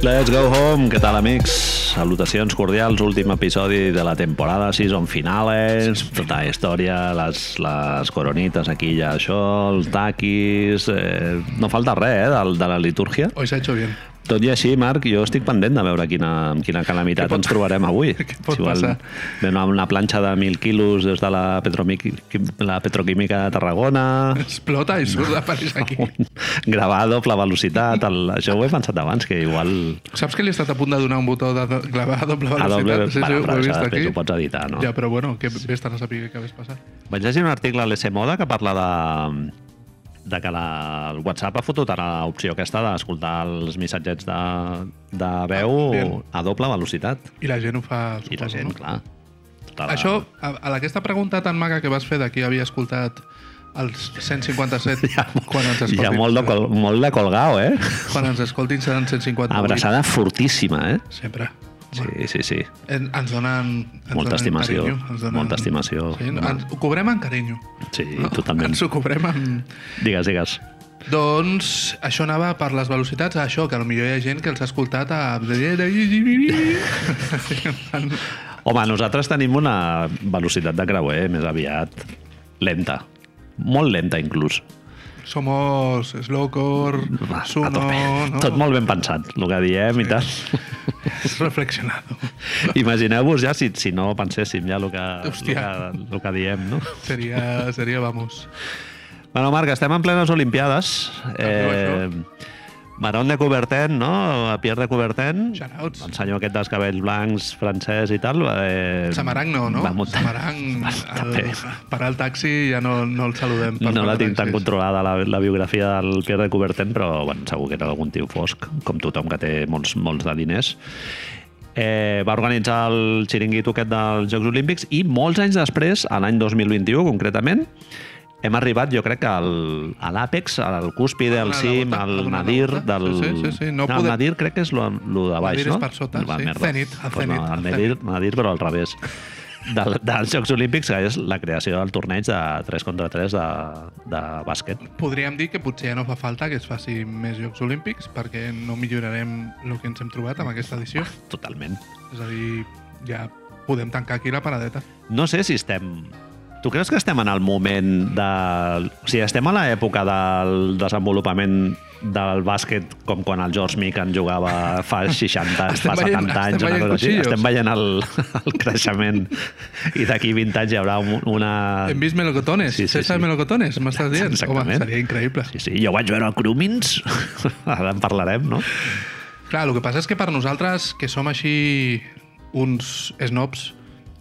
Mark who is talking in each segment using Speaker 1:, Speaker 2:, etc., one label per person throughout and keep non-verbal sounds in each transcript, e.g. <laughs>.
Speaker 1: Let's go home, què tal amics? Salutacions cordials, últim episodi de la temporada, season finales, tota la història, les, les coronites aquí ja això, els taquis... Eh, no falta res, eh, de, de la litúrgia.
Speaker 2: Hoy se ha hecho bien.
Speaker 1: Tot i així, Marc, jo estic pendent de veure quina, amb quina calamitat
Speaker 2: Què pot-
Speaker 1: ens trobarem avui.
Speaker 2: <laughs> Què pot
Speaker 1: vol,
Speaker 2: passar?
Speaker 1: Ve una, una planxa de 1.000 quilos des de la, petromiqui- la petroquímica de Tarragona, <laughs>
Speaker 2: Explota i surt d'apareix aquí.
Speaker 1: un gravar a doble velocitat. El, això ho he pensat abans, que igual...
Speaker 2: Saps que li he estat a punt de donar un botó de do- clavar a doble
Speaker 1: A
Speaker 2: velocitat?
Speaker 1: doble-
Speaker 2: no sé si
Speaker 1: bueno,
Speaker 2: ho
Speaker 1: però
Speaker 2: he
Speaker 1: això
Speaker 2: vist
Speaker 1: després
Speaker 2: aquí.
Speaker 1: ho pots editar, no?
Speaker 2: Ja, però bueno, que vés tan a saber què hagués passat.
Speaker 1: Vaig llegir un article a l'EC Moda que parla de de que la, el WhatsApp ha fotut ara l'opció aquesta d'escoltar els missatgets de, de veu
Speaker 2: Ah, bien.
Speaker 1: a doble velocitat.
Speaker 2: I la gent ho fa...
Speaker 1: I la
Speaker 2: suposo,
Speaker 1: gent,
Speaker 2: no?
Speaker 1: clar. Tota la-
Speaker 2: Això, a, a aquesta pregunta tan maca que vas fer de qui havia escoltat els
Speaker 1: <laughs>
Speaker 2: 157
Speaker 1: Hi ha, mo-
Speaker 2: quan ens
Speaker 1: hi
Speaker 2: escoltin.
Speaker 1: ha molt, de, col, molt de colgao, eh?
Speaker 2: Quan ens escoltin seran 158.
Speaker 1: Abraçada fortíssima, eh?
Speaker 2: Sempre.
Speaker 1: Sí, sí, sí.
Speaker 2: En, ens donen... Ens
Speaker 1: Molta
Speaker 2: donen
Speaker 1: estimació,
Speaker 2: Carinyo, ens donen...
Speaker 1: molta estimació.
Speaker 2: Sí,
Speaker 1: Home.
Speaker 2: ens, ho cobrem amb carinyo.
Speaker 1: Sí,
Speaker 2: Ah,
Speaker 1: totalment.
Speaker 2: Ens ho cobrem amb...
Speaker 1: Digues, digues.
Speaker 2: Doncs això anava per les velocitats, a això, que potser hi ha gent que els ha escoltat a... "Eh, Però
Speaker 1: Home, nosaltres tenim una velocitat de creuer més aviat lenta. Molt lenta, inclús.
Speaker 2: <laughs> Somos slowcore,
Speaker 1: Va, a
Speaker 2: suno...
Speaker 1: tope.
Speaker 2: No?
Speaker 1: Tot molt ben pensat, el que diem i tal.
Speaker 2: És reflexionado.
Speaker 1: Imagineu-vos ja si, si no penséssim ja el que, el que,
Speaker 2: Hòstia.
Speaker 1: el que diem, no?
Speaker 2: Seria, seria vamos.
Speaker 1: Bueno, Marc, estem en plenes Olimpiades. Eh,
Speaker 2: això.
Speaker 1: Barón de Coubertin, no? Eh, Pierre de Coubertin.
Speaker 2: Shoutouts.
Speaker 1: El senyor aquest dels cabells blancs, francès i tal. Eh,
Speaker 2: Samarang no, no?
Speaker 1: Va muntar.
Speaker 2: Samarang,
Speaker 1: també.
Speaker 2: el, parar el taxi ja no, no el saludem. per
Speaker 1: No la
Speaker 2: parar
Speaker 1: tinc tan
Speaker 2: taxis.
Speaker 1: controlada, la, la biografia del Pierre de Coubertin, però bueno, segur que era algun tio fosc, com tothom que té molts, molts de diners. Eh, va organitzar el xiringuito aquest dels Jocs Olímpics i molts anys després, a l'any 2021 concretament, hem arribat, jo crec que al, a l'àpex, al cúspide, al
Speaker 2: donar la
Speaker 1: cim,
Speaker 2: volta, a
Speaker 1: al
Speaker 2: donar la
Speaker 1: nadir
Speaker 2: volta.
Speaker 1: del...
Speaker 2: Sí, sí, sí, sí,
Speaker 1: No,
Speaker 2: no
Speaker 1: el
Speaker 2: podem-
Speaker 1: nadir crec que és lo, lo de baix,
Speaker 2: Nadir
Speaker 1: no?
Speaker 2: és per sota,
Speaker 1: Va,
Speaker 2: sí.
Speaker 1: merda.
Speaker 2: Zenit, el
Speaker 1: Pues no,
Speaker 2: Zenit,
Speaker 1: el
Speaker 2: el
Speaker 1: nadir, nadir, però al revés. Del, dels Jocs Olímpics, que és la creació del torneig de 3 contra 3 de, de bàsquet.
Speaker 2: Podríem dir que potser ja no fa falta que es faci més Jocs Olímpics perquè no millorarem el que ens hem trobat amb aquesta edició.
Speaker 1: Totalment.
Speaker 2: És a dir, ja podem tancar aquí la paradeta.
Speaker 1: No sé si estem... Tu creus que estem en el moment de... O sigui, estem a l'època del desenvolupament del bàsquet com quan el George Mikan jugava
Speaker 2: <laughs>
Speaker 1: fa 60,
Speaker 2: Estem
Speaker 1: fa 70
Speaker 2: veient-
Speaker 1: anys, una
Speaker 2: estem veient
Speaker 1: cosa així.
Speaker 2: cuchillos.
Speaker 1: Estem veient el, <laughs> el creixement i d'aquí 20 anys hi haurà un- una...
Speaker 2: Hem vist melocotones,
Speaker 1: Sí,
Speaker 2: sí,
Speaker 1: sí,
Speaker 2: sí, César
Speaker 1: sí.
Speaker 2: Melocotones, m'estàs dient?
Speaker 1: Exactament.
Speaker 2: Home, seria increïble.
Speaker 1: Sí, sí, jo vaig veure el Crumins, <laughs> ara en parlarem, no?
Speaker 2: Clar, el que passa és que per nosaltres, que som així uns snobs,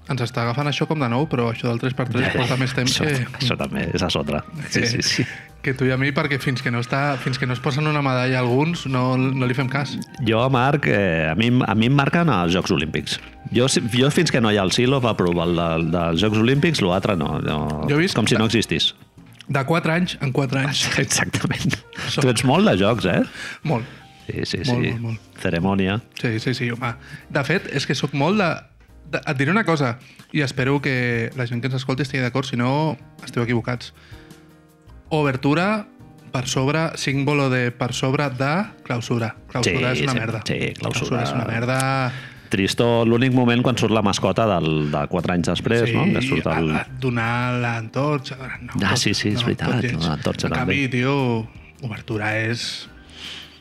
Speaker 2: ens està agafant això com de nou, però això del 3x3 porta més temps
Speaker 1: això,
Speaker 2: que...
Speaker 1: això també és a sotra. Sí, sí, sí.
Speaker 2: Que tu i a mi, perquè fins que no, està, fins que no es posen una medalla a alguns, no, no li fem cas.
Speaker 1: Jo, Marc, eh, a, mi, a mi em marquen els Jocs Olímpics. Jo, si- jo fins que no hi ha el Silo va provar el de- dels Jocs Olímpics, l'altre no. no
Speaker 2: Jo he vist-
Speaker 1: Com si no existís. <laughs>
Speaker 2: De 4 anys en 4 anys.
Speaker 1: Exactament. Tu ets molt de jocs, eh?
Speaker 2: Molt.
Speaker 1: Sí, sí, sí.
Speaker 2: Molt, molt, molt.
Speaker 1: Cerimònia.
Speaker 2: Sí, sí, sí, home. De fet, és que sóc molt de... de... Et diré una cosa, i espero que la gent que ens escolti estigui d'acord, si no, esteu equivocats. Obertura per sobre, símbolo de per sobre de clausura.
Speaker 1: Sí,
Speaker 2: Clausura és una
Speaker 1: sí,
Speaker 2: merda.
Speaker 1: sí, clausura.
Speaker 2: clausura és una merda.
Speaker 1: Tristó, l'únic moment quan surt la mascota del, de quatre anys després, no? Que surt el...
Speaker 2: a- a donar l'antorxa... No,
Speaker 1: Ah, sí, sí, és veritat,
Speaker 2: tot lleig.
Speaker 1: l'antorxa
Speaker 2: En
Speaker 1: també.
Speaker 2: canvi, tio, obertura és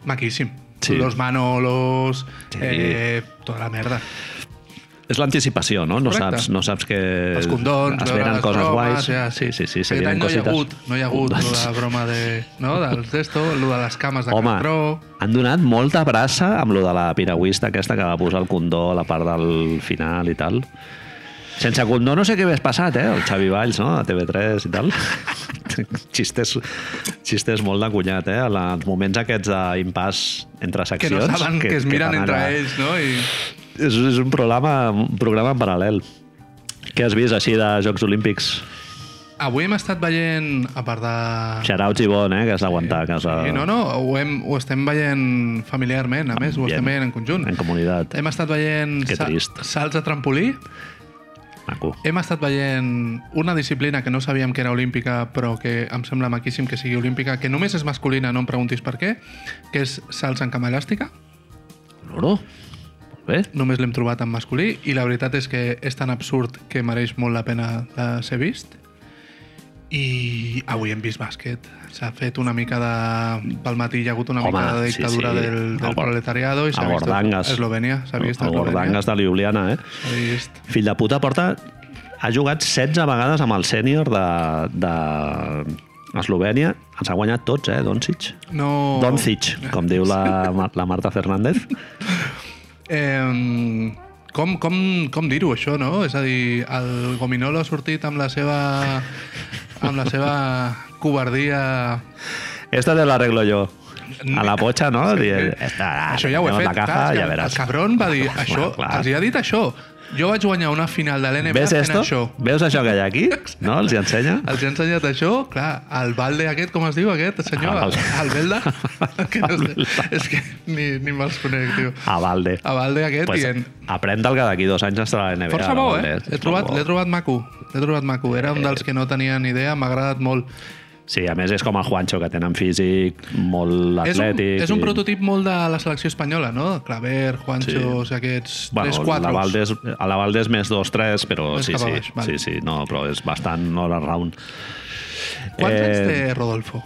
Speaker 2: maquíssim.
Speaker 1: Sí.
Speaker 2: Los manolos,
Speaker 1: Sí.
Speaker 2: eh, tota la merda.
Speaker 1: És l'anticipació, no? No
Speaker 2: Correcte.
Speaker 1: saps, no saps que
Speaker 2: els condons,
Speaker 1: es
Speaker 2: veure
Speaker 1: venen
Speaker 2: les
Speaker 1: coses
Speaker 2: bromes,
Speaker 1: guais.
Speaker 2: Ja, sí,
Speaker 1: sí, sí,
Speaker 2: Aquest any
Speaker 1: serien
Speaker 2: no hi ha
Speaker 1: cosites. Doncs,
Speaker 2: hagut, no hi ha hagut lo de la broma de, no, del testo, lo de les cames de
Speaker 1: Home,
Speaker 2: Catró...
Speaker 1: han donat molta brassa amb lo de la piragüista aquesta que va posar el condó a la part del final i tal. Sense condó no sé què hagués passat, eh? El Xavi Valls, no? A TV3 i tal. <laughs> Xistes, xistes molt de cunyat, eh? En els moments aquests d'impàs entre
Speaker 2: que
Speaker 1: seccions...
Speaker 2: no saben que, es miren
Speaker 1: fan
Speaker 2: entre
Speaker 1: allà.
Speaker 2: ells, no? I
Speaker 1: És, és un programa, un programa en paral·lel. Què has vist així de Jocs Olímpics?
Speaker 2: avui hem estat veient, a part de...
Speaker 1: Xarauts i Bon, eh? Que has d'aguantar a casa.
Speaker 2: Sí, no, no, ho, hem, ho estem veient familiarment, a més, ho estem
Speaker 1: Bien.
Speaker 2: veient en conjunt.
Speaker 1: En comunitat.
Speaker 2: Hem estat veient
Speaker 1: Que trist.
Speaker 2: salts de trampolí,
Speaker 1: Maco.
Speaker 2: hem estat veient una disciplina que no sabíem que era olímpica, però que em sembla maquíssim que sigui olímpica, que només és masculina, no em preguntis per què, que és salts en cama elàstica.
Speaker 1: No, loro. Molt bé.
Speaker 2: Només l'hem trobat en masculí i la veritat és que és tan absurd que mereix molt la pena de ser vist. I avui hem vist bàsquet. S'ha fet una mica de... Pel matí hi ha hagut una
Speaker 1: Home,
Speaker 2: mica de
Speaker 1: sí,
Speaker 2: dictadura
Speaker 1: sí.
Speaker 2: del,
Speaker 1: El
Speaker 2: del
Speaker 1: gor-
Speaker 2: proletariado i s'ha
Speaker 1: el
Speaker 2: vist tot-
Speaker 1: Gordangas.
Speaker 2: Eslovènia. S'ha vist
Speaker 1: El
Speaker 2: Eslovènia.
Speaker 1: Gordangas de Ljubljana, eh?
Speaker 2: S'ha vist.
Speaker 1: Fill de puta porta... Ha jugat 16 vegades amb el sènior de, de Eslovènia. Els ha guanyat tots, eh, Doncic.
Speaker 2: No...
Speaker 1: Doncic, com diu la, Mar- la Marta Fernández.
Speaker 2: Eh, com com, com dir-ho, això, no? És a dir, el Gominolo ha sortit amb la seva... amb la seva covardia...
Speaker 1: Esta te la arreglo yo. A la potxa, no? Dient, "Esta,
Speaker 2: això ja ho he
Speaker 1: anem a
Speaker 2: fet.
Speaker 1: La caja,
Speaker 2: clar, és que
Speaker 1: ja veràs.
Speaker 2: El cabron va dir,
Speaker 1: Clar,
Speaker 2: això,
Speaker 1: clar.
Speaker 2: els hi ha dit això. Jo vaig guanyar una final de l'NBA
Speaker 1: Ves
Speaker 2: fent
Speaker 1: esto?
Speaker 2: això.
Speaker 1: Veus això que hi ha aquí? No? Els hi ensenya?
Speaker 2: Els he ensenyat això, clar, el balde aquest, com es diu aquest senyor?
Speaker 1: Ah,
Speaker 2: El,
Speaker 1: el-
Speaker 2: el Belda?
Speaker 1: <laughs>
Speaker 2: que no sé, és que ni, ni me'ls conec, tio.
Speaker 1: A Valde.
Speaker 2: El balde aquest
Speaker 1: Ah. Pues,
Speaker 2: dient,
Speaker 1: aprèn del que d'aquí dos anys estarà a la NBA.
Speaker 2: Força
Speaker 1: no,
Speaker 2: bo,
Speaker 1: Valde.
Speaker 2: eh?
Speaker 1: És
Speaker 2: L'he
Speaker 1: molt
Speaker 2: trobat,
Speaker 1: bo. Eh,
Speaker 2: l'he trobat maco. L'he trobat maco. Era un dels que no tenia ni idea, m'ha agradat molt.
Speaker 1: Sí, a més és com el Juancho, que tenen físic molt
Speaker 2: És un,
Speaker 1: atlètic.
Speaker 2: és un
Speaker 1: i-
Speaker 2: prototip molt de la selecció espanyola, no? Claver, Juancho, sí. aquests
Speaker 1: Bueno,
Speaker 2: tres
Speaker 1: la
Speaker 2: quatros.
Speaker 1: Valde és, a la Valde és més 2-3, però
Speaker 2: Més
Speaker 1: sí,
Speaker 2: cap a
Speaker 1: sí,
Speaker 2: baix, vale.
Speaker 1: sí, sí, no, però és bastant all around.
Speaker 2: Quants
Speaker 1: Eh,
Speaker 2: anys té Rodolfo?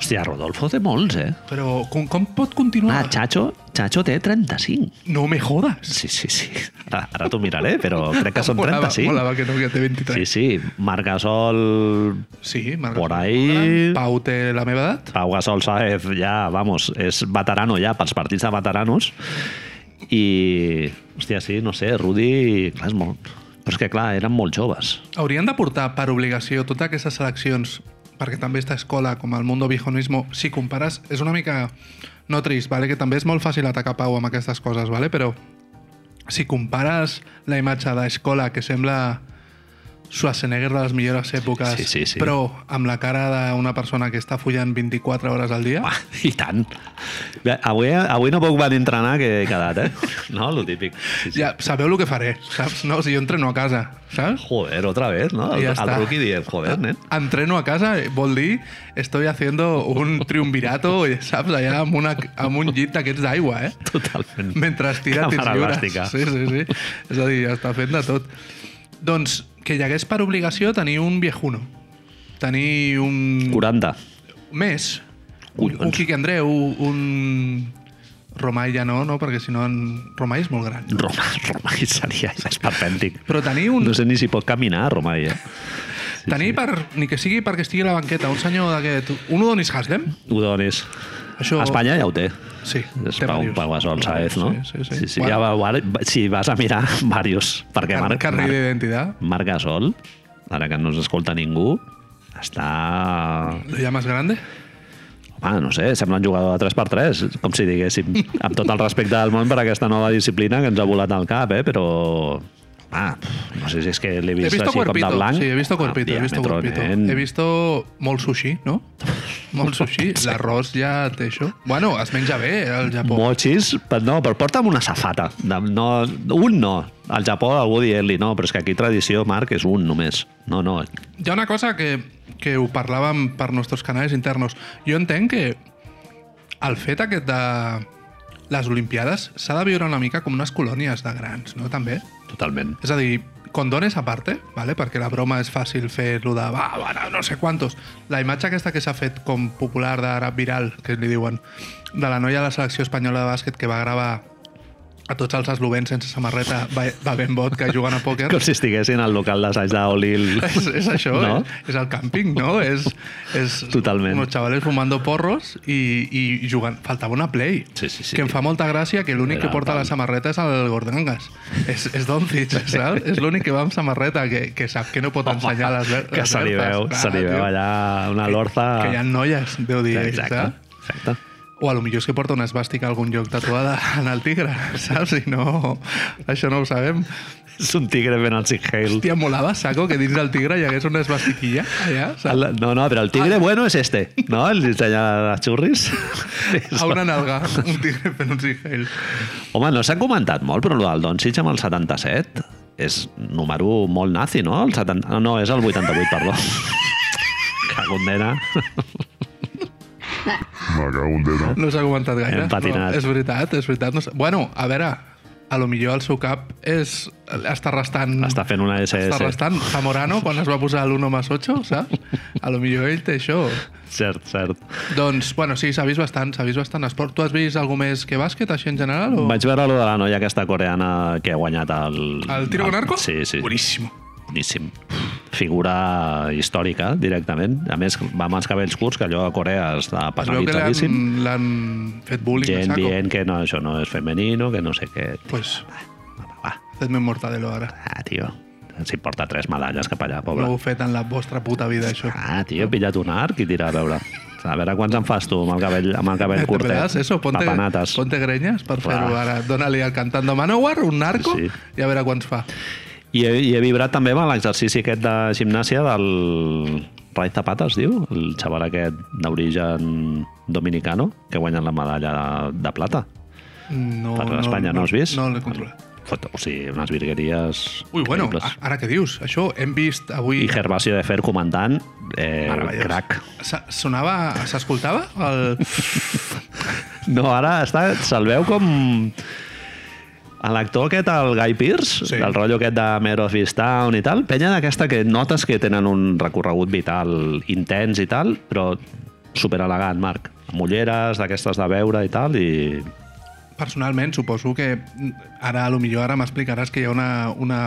Speaker 1: Hòstia, Rodolfo té molts, eh?
Speaker 2: Però com, com pot
Speaker 1: Ah,
Speaker 2: continuar?
Speaker 1: Chacho, Chacho té 35.
Speaker 2: no me jodas.
Speaker 1: Sí, sí, sí. Ara, ara t'ho miraré, però crec que són
Speaker 2: <laughs> Molava-
Speaker 1: 35.
Speaker 2: Molava que no, que té 23.
Speaker 1: Sí, sí. Marc Gasol,
Speaker 2: Sí, sí m'agrada.
Speaker 1: Por ahí-
Speaker 2: Pau té la meva edat.
Speaker 1: Pau Gasol Saez, ja, vamos, és veterano ja pels partits de veteranos. I, hòstia, sí, no sé, Rudi, clar, és molt... Però és que, clar, eren molt joves.
Speaker 2: Haurien de portar per obligació totes aquestes seleccions, perquè també esta escola, com el Mundo Vijonismo, si compares, és una mica no trist, vale? que també és molt fàcil atacar Pau amb aquestes coses, vale? però si compares la imatge d'escola que sembla Schwarzenegger de les millors èpoques,
Speaker 1: Sí, sí, sí.
Speaker 2: però amb la cara d'una persona que està follant 24 hores al dia,
Speaker 1: Ah, I tant. Bé, Avui, avui no puc venir a entrenar, que he quedat, eh? <laughs> No, lo típic. Sí, sí.
Speaker 2: ja sabeu el que faré, saps? No? Si jo entreno a casa, saps?
Speaker 1: Joder, otra vez, ¿no? El,
Speaker 2: I ja
Speaker 1: el
Speaker 2: està.
Speaker 1: rookie dient, joder, nen.
Speaker 2: Ah, <laughs> Entreno a casa eh, vol dir estoy haciendo un <laughs> triumvirato, saps? Allà amb, una, amb un llit d'aquests d'aigua, eh?
Speaker 1: Totalment.
Speaker 2: Mentre es tira tirs
Speaker 1: Càmera
Speaker 2: lliures.
Speaker 1: elàstica.
Speaker 2: Sí, sí, sí. És a dir, està fent de tot. Doncs que hi hagués per obligació tenir un viejuno. Tenir un...
Speaker 1: 40.
Speaker 2: Més.
Speaker 1: Collons.
Speaker 2: Un Quique Andreu, un... Romai ja no, no? Perquè si no... En... Romai és molt gran.
Speaker 1: Roma, Roma hi seria esperpèntic.
Speaker 2: Però tenir un...
Speaker 1: No sé ni si pot caminar, Roma, eh?
Speaker 2: Sí, tenir per... Ni que sigui perquè estigui a la banqueta, un senyor d'aquest... Un Udonis Haslem?
Speaker 1: Ho dones.
Speaker 2: Això-
Speaker 1: A Espanya ja ho té.
Speaker 2: Sí,
Speaker 1: És
Speaker 2: té
Speaker 1: Pau,
Speaker 2: varios.
Speaker 1: Pau Gasol Saez, no?
Speaker 2: Sí, sí, sí.
Speaker 1: sí, ja va, va- si vas a mirar, <laughs> varios. Perquè
Speaker 2: Car
Speaker 1: Marc,
Speaker 2: carrer
Speaker 1: Marc,
Speaker 2: d'identitat.
Speaker 1: Marc Gasol, ara que no ens escolta ningú, està...
Speaker 2: Lo llamas grande?
Speaker 1: Home, no sé, sembla un jugador de 3x3, com si
Speaker 2: <laughs>
Speaker 1: diguéssim, amb tot el respecte del món per aquesta nova disciplina que ens ha volat al cap, eh? però... Ah, no sé si és que l'he
Speaker 2: He
Speaker 1: vist,
Speaker 2: visto
Speaker 1: així com de
Speaker 2: cuerpito.
Speaker 1: blanc. Ah,
Speaker 2: Sí, he visto cuerpito, he visto
Speaker 1: diàmetre,
Speaker 2: cuerpito.
Speaker 1: nen.
Speaker 2: He visto molt sushi,
Speaker 1: <laughs>
Speaker 2: no? Molt sushi. L'arròs ja té això. Bueno, es menja bé eh, al Japó.
Speaker 1: Mochis, però no, però porta'm una safata. De- No, un no. Al Japó algú dient-li, no, però és que aquí tradició, Marc, és un només. No, no,
Speaker 2: Hi ha una cosa que, que ho parlàvem per nostres canals internos. Jo entenc que el fet aquest de les Olimpiades s'ha de viure una mica com unes colònies de grans, no? També.
Speaker 1: totalment.
Speaker 2: És a dir, condones a parte, ¿vale? perquè la broma és fàcil fer-lo de va, va, no, no sé quantos. La imatge aquesta que s'ha fet com popular d'ara viral, que li diuen, de la noia de la selecció espanyola de bàsquet que va gravar a tots els eslovens sense samarreta be- bevent vodka i jugant a pòquer.
Speaker 1: Com si estiguessin al local d'assaig d'Olil.
Speaker 2: És, és
Speaker 1: <laughs>
Speaker 2: això,
Speaker 1: No?
Speaker 2: no? és, és el càmping, no? És, és
Speaker 1: Totalment.
Speaker 2: Uns xavales fumando porros i, i jugant. Faltava una play.
Speaker 1: Sí, sí, sí.
Speaker 2: Que em fa molta gràcia que l'únic
Speaker 1: Era
Speaker 2: que porta
Speaker 1: tal.
Speaker 2: la samarreta és el Gordangas. És, és Doncic, saps? És l'únic que va amb samarreta, que, que sap que no pot ensenyar les ver- les
Speaker 1: que se li
Speaker 2: verdes.
Speaker 1: veu,
Speaker 2: Clar,
Speaker 1: se li
Speaker 2: tio.
Speaker 1: veu allà una lorza...
Speaker 2: Que hi ha eh? noies, deu dir,
Speaker 1: Exacte,
Speaker 2: saps?
Speaker 1: exacte.
Speaker 2: O a lo millor és que porta una esbàstica a algun lloc tatuada <laughs> en el tigre, saps? I no... Això no ho sabem.
Speaker 1: És un tigre ben al Sig Hale.
Speaker 2: Hòstia, molava, saco, que dins del tigre hi hagués una esbastiquilla allà, saps?
Speaker 1: El- No, no, però el
Speaker 2: Ah.
Speaker 1: tigre bueno és este, no? El dissenya de
Speaker 2: <laughs>
Speaker 1: xurris.
Speaker 2: A una nalga, un tigre fent un sigil.
Speaker 1: Home, no s'ha comentat molt, però el del Doncic amb el 77 és número molt nazi, no? El 70... No, és
Speaker 2: <laughs>
Speaker 1: el 88, perdó. Cago en nena.
Speaker 3: Me cago en Déu.
Speaker 2: No s'ha comentat gaire.
Speaker 1: Hem patinat.
Speaker 2: No, és veritat, és veritat. No sé. Bueno, a veure, a lo millor el seu cap és, està restant...
Speaker 1: Està fent una
Speaker 2: Està
Speaker 1: SS.
Speaker 2: restant Zamorano quan es va posar l'1 más 8, saps? A lo millor ell té això.
Speaker 1: Cert, cert.
Speaker 2: Doncs, bueno, sí, s'ha vist bastant, s'ha vist bastant esport. Tu has vist alguna més que bàsquet, així en general? O...
Speaker 1: Vaig veure lo de la noia aquesta coreana que ha guanyat el...
Speaker 2: El tiro con arco?
Speaker 1: Sí, sí.
Speaker 2: Boníssim.
Speaker 1: Boníssim. Figura històrica, directament. A més, va amb els cabells curts, que allò a Corea està
Speaker 2: Es veu que l'han
Speaker 1: penalitzadíssim.
Speaker 2: l'han fet bullying
Speaker 1: Gent
Speaker 2: a saco.
Speaker 1: dient que no, això no és femenino, que no sé què.
Speaker 2: Pues,
Speaker 1: Va, va, va.
Speaker 2: fet me mortadelo ara.
Speaker 1: Ah, tio. Ens importa tres medalles cap allà,
Speaker 2: No
Speaker 1: pobre.
Speaker 2: ho heu fet en la vostra puta vida, això.
Speaker 1: Ah, tio, he pillat un arc i tira a veure. A veure quants en fas tu amb el cabell, amb el cabell
Speaker 2: Te
Speaker 1: curtet.
Speaker 2: pedas Eh, eso, ponte,
Speaker 1: Papanates.
Speaker 2: ponte greñas per
Speaker 1: Clar.
Speaker 2: fer-ho ara. Dóna-li al cantando Manowar un narco
Speaker 1: Sí.
Speaker 2: i a veure quants fa.
Speaker 1: I he, I he vibrat també amb l'exercici aquest de gimnàsia del Ray Zapata, es diu? El xaval aquest d'origen dominicano que ha guanyat la medalla de, de plata
Speaker 2: No,
Speaker 1: per
Speaker 2: no,
Speaker 1: Espanya. No, has vist?
Speaker 2: No, l'he controlat.
Speaker 1: Fot, o sigui, unes virgueries
Speaker 2: Ui, bueno, ah,
Speaker 1: increïbles.
Speaker 2: a- ara què dius? Això hem vist avui...
Speaker 1: I Gervasio de Fer comandant, eh,
Speaker 2: Meravellós.
Speaker 1: crac.
Speaker 2: Sa- Sonava... S'escoltava? El...
Speaker 1: No, ara està, se'l veu com... A l'actor aquest, el Guy Pearce,
Speaker 2: Sí.
Speaker 1: sí. el rotllo aquest de Mare of Easttown i tal, penya d'aquesta que notes que tenen un recorregut vital intens i tal, però super elegant, Marc. Amb ulleres, d'aquestes de veure i tal, i...
Speaker 2: Personalment, suposo que ara, a lo millor ara m'explicaràs que hi ha una, una,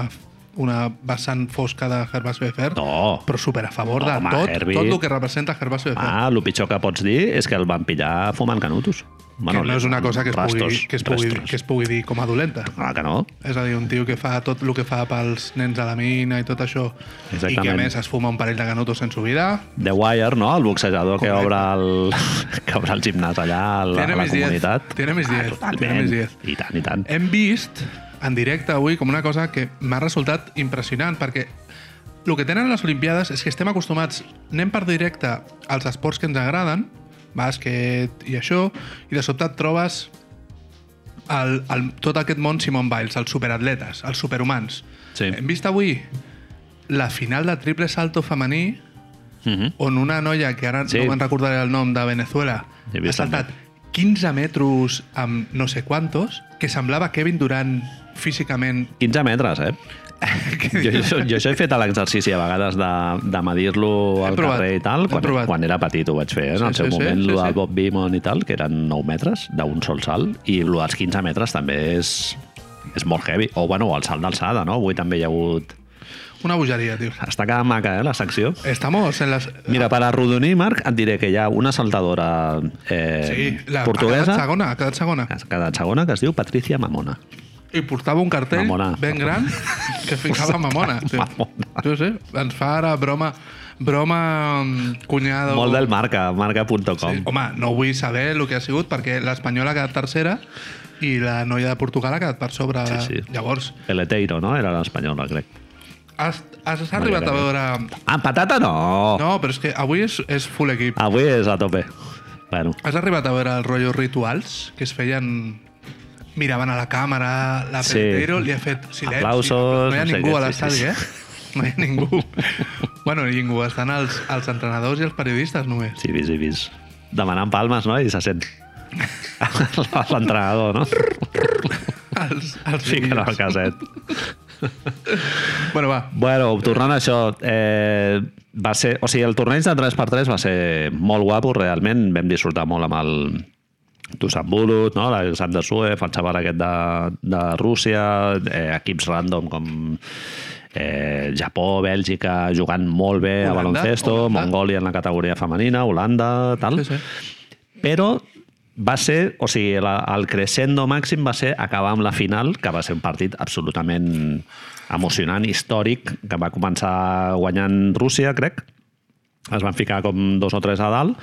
Speaker 2: una vessant fosca de Herbas Befer,
Speaker 1: No!
Speaker 2: però super a favor de
Speaker 1: Home,
Speaker 2: tot,
Speaker 1: Herbie.
Speaker 2: tot el que representa Herbas Befer.
Speaker 1: Ah, el pitjor que pots dir és que el van pillar fumant canutos.
Speaker 2: que no és una cosa que es,
Speaker 1: rastos,
Speaker 2: pugui, que, es pugui,
Speaker 1: rastos.
Speaker 2: que es pugui dir com a dolenta.
Speaker 1: Clar Ah, que no.
Speaker 2: És a dir, un tio que fa tot el que fa pels nens de la mina i tot això, i que a
Speaker 1: Exactament.
Speaker 2: més es fuma un parell de canutos en su vida,
Speaker 1: The Wire, no? El boxejador que
Speaker 2: Correcte.
Speaker 1: obre el, <laughs> que obre el gimnàs allà a la,
Speaker 2: Tiene
Speaker 1: a la
Speaker 2: mis diez,
Speaker 1: comunitat.
Speaker 2: tiene mis diez,
Speaker 1: totalment.
Speaker 2: tiene mis diez.
Speaker 1: I tant, i tant.
Speaker 2: hem vist en directe avui com una cosa que m'ha resultat impressionant, perquè el que tenen les Olimpiades és que estem acostumats, anem per directe als esports que ens agraden, bàsquet i això, i de sobte et trobes el, el, tot aquest món Simon Biles, els superatletes, els superhumans.
Speaker 1: Sí.
Speaker 2: Hem vist avui la final de triple salto femení
Speaker 1: Mhm.
Speaker 2: on una noia, que ara
Speaker 1: Sí.
Speaker 2: sí. no me'n recordaré el nom, de Venezuela,
Speaker 1: He
Speaker 2: ha
Speaker 1: vist
Speaker 2: saltat 15 metres amb no sé quantos, que semblava Kevin Durant físicament. <laughs>
Speaker 1: 15 metres, eh? Jo, jo, jo això he fet a l'exercici a vegades de, de medir-lo al
Speaker 2: provat,
Speaker 1: carrer i tal.
Speaker 2: he
Speaker 1: Quan,
Speaker 2: provat.
Speaker 1: quan era petit ho vaig fer, eh? en
Speaker 2: Sí,
Speaker 1: el seu
Speaker 2: sí, sí,
Speaker 1: moment,
Speaker 2: sí,
Speaker 1: lo
Speaker 2: sí.
Speaker 1: del Bob Beamon i tal, que eren 9 metres d'un sol salt, i lo dels 15 metres també és, és molt heavy. O, bueno, el salt d'alçada, no? Avui també hi ha hagut...
Speaker 2: Una bogeria, tio.
Speaker 1: Està cada maca, eh, la secció.
Speaker 2: Estamos en les...
Speaker 1: Mira, per arrodonir, Marc, et diré que hi ha una saltadora
Speaker 2: Sí,
Speaker 1: eh,
Speaker 2: la, ha
Speaker 1: portuguesa Ah.
Speaker 2: quedat segona, ha quedat segona.
Speaker 1: que ha quedat segona, que es diu Patricia Mamona.
Speaker 2: I portava un cartell
Speaker 1: Mamona.
Speaker 2: ben gran que ficava mamona. Tio.
Speaker 1: Mamona.
Speaker 2: Jo sé, ens fa ara broma, broma mm, cunyada.
Speaker 1: Molt del marca, marca.com.
Speaker 2: Sí,
Speaker 1: Sí.
Speaker 2: home, no vull saber el que ha sigut perquè l'Espanyola ha quedat tercera i la noia de Portugal ha quedat per sobre.
Speaker 1: Sí, sí.
Speaker 2: Llavors,
Speaker 1: El Eteiro, no? Era l'espanyola, crec.
Speaker 2: Has, has arribat a
Speaker 1: Mallorca,
Speaker 2: veure...
Speaker 1: Ah, patata no! no!
Speaker 2: No, però és que avui és, és full equip.
Speaker 1: Avui és a tope. Bueno,
Speaker 2: Has arribat a veure els rotllos rituals que es feien... Miraven a la càmera, la
Speaker 1: Sí.
Speaker 2: Pedreiro li ha fet silenci.
Speaker 1: Aplausos,
Speaker 2: No hi ha
Speaker 1: no sé
Speaker 2: ningú
Speaker 1: què,
Speaker 2: a
Speaker 1: sí,
Speaker 2: l'estadi,
Speaker 1: sí,
Speaker 2: eh? No hi ha ningú. bueno, ningú. Estan els, els entrenadors i els periodistes només.
Speaker 1: sí, vis, sí, vis. Demanant palmes, no? I se
Speaker 2: <laughs>
Speaker 1: sent <laughs> l'entrenador, no?
Speaker 2: Els, els
Speaker 1: Ficant el
Speaker 2: vídeos.
Speaker 1: caset.
Speaker 2: Bueno, va.
Speaker 1: Bueno, tornant a això, eh, va ser, o sigui, el torneig de 3x3 va ser molt guapo, realment vam disfrutar molt amb el Dusan Bulut, no? l'Alexander Suev, el xaval aquest de, de Rússia, eh, equips random com eh, Japó, Bèlgica, jugant molt bé a
Speaker 2: Holanda,
Speaker 1: baloncesto,
Speaker 2: Holanda.
Speaker 1: Mongòlia en la categoria femenina, Holanda, tal
Speaker 2: Sí, sí.
Speaker 1: però va ser, o sigui, la, el crescendo màxim va ser acabar amb la final, que va ser un partit absolutament emocionant, històric, que va començar guanyant Rússia, crec. Es van ficar com dos o tres a dalt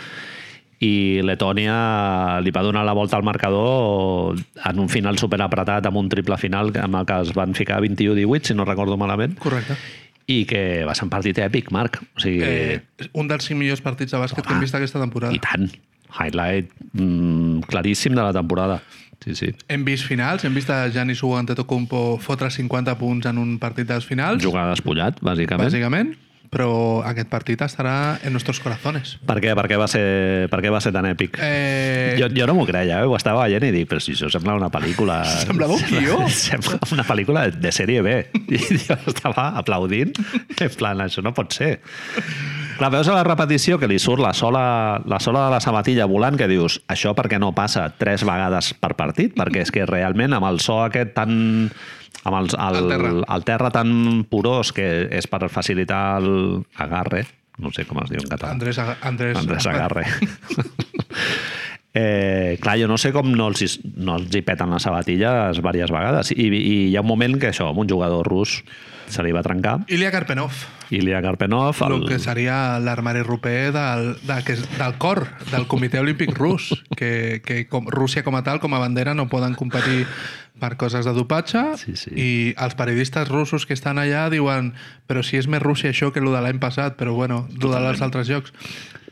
Speaker 1: i Letònia li va donar la volta al marcador en un final superapretat amb un triple final amb el que es van ficar 21-18, si no recordo malament,
Speaker 2: Correcte.
Speaker 1: i que va ser un partit èpic, Marc. O sigui,
Speaker 2: Eh, un dels cinc millors partits de bàsquet que hem vist aquesta temporada.
Speaker 1: i tant. Highlight mm, claríssim de la temporada. Sí, sí.
Speaker 2: Hem vist finals, hem vist a Giannis Antetokounmpo fotre 50 punts en un partit dels finals.
Speaker 1: Jugar despullat, bàsicament.
Speaker 2: bàsicament. però aquest partit estarà en nostres corazones.
Speaker 1: Per què, per què, va, ser, per què va ser tan èpic?
Speaker 2: Eh,
Speaker 1: Jo, jo no m'ho creia, eh? ho estava veient i dic, però si això sembla una pel·lícula...
Speaker 2: <laughs> Semblava un guió.
Speaker 1: <laughs> Sembla una pel·lícula de sèrie B. <laughs> I jo estava aplaudint, en plan, això no pot ser. Clar, veus a la repetició que li surt la sola, la sola de la sabatilla volant que dius, això perquè no passa tres vegades per partit, perquè és que realment amb el so aquest tan... amb els, el,
Speaker 2: Al terra.
Speaker 1: el terra tan porós que és per facilitar l'agarre, no sé com es diu en català.
Speaker 2: Andrés, Aga- Andrés,
Speaker 1: Andrés Agarre. <laughs> Eh, clar, jo no sé com no els, hi- no els hi peten les sabatilles diverses vegades. I, I hi ha un moment que això, amb un jugador rus se li va trencar.
Speaker 2: Ilya Karpenov,
Speaker 1: Ilya Karpenov,
Speaker 2: el
Speaker 1: el,
Speaker 2: que seria l'armari roper del, del, que és- del cor del Comitè Olímpic Rus, que, que com, Rússia com a tal, com a bandera, no poden competir per coses de dopatge
Speaker 1: Sí, sí.
Speaker 2: i els periodistes russos que estan allà diuen però si és més Rússia això que el de l'any passat, però bueno, el dels altres jocs.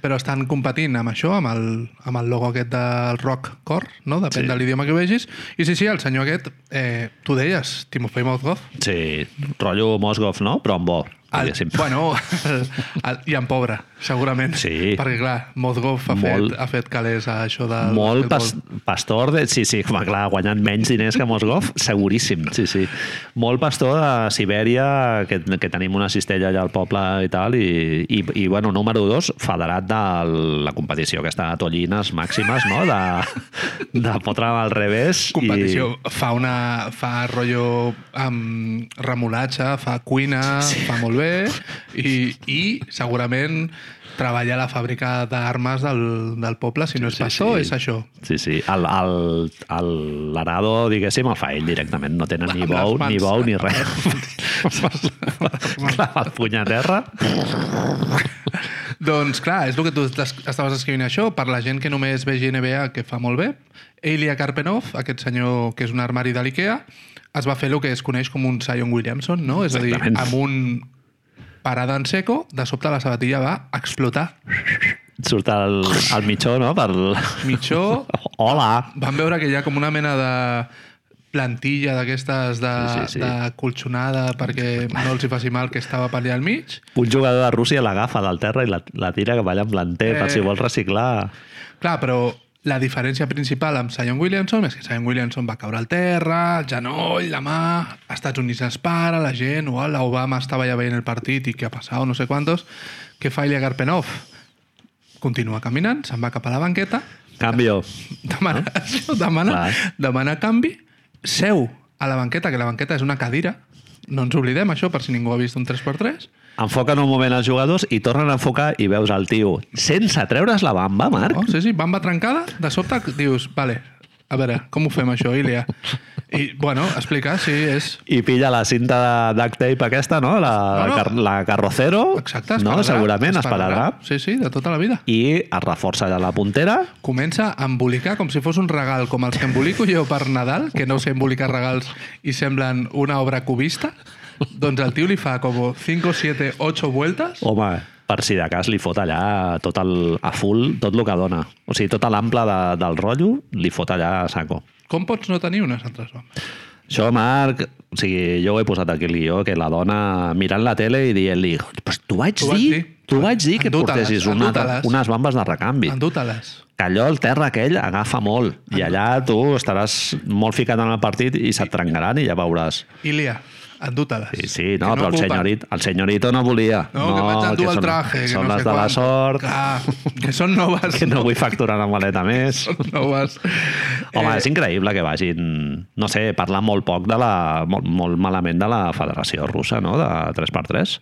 Speaker 2: Però estan competint amb això, amb el, amb el logo aquest del rock core, no? depèn
Speaker 1: Sí.
Speaker 2: de l'idioma que vegis. I sí, sí, el senyor aquest, eh, tu deies, Timofey Mozgov,
Speaker 1: sí, rotllo Mosgov, no? Però amb bo,
Speaker 2: el,
Speaker 1: diguéssim.
Speaker 2: bueno, <laughs> el, el, i en pobre, segurament.
Speaker 1: Sí.
Speaker 2: Perquè, clar, Mozgov ha,
Speaker 1: Molt.
Speaker 2: fet, ha fet calés a això del...
Speaker 1: Molt
Speaker 2: basquetbol.
Speaker 1: pas, pastor de... Sí, sí, home, clar, guanyant menys diners que Mosgov, seguríssim, sí, sí. Molt pastor de Sibèria, que, que tenim una cistella allà al poble i tal, i, i, i bueno, número dos, federat de la competició que està a Tollines màximes, no?, de, de fotre al revés.
Speaker 2: Competició. I... Fa una... Fa rotllo amb remolatge, fa cuina, sí. fa molt bé i, i segurament treballar a la fàbrica d'armes del, del poble, si no és
Speaker 1: sí,
Speaker 2: sí, pastor,
Speaker 1: sí.
Speaker 2: és això.
Speaker 1: I, sí, sí, el- el- el- l'arado, diguéssim, el fa ell directament, no tenen ni
Speaker 2: Amb les
Speaker 1: bou,
Speaker 2: mans.
Speaker 1: ni bou ni
Speaker 2: <laughs>
Speaker 1: res. Clava el puny a terra.
Speaker 2: Doncs clar, és el que tu estàs- estaves escrivint això, per la gent que només vegi NBA, que fa molt bé. Ilya Karpenov, aquest senyor que és un armari de l'IKEA, es va fer el que es coneix com un Zion Williamson, no? És a dir,
Speaker 1: Exactament.
Speaker 2: amb un parada en seco, de sobte la sabatilla va explotar.
Speaker 1: Surt el, el mitjó, no?, per,
Speaker 2: Mitjó,
Speaker 1: Hola!
Speaker 2: van veure que hi ha com una mena de plantilla d'aquestes de,
Speaker 1: Sí,
Speaker 2: sí,
Speaker 1: sí, sí.
Speaker 2: sí, sí. de colxonada perquè no els hi faci mal que estava per allà al mig.
Speaker 1: Un jugador de Rússia l'agafa del terra i la, la tira cap allà en planter eh. per
Speaker 2: Eh.
Speaker 1: si vol reciclar.
Speaker 2: Clar, però la diferència principal amb Zion Williamson és que Zion Williamson va caure al terra, el genoll, la mà, als Estats Units es para, la gent, o l'Obama estava ja veient el partit i què ha passat, o no sé quantos. Què fa Ilya Garpenov? Continua caminant, se'n va cap a la banqueta, <laughs>
Speaker 1: Canvio.
Speaker 2: demana, demana,
Speaker 1: Clar.
Speaker 2: demana canvi, seu a la banqueta, que la banqueta és una cadira, no ens oblidem això, per si ningú ha vist un 3x3,
Speaker 1: Enfoquen un moment els jugadors i tornen a enfocar i veus el tio sense treure's la bamba, Marc.
Speaker 2: Oh, sí, sí, bamba trencada, de sobte dius, vale, a veure, com ho fem això, Ilia? I, bueno, explica, sí, és...
Speaker 1: I pilla la cinta de duct tape aquesta, no? La,
Speaker 2: No, no.
Speaker 1: la car la carrocero.
Speaker 2: Exacte, es
Speaker 1: no?
Speaker 2: pararà,
Speaker 1: Segurament es
Speaker 2: pararà.
Speaker 1: pararà.
Speaker 2: Sí, sí, de tota la vida.
Speaker 1: I es reforça allà la puntera.
Speaker 2: Comença a embolicar com si fos un regal, com els que embolico jo per Nadal, que no sé embolicar regals i semblen una obra cubista. Doncs el tio li fa com 5, 7, 8 vueltes.
Speaker 1: Home, per si de cas li fot allà tot el, a full tot el que dona. O sigui, tot l'ample de, del rotllo li fot allà a saco.
Speaker 2: Com pots no tenir unes altres bombes?
Speaker 1: Això, Marc, o sigui, jo ho he posat aquí el guió, que la dona mirant la tele i dient-li, pues t'ho vaig,
Speaker 2: T'ho vaig
Speaker 1: dir,
Speaker 2: dir.
Speaker 1: t'ho vaig dir que
Speaker 2: Endú-te-les,
Speaker 1: portessis una,
Speaker 2: endú-te-les."
Speaker 1: unes bambes de recanvi.
Speaker 2: Endú-te-les.
Speaker 1: Que allò, el terra aquell, agafa molt. I allà tu estaràs molt ficat en el partit i se't trencaran i ja veuràs.
Speaker 2: Ilia, endú-te-les.
Speaker 1: Sí, sí, no, però
Speaker 2: Que
Speaker 1: el,
Speaker 2: ocupen.
Speaker 1: senyorit, el senyorito no volia.
Speaker 2: No, que vaig endur
Speaker 1: que
Speaker 2: el
Speaker 1: són-
Speaker 2: traje. que
Speaker 1: Són
Speaker 2: no
Speaker 1: les
Speaker 2: sé
Speaker 1: de la
Speaker 2: quan.
Speaker 1: sort,
Speaker 2: Clar, que són noves.
Speaker 1: <laughs> que no vull facturar la maleta
Speaker 2: <laughs>
Speaker 1: més.
Speaker 2: noves. Eh,
Speaker 1: Home, és increïble que vagin, no sé, parlar molt poc de la... molt, molt malament de la Federació Russa, no?, de 3x3.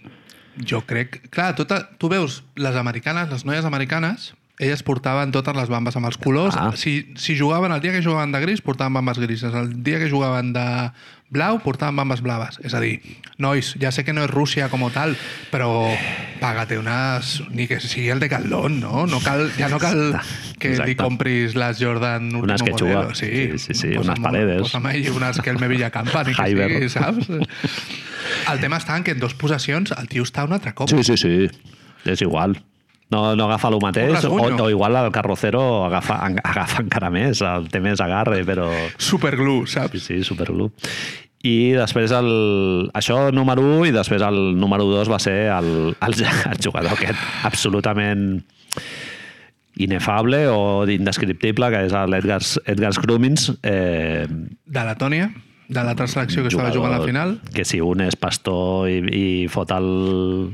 Speaker 2: Jo crec... Clar, tota, tu veus les americanes, les noies americanes, elles portaven totes les bambes amb els colors.
Speaker 1: Ah.
Speaker 2: Ah. Si, si jugaven el dia que jugaven de gris, portaven bambes grises. El dia que jugaven de blau, portaven bambes blaves. És a dir, nois, ja sé que no és Rússia com tal, però pàgate unes... Ni que sigui el de Caldón, no? no cal, ja no cal que
Speaker 1: Exacte.
Speaker 2: li compris les Jordan Último
Speaker 1: Unes que juga.
Speaker 2: modelo. Sí,
Speaker 1: Sí, sí, sí,
Speaker 2: Posa'm
Speaker 1: unes paredes.
Speaker 2: Posa'm ahí unes que el me Villacampa, ni que
Speaker 1: Hyber.
Speaker 2: sigui, saps? El tema està en que en dos possessions el tio està un altre cop.
Speaker 1: Sí, sí, sí. És igual. No, no agafa el mateix, o,
Speaker 2: rasguño.
Speaker 1: o igual el carrocero agafa, <laughs> en- agafa encara més, el té més agarre, però...
Speaker 2: Superglue, saps?
Speaker 1: Sí, sí, superglú. I després el, això número 1 i després el número 2 va ser el, el, <laughs> el jugador aquest absolutament inefable o indescriptible, que és l'Edgar Edgar Scrumins, eh,
Speaker 2: De Letònia, de l'altra selecció que estava jugant a la final.
Speaker 1: que si un és pastor i, i fot el,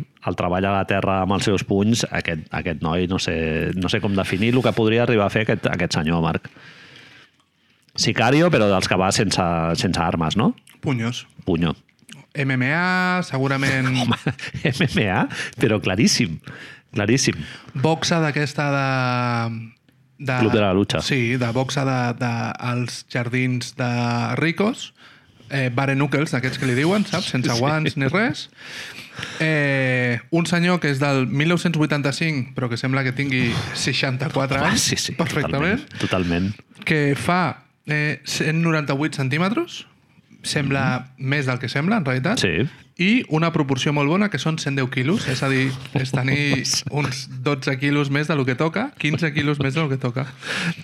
Speaker 1: el treball a la terra amb els seus punys, aquest, aquest noi no sé, no sé com definir el que podria arribar a fer aquest, aquest senyor, Marc. Sicario, però dels que va sense, sense armes, no?
Speaker 2: Punyos.
Speaker 1: Punyo.
Speaker 2: MMA, segurament
Speaker 1: <laughs> Home, MMA, però claríssim. Claríssim.
Speaker 2: boxa d'aquesta de... de...
Speaker 1: Club de la lucha.
Speaker 2: Sí, de boxa de, de, als jardins de ricos, eh, barenuckels, d'aquests que li diuen, saps?
Speaker 1: <laughs>
Speaker 2: Sense guants ni res. Eh, un senyor que és del 1985, però que sembla que tingui 64
Speaker 1: Ah,
Speaker 2: anys,
Speaker 1: sí, sí,
Speaker 2: perfectament,
Speaker 1: Totalment. totalment.
Speaker 2: que fa eh, 198 centímetres, sembla més del que sembla, en
Speaker 1: Mhm.
Speaker 2: realitat,
Speaker 1: Sí.
Speaker 2: i una proporció molt bona, que són 110 quilos, és a dir, és
Speaker 1: <laughs>
Speaker 2: tenir uns 12 quilos més del que toca, 15 quilos més del que toca.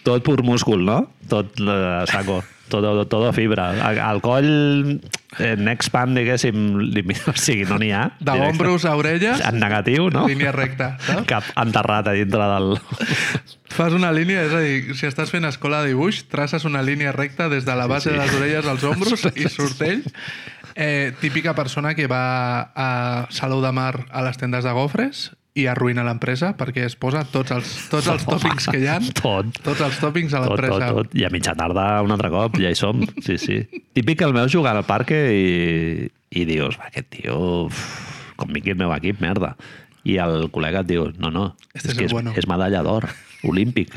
Speaker 1: Tot pur múscul, no? Tot eh, saco. Todo, todo fibra. Al, al coll, eh, next pan, diguéssim, lim- <laughs> o sigui, no n'hi ha.
Speaker 2: De
Speaker 1: Directe.
Speaker 2: ombros a orelles,
Speaker 1: En negatiu, no?
Speaker 2: línia recta. Saps?
Speaker 1: Cap enterrat a dintre del...
Speaker 2: Fas una línia, és a dir, si estàs fent escola de dibuix, traces una línia recta des de la base sí, sí. de les orelles als
Speaker 1: <laughs>
Speaker 2: ombros i sortell. Eh, típica persona que va a Salou de Mar a les tendes de gofres i arruïna l'empresa perquè es posa tots els, tots
Speaker 1: <laughs>
Speaker 2: els tòpics que hi ha,
Speaker 1: Tot.
Speaker 2: tots els tòpics a
Speaker 1: Tot, tot,
Speaker 2: l'empresa.
Speaker 1: tot. I a mitja tarda un altre cop, ja hi
Speaker 2: <laughs>
Speaker 1: som. Sí, sí. Típic el meu jugar al parc i, i dius, va, aquest tio, uf, com vingui el meu equip, merda. I el col·lega et diu, no, no, és,
Speaker 2: Este es
Speaker 1: que és,
Speaker 2: el bueno."
Speaker 1: és medalla d'or,
Speaker 2: <laughs>
Speaker 1: olímpic.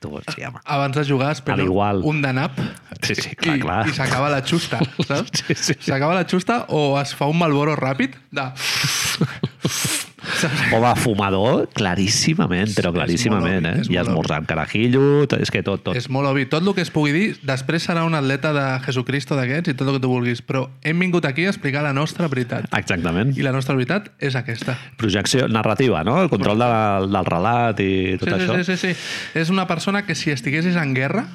Speaker 1: Tu, sí, home.
Speaker 2: abans de jugar es pren
Speaker 1: Al igual.
Speaker 2: un de nap
Speaker 1: Sí, sí, clar,
Speaker 2: i,
Speaker 1: clar.
Speaker 2: i s'acaba la
Speaker 1: <laughs>
Speaker 2: xusta, saps?
Speaker 1: Sí, sí.
Speaker 2: S'acaba la xusta o es fa un malboro ràpid de... Saps?
Speaker 1: Home, fumador, claríssimament, però
Speaker 2: És molt
Speaker 1: claríssimament,
Speaker 2: obvi,
Speaker 1: eh?
Speaker 2: és
Speaker 1: I
Speaker 2: molt
Speaker 1: esmorzant carajillo, t- és que tot, tot.
Speaker 2: És molt obvi. Tot el que es pugui dir, després serà un atleta de Jesucristo d'aquests i tot el que tu vulguis, però hem vingut aquí a explicar la nostra veritat.
Speaker 1: Exactament.
Speaker 2: I la nostra veritat és aquesta.
Speaker 1: Projecció narrativa, no? El control de, del relat i tot
Speaker 2: sí,
Speaker 1: això.
Speaker 2: sí, sí, sí, sí. És una persona que si estiguessis en guerra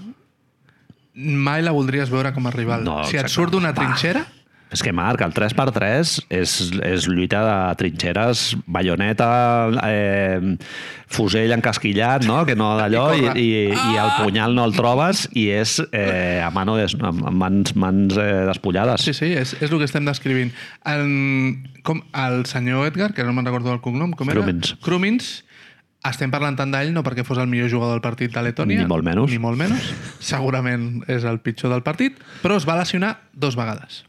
Speaker 2: mai la voldries veure com a rival.
Speaker 1: No,
Speaker 2: si et
Speaker 1: exacte.
Speaker 2: surt d'una
Speaker 1: Bah.
Speaker 2: trinxera,
Speaker 1: És que, Marc, el 3x3 és, és lluita de trinxeres, bayoneta, eh, fusell encasquillat, no? que no d'allò,
Speaker 2: I
Speaker 1: i,
Speaker 2: corre.
Speaker 1: i, i el punyal no el trobes, i és eh, a mano des, amb mans, mans eh, despullades.
Speaker 2: Sí, sí, és, és el que estem descrivint. En, com, el senyor Edgar, que no me'n recordo el cognom, com era?
Speaker 1: Krumins.
Speaker 2: Krumins. Estem parlant tant d'ell no perquè fos el millor jugador del partit de Letònia.
Speaker 1: Ni molt menys.
Speaker 2: Ni molt menys. Segurament és el pitjor del partit, però es va lesionar dos vegades.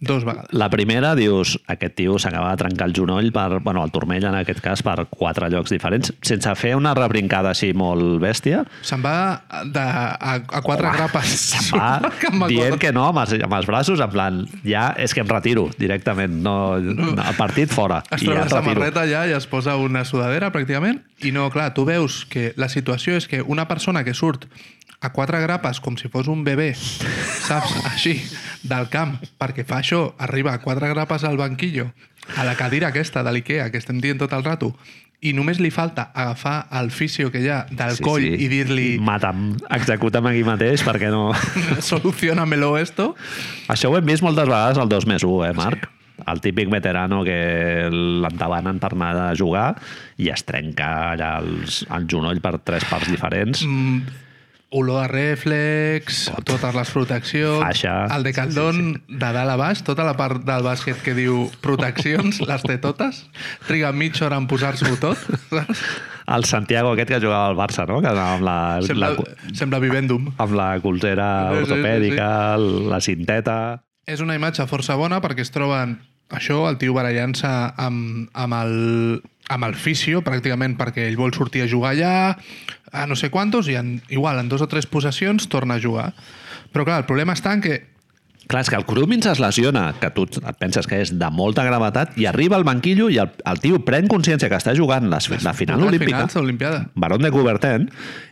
Speaker 2: Dos vegades.
Speaker 1: La primera, dius, aquest tio s'acaba de trencar el genoll, per, bueno, el turmell en aquest cas, per quatre llocs diferents, sense fer una rebrincada així molt bèstia,
Speaker 2: Se'n va de, a, a quatre grapes.
Speaker 1: se'n va
Speaker 2: <laughs> Que em
Speaker 1: dient
Speaker 2: recordo.
Speaker 1: que no amb els, amb els braços, en plan, ja és que em retiro directament, no, no el partit
Speaker 2: <laughs>
Speaker 1: fora.
Speaker 2: Es
Speaker 1: i
Speaker 2: treu
Speaker 1: ja et
Speaker 2: la
Speaker 1: retiro.
Speaker 2: samarreta ja i es posa una sudadera, pràcticament. I no, clar, tu veus que la situació és que una persona que surt a quatre grapes com si fos un bebè, saps? Així, del camp, perquè fa això, arriba a quatre grapes al banquillo, a la cadira aquesta de l'IKEA, que estem dient tot el rato, i només li falta agafar el fisio que hi ha del sí, coll sí. i dir-li
Speaker 1: Mata'm, executa'm aquí mateix perquè no...
Speaker 2: <laughs> solucionamelo esto,
Speaker 1: Això ho hem vist moltes vegades al 2 més 1, eh, Marc? El típic veterano que l'entabanen per anar a jugar i es trenca allà els, el genoll per tres parts diferents.
Speaker 2: Mm, olor a reflex, Tot. totes les proteccions...
Speaker 1: Faixa.
Speaker 2: El de Caldón, sí, sí, sí. de dalt a baix, tota la part del bàsquet que diu <laughs> proteccions, les té totes. Triga mitja hora en posar-s'ho tot. saps?
Speaker 1: El Santiago aquest que jugava al Barça, no? Que anava amb la,
Speaker 2: sembla,
Speaker 1: la,
Speaker 2: sembla Vivendum.
Speaker 1: amb la colzera
Speaker 2: Sí, sí, sí,
Speaker 1: ortopèdica, la cinteta...
Speaker 2: És una imatge força bona perquè es troben això, el tio barallant-se amb, amb, el, amb el fisio, pràcticament, perquè ell vol sortir a jugar allà, a no sé quantos, i en, igual, en dos o tres possessions torna a jugar. Però clar, el problema està en que
Speaker 1: Clar, és que el Krumins es lesiona, que tu et penses que és de molta gravetat, i arriba al banquillo i el, el tio pren consciència que està jugant la, la final
Speaker 2: les
Speaker 1: olímpica.
Speaker 2: finals de l'Olimpiada.
Speaker 1: Barón de Coubertin,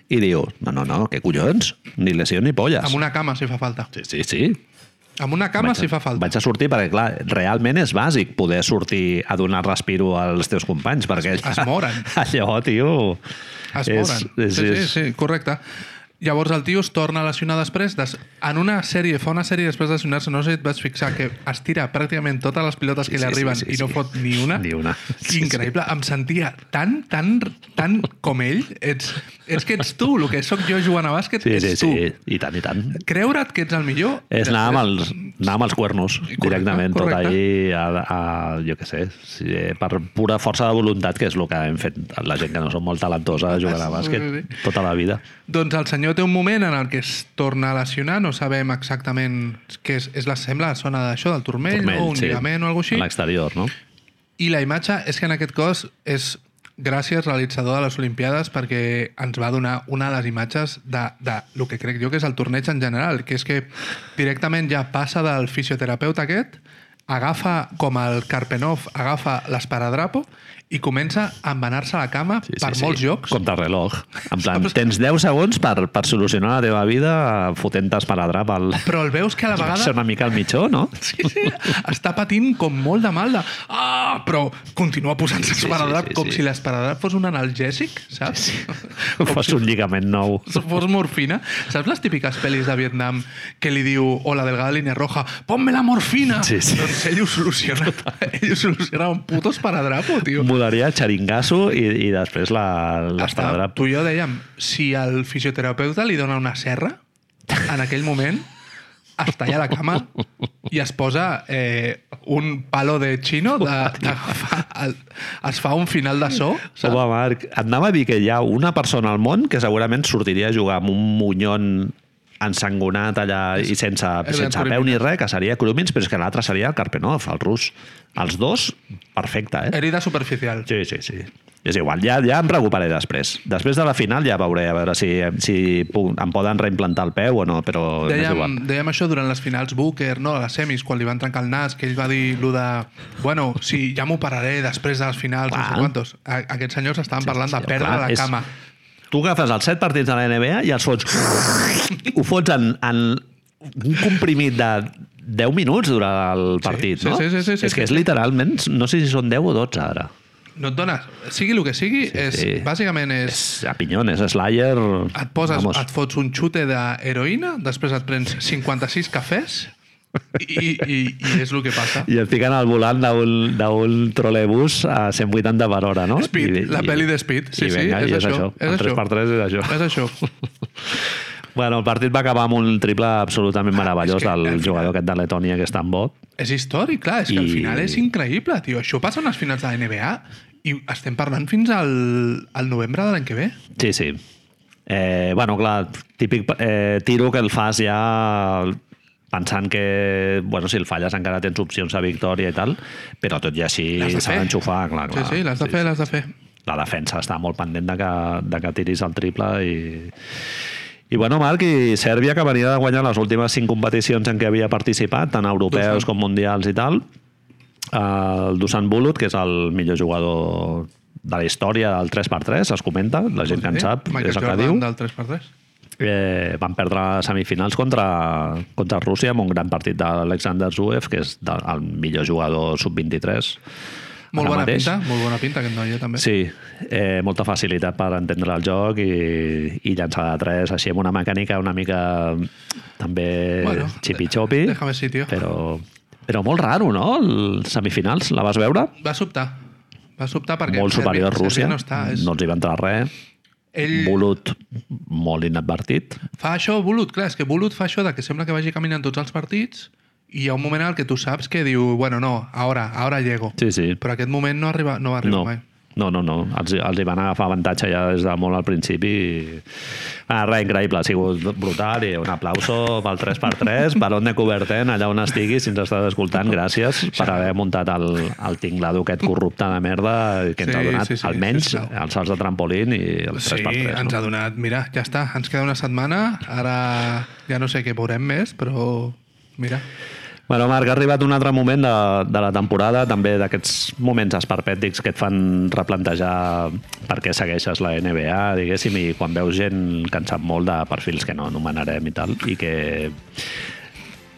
Speaker 1: i diu, no, no, no, què collons? Ni lesió ni polles.
Speaker 2: Amb una cama, si fa falta.
Speaker 1: Sí, sí, sí.
Speaker 2: Amb una cama, si fa falta.
Speaker 1: Vaig a sortir perquè, clar, realment és bàsic poder sortir a donar respiro als teus companys, perquè...
Speaker 2: es moren.
Speaker 1: <laughs> Allò, tio... és,
Speaker 2: Es moren.
Speaker 1: És,
Speaker 2: sí,
Speaker 1: és,
Speaker 2: sí, sí, correcte. Llavors el tio es torna a lesionar després. Des... En una sèrie, fa una sèrie després de lesionar-se, no sé si et vas fixar, que estira pràcticament totes les pilotes que
Speaker 1: Sí,
Speaker 2: li
Speaker 1: sí,
Speaker 2: arriben
Speaker 1: sí,
Speaker 2: i no
Speaker 1: sí.
Speaker 2: fot ni una.
Speaker 1: Ni una. Sí,
Speaker 2: Increïble. Em sentia tan, tan, tan com ell. Ets, és que ets tu, el que sóc jo jugant a bàsquet,
Speaker 1: Sí, sí,
Speaker 2: ets
Speaker 1: sí,
Speaker 2: tu.
Speaker 1: i tant, i tant.
Speaker 2: Creure't que ets el millor...
Speaker 1: És anar amb, els, anar amb els cuernos,
Speaker 2: Correcte,
Speaker 1: directament,
Speaker 2: correcte.
Speaker 1: tot allí, a, a, jo què sé, si, per pura força de voluntat, que és el que hem fet la gent que no són molt talentosa jugant a
Speaker 2: Sí, sí, sí.
Speaker 1: bàsquet tota la vida.
Speaker 2: Doncs el senyor té un moment en el que es torna a lesionar, no sabem exactament què és, és la, sembla la zona d'això, del turmell, turmell, o un sí. lligament o alguna
Speaker 1: A
Speaker 2: cosa així.
Speaker 1: l'exterior, no?
Speaker 2: I la imatge és que en aquest cos és gràcies realitzador de les Olimpiades perquè ens va donar una de les imatges de, de lo que crec jo que és el torneig en general, que és que directament ja passa del fisioterapeuta aquest, agafa, com el Karpenov, agafa l'esparadrapo i comença a embenar-se a la cama sí, per sí, molts sí. jocs.
Speaker 1: Contrarreloj. En plan, tens 10 segons per, per solucionar la teva vida fotent-te esparadrap al...
Speaker 2: Però el veus que a la
Speaker 1: <laughs> Ser
Speaker 2: vegada
Speaker 1: una mica al mitjó, no?
Speaker 2: <laughs> Sí, sí, està patint com molt de mal de... Ah, però continua posant-se
Speaker 1: Sí, sí,
Speaker 2: esparadrap
Speaker 1: sí,
Speaker 2: com
Speaker 1: sí.
Speaker 2: si l'esparadrap fos un analgèsic, saps? Sí, sí.
Speaker 1: Fos un lligament nou.
Speaker 2: <laughs> fos morfina. Saps les típiques pel·lis de Vietnam que li diu, o la delgada línia roja, ponme la morfina!
Speaker 1: Sí, sí.
Speaker 2: Doncs ell ho soluciona. ell ho soluciona un puto esparadrapo, tio.
Speaker 1: Mudaria xaringasso i, i després la-
Speaker 2: Està,
Speaker 1: l'esparadrap.
Speaker 2: tu i jo dèiem, si el fisioterapeuta li dona una serra, en aquell moment es talla la cama i es posa eh, un palo de xino de, de, el, es fa un final de so saps?
Speaker 1: Home, Marc, et anava a dir que hi ha una persona al món que segurament sortiria a jugar amb un munyon ensangonat allà i sense,
Speaker 2: Evan
Speaker 1: sense peu
Speaker 2: Krumin.
Speaker 1: ni res, que seria Krumins, però és que l'altre seria el Karpenov, el rus. Els dos, perfecte, eh?
Speaker 2: herida superficial
Speaker 1: Sí, sí, sí. És igual, ja, ja em recuperaré després. Després de la final ja veuré a veure si, si puc, em poden reimplantar el peu o no, però és igual.
Speaker 2: Dèiem, dèiem això durant les finals Booker, no? a les semis, quan li van trencar el nas, que ell va dir allò de... Bueno, sí, ja m'operaré després de les finals, no
Speaker 1: Clar.
Speaker 2: sé quantos. A- Aquests senyors estaven
Speaker 1: Sí,
Speaker 2: parlant
Speaker 1: sí,
Speaker 2: de perdre
Speaker 1: clar,
Speaker 2: la
Speaker 1: és-
Speaker 2: cama.
Speaker 1: Tu agafes els set partits de la NBA i els fots... <laughs> ho fots en, en un comprimit de 10 minuts durant el partit,
Speaker 2: sí,
Speaker 1: no?
Speaker 2: sí, sí, sí, sí,
Speaker 1: és que és
Speaker 2: sí.
Speaker 1: literalment, no sé si són 10 o 12 ara.
Speaker 2: No et dones... Sigui el que sigui, és,
Speaker 1: sí.
Speaker 2: bàsicament és...
Speaker 1: És a pinyones, és Slayer...
Speaker 2: Et poses, et fots un xute d'heroïna, després et prens 56 cafès i, i, i és el que passa.
Speaker 1: I et fiquen al volant d'un d'un trolebús a 180 per hora, no?
Speaker 2: Speed,
Speaker 1: I,
Speaker 2: la
Speaker 1: i-
Speaker 2: pel·li de Speed. Sí,
Speaker 1: i
Speaker 2: sí,
Speaker 1: venga,
Speaker 2: és,
Speaker 1: i
Speaker 2: això. És
Speaker 1: En
Speaker 2: això.
Speaker 1: 3x3 és això.
Speaker 2: És això.
Speaker 1: Bueno, el partit va acabar amb un triple absolutament meravellós
Speaker 2: Ah, és que, al
Speaker 1: del
Speaker 2: final-
Speaker 1: jugador aquest de Letònia, que és tan bo.
Speaker 2: És històric, clar, és que al
Speaker 1: I-
Speaker 2: final és increïble, tio. Això passa en les finals de la NBA i estem parlant fins al, al novembre de l'any que ve.
Speaker 1: Sí, sí. Eh, bueno, clar, típic eh, tiro que el fas ja pensant que, bueno, si el falles encara tens opcions de victòria i tal, però tot i així
Speaker 2: L'has de
Speaker 1: s'ha
Speaker 2: fer.
Speaker 1: d'enxufar, clar,
Speaker 2: Sí,
Speaker 1: clar.
Speaker 2: sí, l'has de fer, l'has de fer.
Speaker 1: La defensa està molt pendent de que, de que tiris el triple i... I bueno, Marc, i Sèrbia, que venia de guanyar les últimes cinc competicions en què havia participat, tant europeus
Speaker 2: Dusan.
Speaker 1: com mundials i tal, el Dusan Bulut, que és el millor jugador de la història del 3x3, es comenta, la gent que en
Speaker 2: Sí,
Speaker 1: sap,
Speaker 2: Michael
Speaker 1: és el que
Speaker 2: Jordan
Speaker 1: diu.
Speaker 2: del 3x3.
Speaker 1: Eh, van perdre les semifinals contra, contra Rússia amb un gran partit d'Alexander Zuev, que és de, el millor jugador sub-23.
Speaker 2: Molt
Speaker 1: ara
Speaker 2: bona
Speaker 1: mateix.
Speaker 2: pinta, molt bona pinta aquest noi, eh, també.
Speaker 1: Sí, eh, molta facilitat per entendre el joc i, i llançar de tres, així amb una mecànica una mica mm, també
Speaker 2: Bueno,
Speaker 1: bueno, xipi-xopi,
Speaker 2: déjame sitio.
Speaker 1: però, però molt raro, no? Els semifinals, la vas veure?
Speaker 2: Va sobtar. Va sobtar perquè...
Speaker 1: molt superior a
Speaker 2: Sèrbia-
Speaker 1: Rússia,
Speaker 2: Sèrbia No està, és...
Speaker 1: no els hi va entrar res,
Speaker 2: Ell
Speaker 1: Bulut molt inadvertit,
Speaker 2: fa això, Bulut, clar, és que Bulut fa això de que sembla que vagi caminant tots els partits i hi ha un moment en el que tu saps que diu, bueno, no, ara, ara llego.
Speaker 1: sí, sí.
Speaker 2: Però aquest moment no, arriba, no va arribar
Speaker 1: No.
Speaker 2: mai.
Speaker 1: No, no, no. Els, els hi van agafar avantatge ja des de molt al principi. I... Ah, res, increïble. Ha sigut brutal i un aplauso pel <laughs> 3x3, Barón de Cobertent, allà on estiguis, si ens estàs escoltant, gràcies per haver muntat el, el tinglado aquest corrupte de merda que ens
Speaker 2: Sí,
Speaker 1: ha donat,
Speaker 2: sí, sí,
Speaker 1: almenys,
Speaker 2: sisplau.
Speaker 1: els salts de trampolín i el 3x3.
Speaker 2: Sí,
Speaker 1: no?
Speaker 2: ens ha donat... Mira, ja està, ens queda una setmana, ara ja no sé què veurem més, però mira,
Speaker 1: Bueno, Marc, ha arribat un altre moment de, de la temporada, també d'aquests moments esperpètics que et fan replantejar per què segueixes la NBA, diguéssim, i quan veus gent que en sap molt de perfils que no anomenarem i tal, i que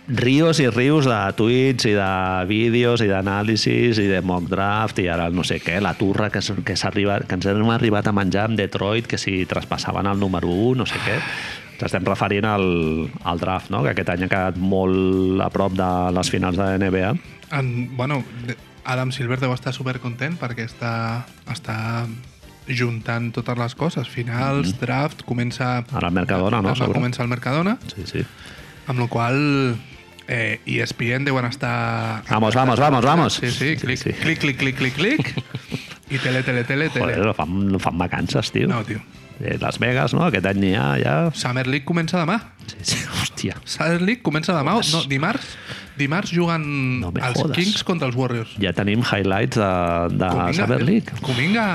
Speaker 1: rios i rius de tuits i de vídeos i d'anàlisis i de mock draft i ara el no sé què, la turra que, s- que, s'ha arribat, que ens hem arribat a menjar amb Detroit, que si traspassaven el número 1, no sé què. Ens estem referint al, al draft, no? que aquest any ha quedat molt a prop de les finals de NBA.
Speaker 2: En, bueno, de- Adam Silver deu estar supercontent perquè està, està juntant totes les coses. Finals, draft, comença...
Speaker 1: Ara el Mm-hmm. Mercadona, no?
Speaker 2: Ara
Speaker 1: Sobre.
Speaker 2: Comença el Mercadona,
Speaker 1: Sí, sí.
Speaker 2: amb la qual eh, ESPN deuen estar...
Speaker 1: Vamos, vamos, vamos, vamos.
Speaker 2: Sí, sí, clic,
Speaker 1: Ah, Sí, sí.
Speaker 2: clic, clic, clic, clic, clic.
Speaker 1: <laughs>
Speaker 2: I tele, tele, tele, tele.
Speaker 1: Joder, no fan, no fan vacances, tio.
Speaker 2: No, tio.
Speaker 1: Eh, Las Vegas, no? Aquest any n'hi ha, ja...
Speaker 2: Summer League comença demà.
Speaker 1: Sí, sí, hòstia.
Speaker 2: Summer League comença demà. o- No, dimarts, dimarts juguen
Speaker 1: No me
Speaker 2: els
Speaker 1: jodes.
Speaker 2: Kings contra els Warriors. eh,
Speaker 1: Ja tenim highlights de, de Ah, Summer League.
Speaker 2: Cominga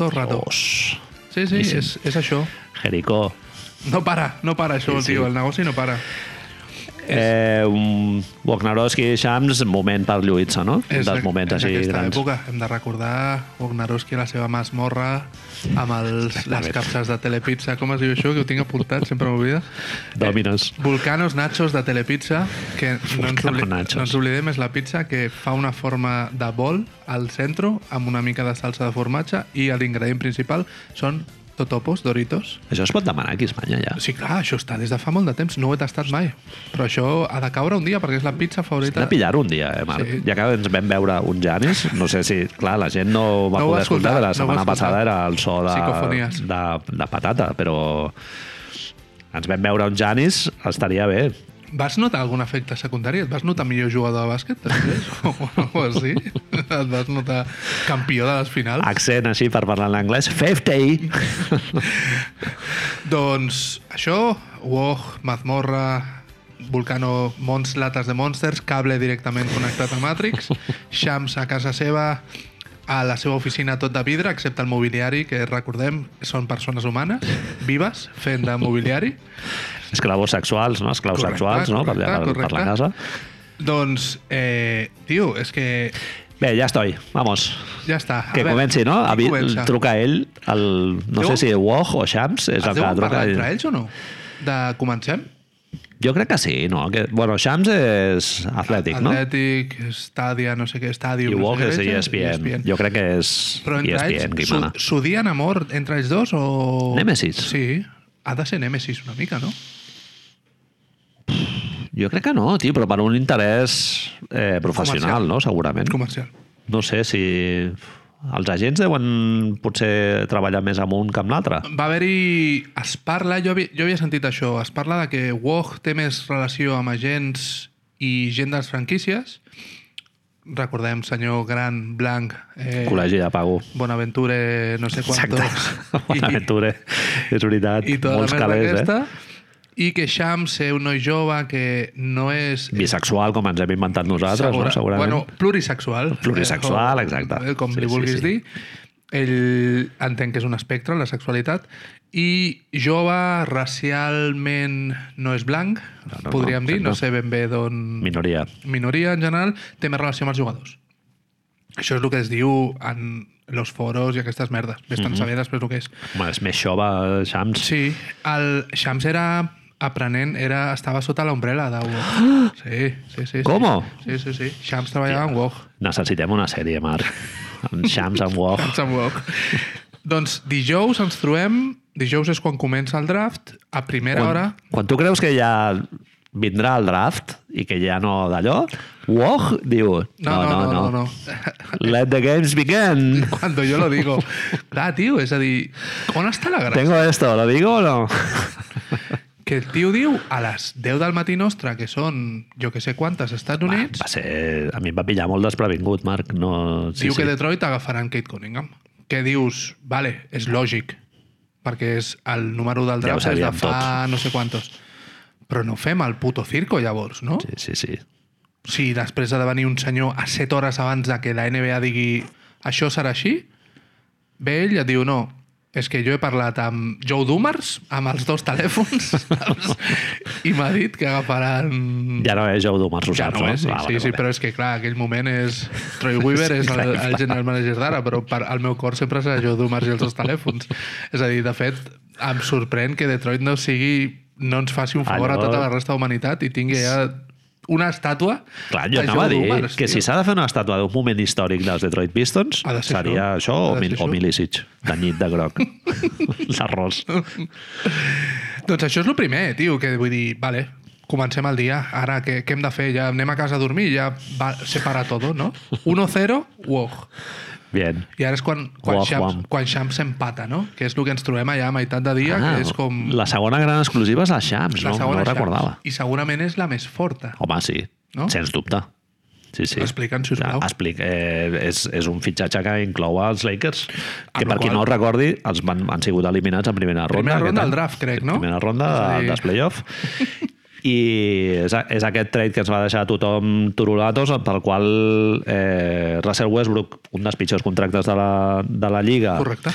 Speaker 2: tot el rato.
Speaker 1: Dos.
Speaker 2: Sí, sí, és, és això.
Speaker 1: Jericó.
Speaker 2: No para, no para això,
Speaker 1: Sí, sí.
Speaker 2: tio. El negoci no para.
Speaker 1: Eh, um, Wojnarowski i Shams, moment per lluir-se, no?
Speaker 2: És
Speaker 1: Dels
Speaker 2: ac-
Speaker 1: moments
Speaker 2: és
Speaker 1: així
Speaker 2: aquesta
Speaker 1: grans.
Speaker 2: època. Hem de recordar Wojnarowski a la seva masmorra amb els, les capses de Telepizza. Com es diu això? Que ho tinc apuntat, sempre m'oblida.
Speaker 1: Dominos.
Speaker 2: Volcanos Nachos de Telepizza, que no ens,
Speaker 1: Volcano
Speaker 2: obli
Speaker 1: Nachos.
Speaker 2: no ens oblidem, és la pizza que fa una forma de bol al centre amb una mica de salsa de formatge i l'ingredient principal són totopos, doritos.
Speaker 1: Això es pot demanar aquí a Espanya, ja.
Speaker 2: Sí, clar, això està des de fa molt de temps, no ho he tastat mai. Però això ha de caure un dia perquè és la pizza
Speaker 1: Hem
Speaker 2: favorita.
Speaker 1: de pillar un dia, eh, Marc?
Speaker 2: Sí.
Speaker 1: Sí. Ja que ens vam veure un Janis, no sé si... Clar, la gent no va
Speaker 2: No ho va
Speaker 1: poder escoltar, escoltar,
Speaker 2: escoltar, no ho
Speaker 1: la
Speaker 2: va
Speaker 1: setmana
Speaker 2: escoltar.
Speaker 1: passada era el so de,
Speaker 2: Psicofonies.
Speaker 1: de, de patata, però ens vam veure un Janis, estaria bé.
Speaker 2: Vas notar algun efecte secundari? Et vas notar millor jugador de bàsquet,
Speaker 1: <laughs>
Speaker 2: després? o algo així? Et vas notar campió de les finals?
Speaker 1: Accent així per parlar en anglès. 50!
Speaker 2: Doncs això, Woj, Mazmorra, Volcano, Mons, Lates de Monsters, cable directament connectat a
Speaker 1: <laughs>
Speaker 2: Matrix, Shams a casa seva, a la seva oficina tot de vidre, excepte el mobiliari, que recordem, són persones humanes, vives, fent de
Speaker 1: <laughs>
Speaker 2: mobiliari.
Speaker 1: Esclavos sexuals, no? Esclaus
Speaker 2: Correcte,
Speaker 1: sexuals, no? Per,
Speaker 2: correcte,
Speaker 1: per, per la
Speaker 2: correcte.
Speaker 1: casa.
Speaker 2: Doncs, eh, tio, és que
Speaker 1: Bé, ja estoy. Vamos.
Speaker 2: ja està. A
Speaker 1: Que
Speaker 2: veure,
Speaker 1: comenci, no?
Speaker 2: qui
Speaker 1: Avi,
Speaker 2: comença?
Speaker 1: truca ell, el, no
Speaker 2: Deuen-
Speaker 1: sé si Woj o Shams, és
Speaker 2: Es
Speaker 1: el que
Speaker 2: deuen
Speaker 1: truca.
Speaker 2: parlar entre ells o no? De comencem?
Speaker 1: Jo crec que sí, no? Que, bueno, Shams és atlètic, no?
Speaker 2: Atlètic, E Stadia, no sé què, Stadium...
Speaker 1: I
Speaker 2: no sé
Speaker 1: Woj
Speaker 2: què
Speaker 1: és E
Speaker 2: veig,
Speaker 1: ESPN. Jo crec que és E
Speaker 2: Però entre
Speaker 1: ESPN, qui
Speaker 2: ells,
Speaker 1: mana.
Speaker 2: su- s'odien amor entre ells dos o...
Speaker 1: Nèmesis.
Speaker 2: Sí. Ha de ser Nemesis una mica, no?
Speaker 1: Jo crec que no, tio, però per un interès eh, professional,
Speaker 2: Comercial.
Speaker 1: no? Segurament.
Speaker 2: Comercial.
Speaker 1: No sé si... Els agents deuen potser treballar més amb un que amb l'altre.
Speaker 2: Va haver-hi... Es parla... Jo havia, jo havia sentit això. Es parla de que Woj té més relació amb agents i gent de les franquícies. Recordem, senyor Gran, Blanc... Eh,
Speaker 1: Col·legi de pago.
Speaker 2: Bonaventure, no sé
Speaker 1: Exacte. <laughs>
Speaker 2: quantos... <laughs>
Speaker 1: Bonaventura, és veritat.
Speaker 2: i tota
Speaker 1: Molts
Speaker 2: la merda
Speaker 1: calés,
Speaker 2: aquesta.
Speaker 1: eh?
Speaker 2: I que Shams és un noi jove que no és...
Speaker 1: Bisexual, com ens hem inventat nosaltres,
Speaker 2: segura-
Speaker 1: no? segurament.
Speaker 2: Bueno, plurisexual.
Speaker 1: Plurisexual,
Speaker 2: Eh, o-
Speaker 1: exacte.
Speaker 2: eh, Com li
Speaker 1: Sí, sí,
Speaker 2: vulguis
Speaker 1: sí.
Speaker 2: dir. Ell entenc que és un espectre, la sexualitat. I jove, racialment no és blanc,
Speaker 1: No, no,
Speaker 2: podríem
Speaker 1: no,
Speaker 2: dir, no
Speaker 1: exacte.
Speaker 2: sé ben bé d'on...
Speaker 1: Minoria.
Speaker 2: minoria en general, té més relació amb els jugadors. Això és el que es diu en los foros i aquestes merdes. Vés
Speaker 1: Mhm.
Speaker 2: tan saber després el que és.
Speaker 1: Home, és més jove, Shams.
Speaker 2: Sí, el Shams era aprenent, era, estava sota l'ombrella de Wog. Sí, sí, sí.
Speaker 1: ¿Cómo?
Speaker 2: Sí, sí, sí. Shams treballava amb Wog.
Speaker 1: Necessitem una sèrie, Marc. Amb Shams, amb Woj.
Speaker 2: Shams amb Wog. <laughs> doncs dijous ens trobem, dijous és quan comença el draft, a primera
Speaker 1: Quan,
Speaker 2: hora...
Speaker 1: quan tu creus que ja vindrà el draft i que ja no d'allò, Woj diu...
Speaker 2: No, no, no, no. <laughs> no,
Speaker 1: Let the games begin.
Speaker 2: Cuando yo lo digo. Clar, tio, és a dir, on està la gràcia?
Speaker 1: Tengo esto, lo digo o no?
Speaker 2: Que el tio diu a les 10 del matí nostre, que són jo que sé quantes, Estats Units,
Speaker 1: Va ser... A mi em va pillar molt desprevingut, Marc. No...
Speaker 2: Sí, diu sí. que Detroit agafaran Kate Cunningham. Que dius, vale, és lògic, perquè és el número del
Speaker 1: Ja ho
Speaker 2: draft és de
Speaker 1: sabíem
Speaker 2: fa no sé quantos. Però no fem el puto circo, llavors, no? Sí.
Speaker 1: Sí, sí, sí.
Speaker 2: Si després ha de venir un senyor a 7 hores abans de que la NBA digui això serà així, ve ell i et diu no, és que jo he parlat amb Joe Dumars, amb els dos telèfons, <laughs> saps? i m'ha dit que agafaran
Speaker 1: Ja no Ah, és Joe Dumars, ho
Speaker 2: ja
Speaker 1: saps,
Speaker 2: no, eh? sí,
Speaker 1: Va,
Speaker 2: sí,
Speaker 1: vale,
Speaker 2: sí,
Speaker 1: vale.
Speaker 2: però és que clar, aquell moment és... Troy
Speaker 1: <laughs>
Speaker 2: Weaver és el, el general manager d'ara, però per, al meu cor sempre serà Joe Dumars i els dos telèfons. És a dir, de fet, em sorprèn que Detroit no sigui no ens faci un favor
Speaker 1: Allò-
Speaker 2: a tota la resta de humanitat i tingui ja una estàtua...
Speaker 1: Clar, jo anava a dir
Speaker 2: d'humans,
Speaker 1: que
Speaker 2: tio.
Speaker 1: si s'ha de fer una estàtua d'un moment històric dels Detroit Pistons,
Speaker 2: Ha de ser
Speaker 1: seria això,
Speaker 2: això.
Speaker 1: o,
Speaker 2: Ha de
Speaker 1: mil,
Speaker 2: ser
Speaker 1: o
Speaker 2: això.
Speaker 1: Milicic, de llit de
Speaker 2: <laughs>
Speaker 1: groc. L'arròs.
Speaker 2: Doncs això és el primer, tio, que vull dir, vale, comencem el dia, ara què, què hem de fer? Ja anem a casa a dormir, ja va, se para todo, no? 1-0, uoj.
Speaker 1: Bien.
Speaker 2: I ara és quan, quan,
Speaker 1: Uoh,
Speaker 2: Shams,
Speaker 1: uam.
Speaker 2: quan Shams empata, no? Que és el que ens trobem allà a meitat de dia, que és com...
Speaker 1: Ah, La segona gran exclusiva és la Shams, no, no ho
Speaker 2: Shams.
Speaker 1: recordava.
Speaker 2: I segurament és la més forta.
Speaker 1: Home, sí,
Speaker 2: No?
Speaker 1: sens dubte. Sí, sí.
Speaker 2: Explica'ns, sisplau.
Speaker 1: Ja, Explic, eh, és, és un fitxatge que inclou els Lakers, que
Speaker 2: Amb la
Speaker 1: per qui
Speaker 2: qual-
Speaker 1: no ho recordi, els van, han sigut eliminats en primera ronda.
Speaker 2: Primera
Speaker 1: aquest
Speaker 2: ronda
Speaker 1: any.
Speaker 2: del draft, crec, no?
Speaker 1: Primera ronda
Speaker 2: És a
Speaker 1: de,
Speaker 2: dir-
Speaker 1: dels playoff. I és, a- és aquest trade que ens va deixar tothom turulatos, pel qual eh, Russell Westbrook, un dels pitjors contractes de la, de la Lliga,
Speaker 2: Correcte.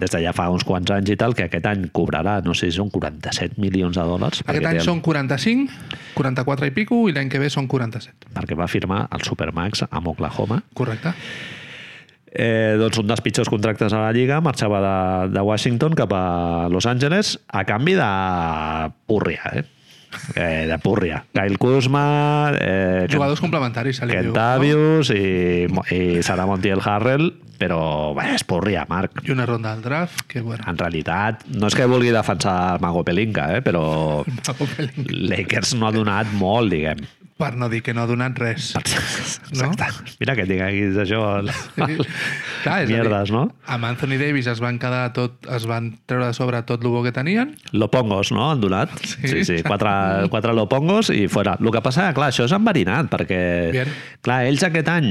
Speaker 1: des de ja fa uns quants anys i tal, que aquest any cobrarà, no sé si són 47 milions de dòlars.
Speaker 2: Aquest
Speaker 1: perquè té
Speaker 2: any
Speaker 1: el-
Speaker 2: són 45, 44 i pico, i l'any que ve són 47.
Speaker 1: perquè va firmar el Supermax amb Oklahoma.
Speaker 2: Correcte.
Speaker 1: Eh, doncs un dels pitjors contractes a la Lliga marxava de, de Washington cap a Los Angeles a canvi de púrria, eh? eh de púrria. Kyle Kuzma, eh,
Speaker 2: Jugadors complementaris, se li diu. no?
Speaker 1: Kentavius i, i Sara Montiel Harrell, però bé, és púrria, Marc.
Speaker 2: I una ronda del draft, que <laughs> bueno.
Speaker 1: En realitat, no és que vulgui defensar Mago Pelinka, eh? però Lakers no ha donat molt, diguem.
Speaker 2: Per no dir que no ha donat res.
Speaker 1: <laughs>
Speaker 2: No?
Speaker 1: Exacte. Mira que tinguis això... al-
Speaker 2: Clar, és a dir,
Speaker 1: Mierdes, no?
Speaker 2: Amb Anthony Davis es van quedar tot, es van treure de sobre tot l'ubo que tenien.
Speaker 1: Lopongos, no? Han donat.
Speaker 2: Sí.
Speaker 1: Sí, sí, quatre, quatre lopongos i fora. El que passa, clar, això és enverinat, perquè...
Speaker 2: Bien.
Speaker 1: Clar, ells aquest any,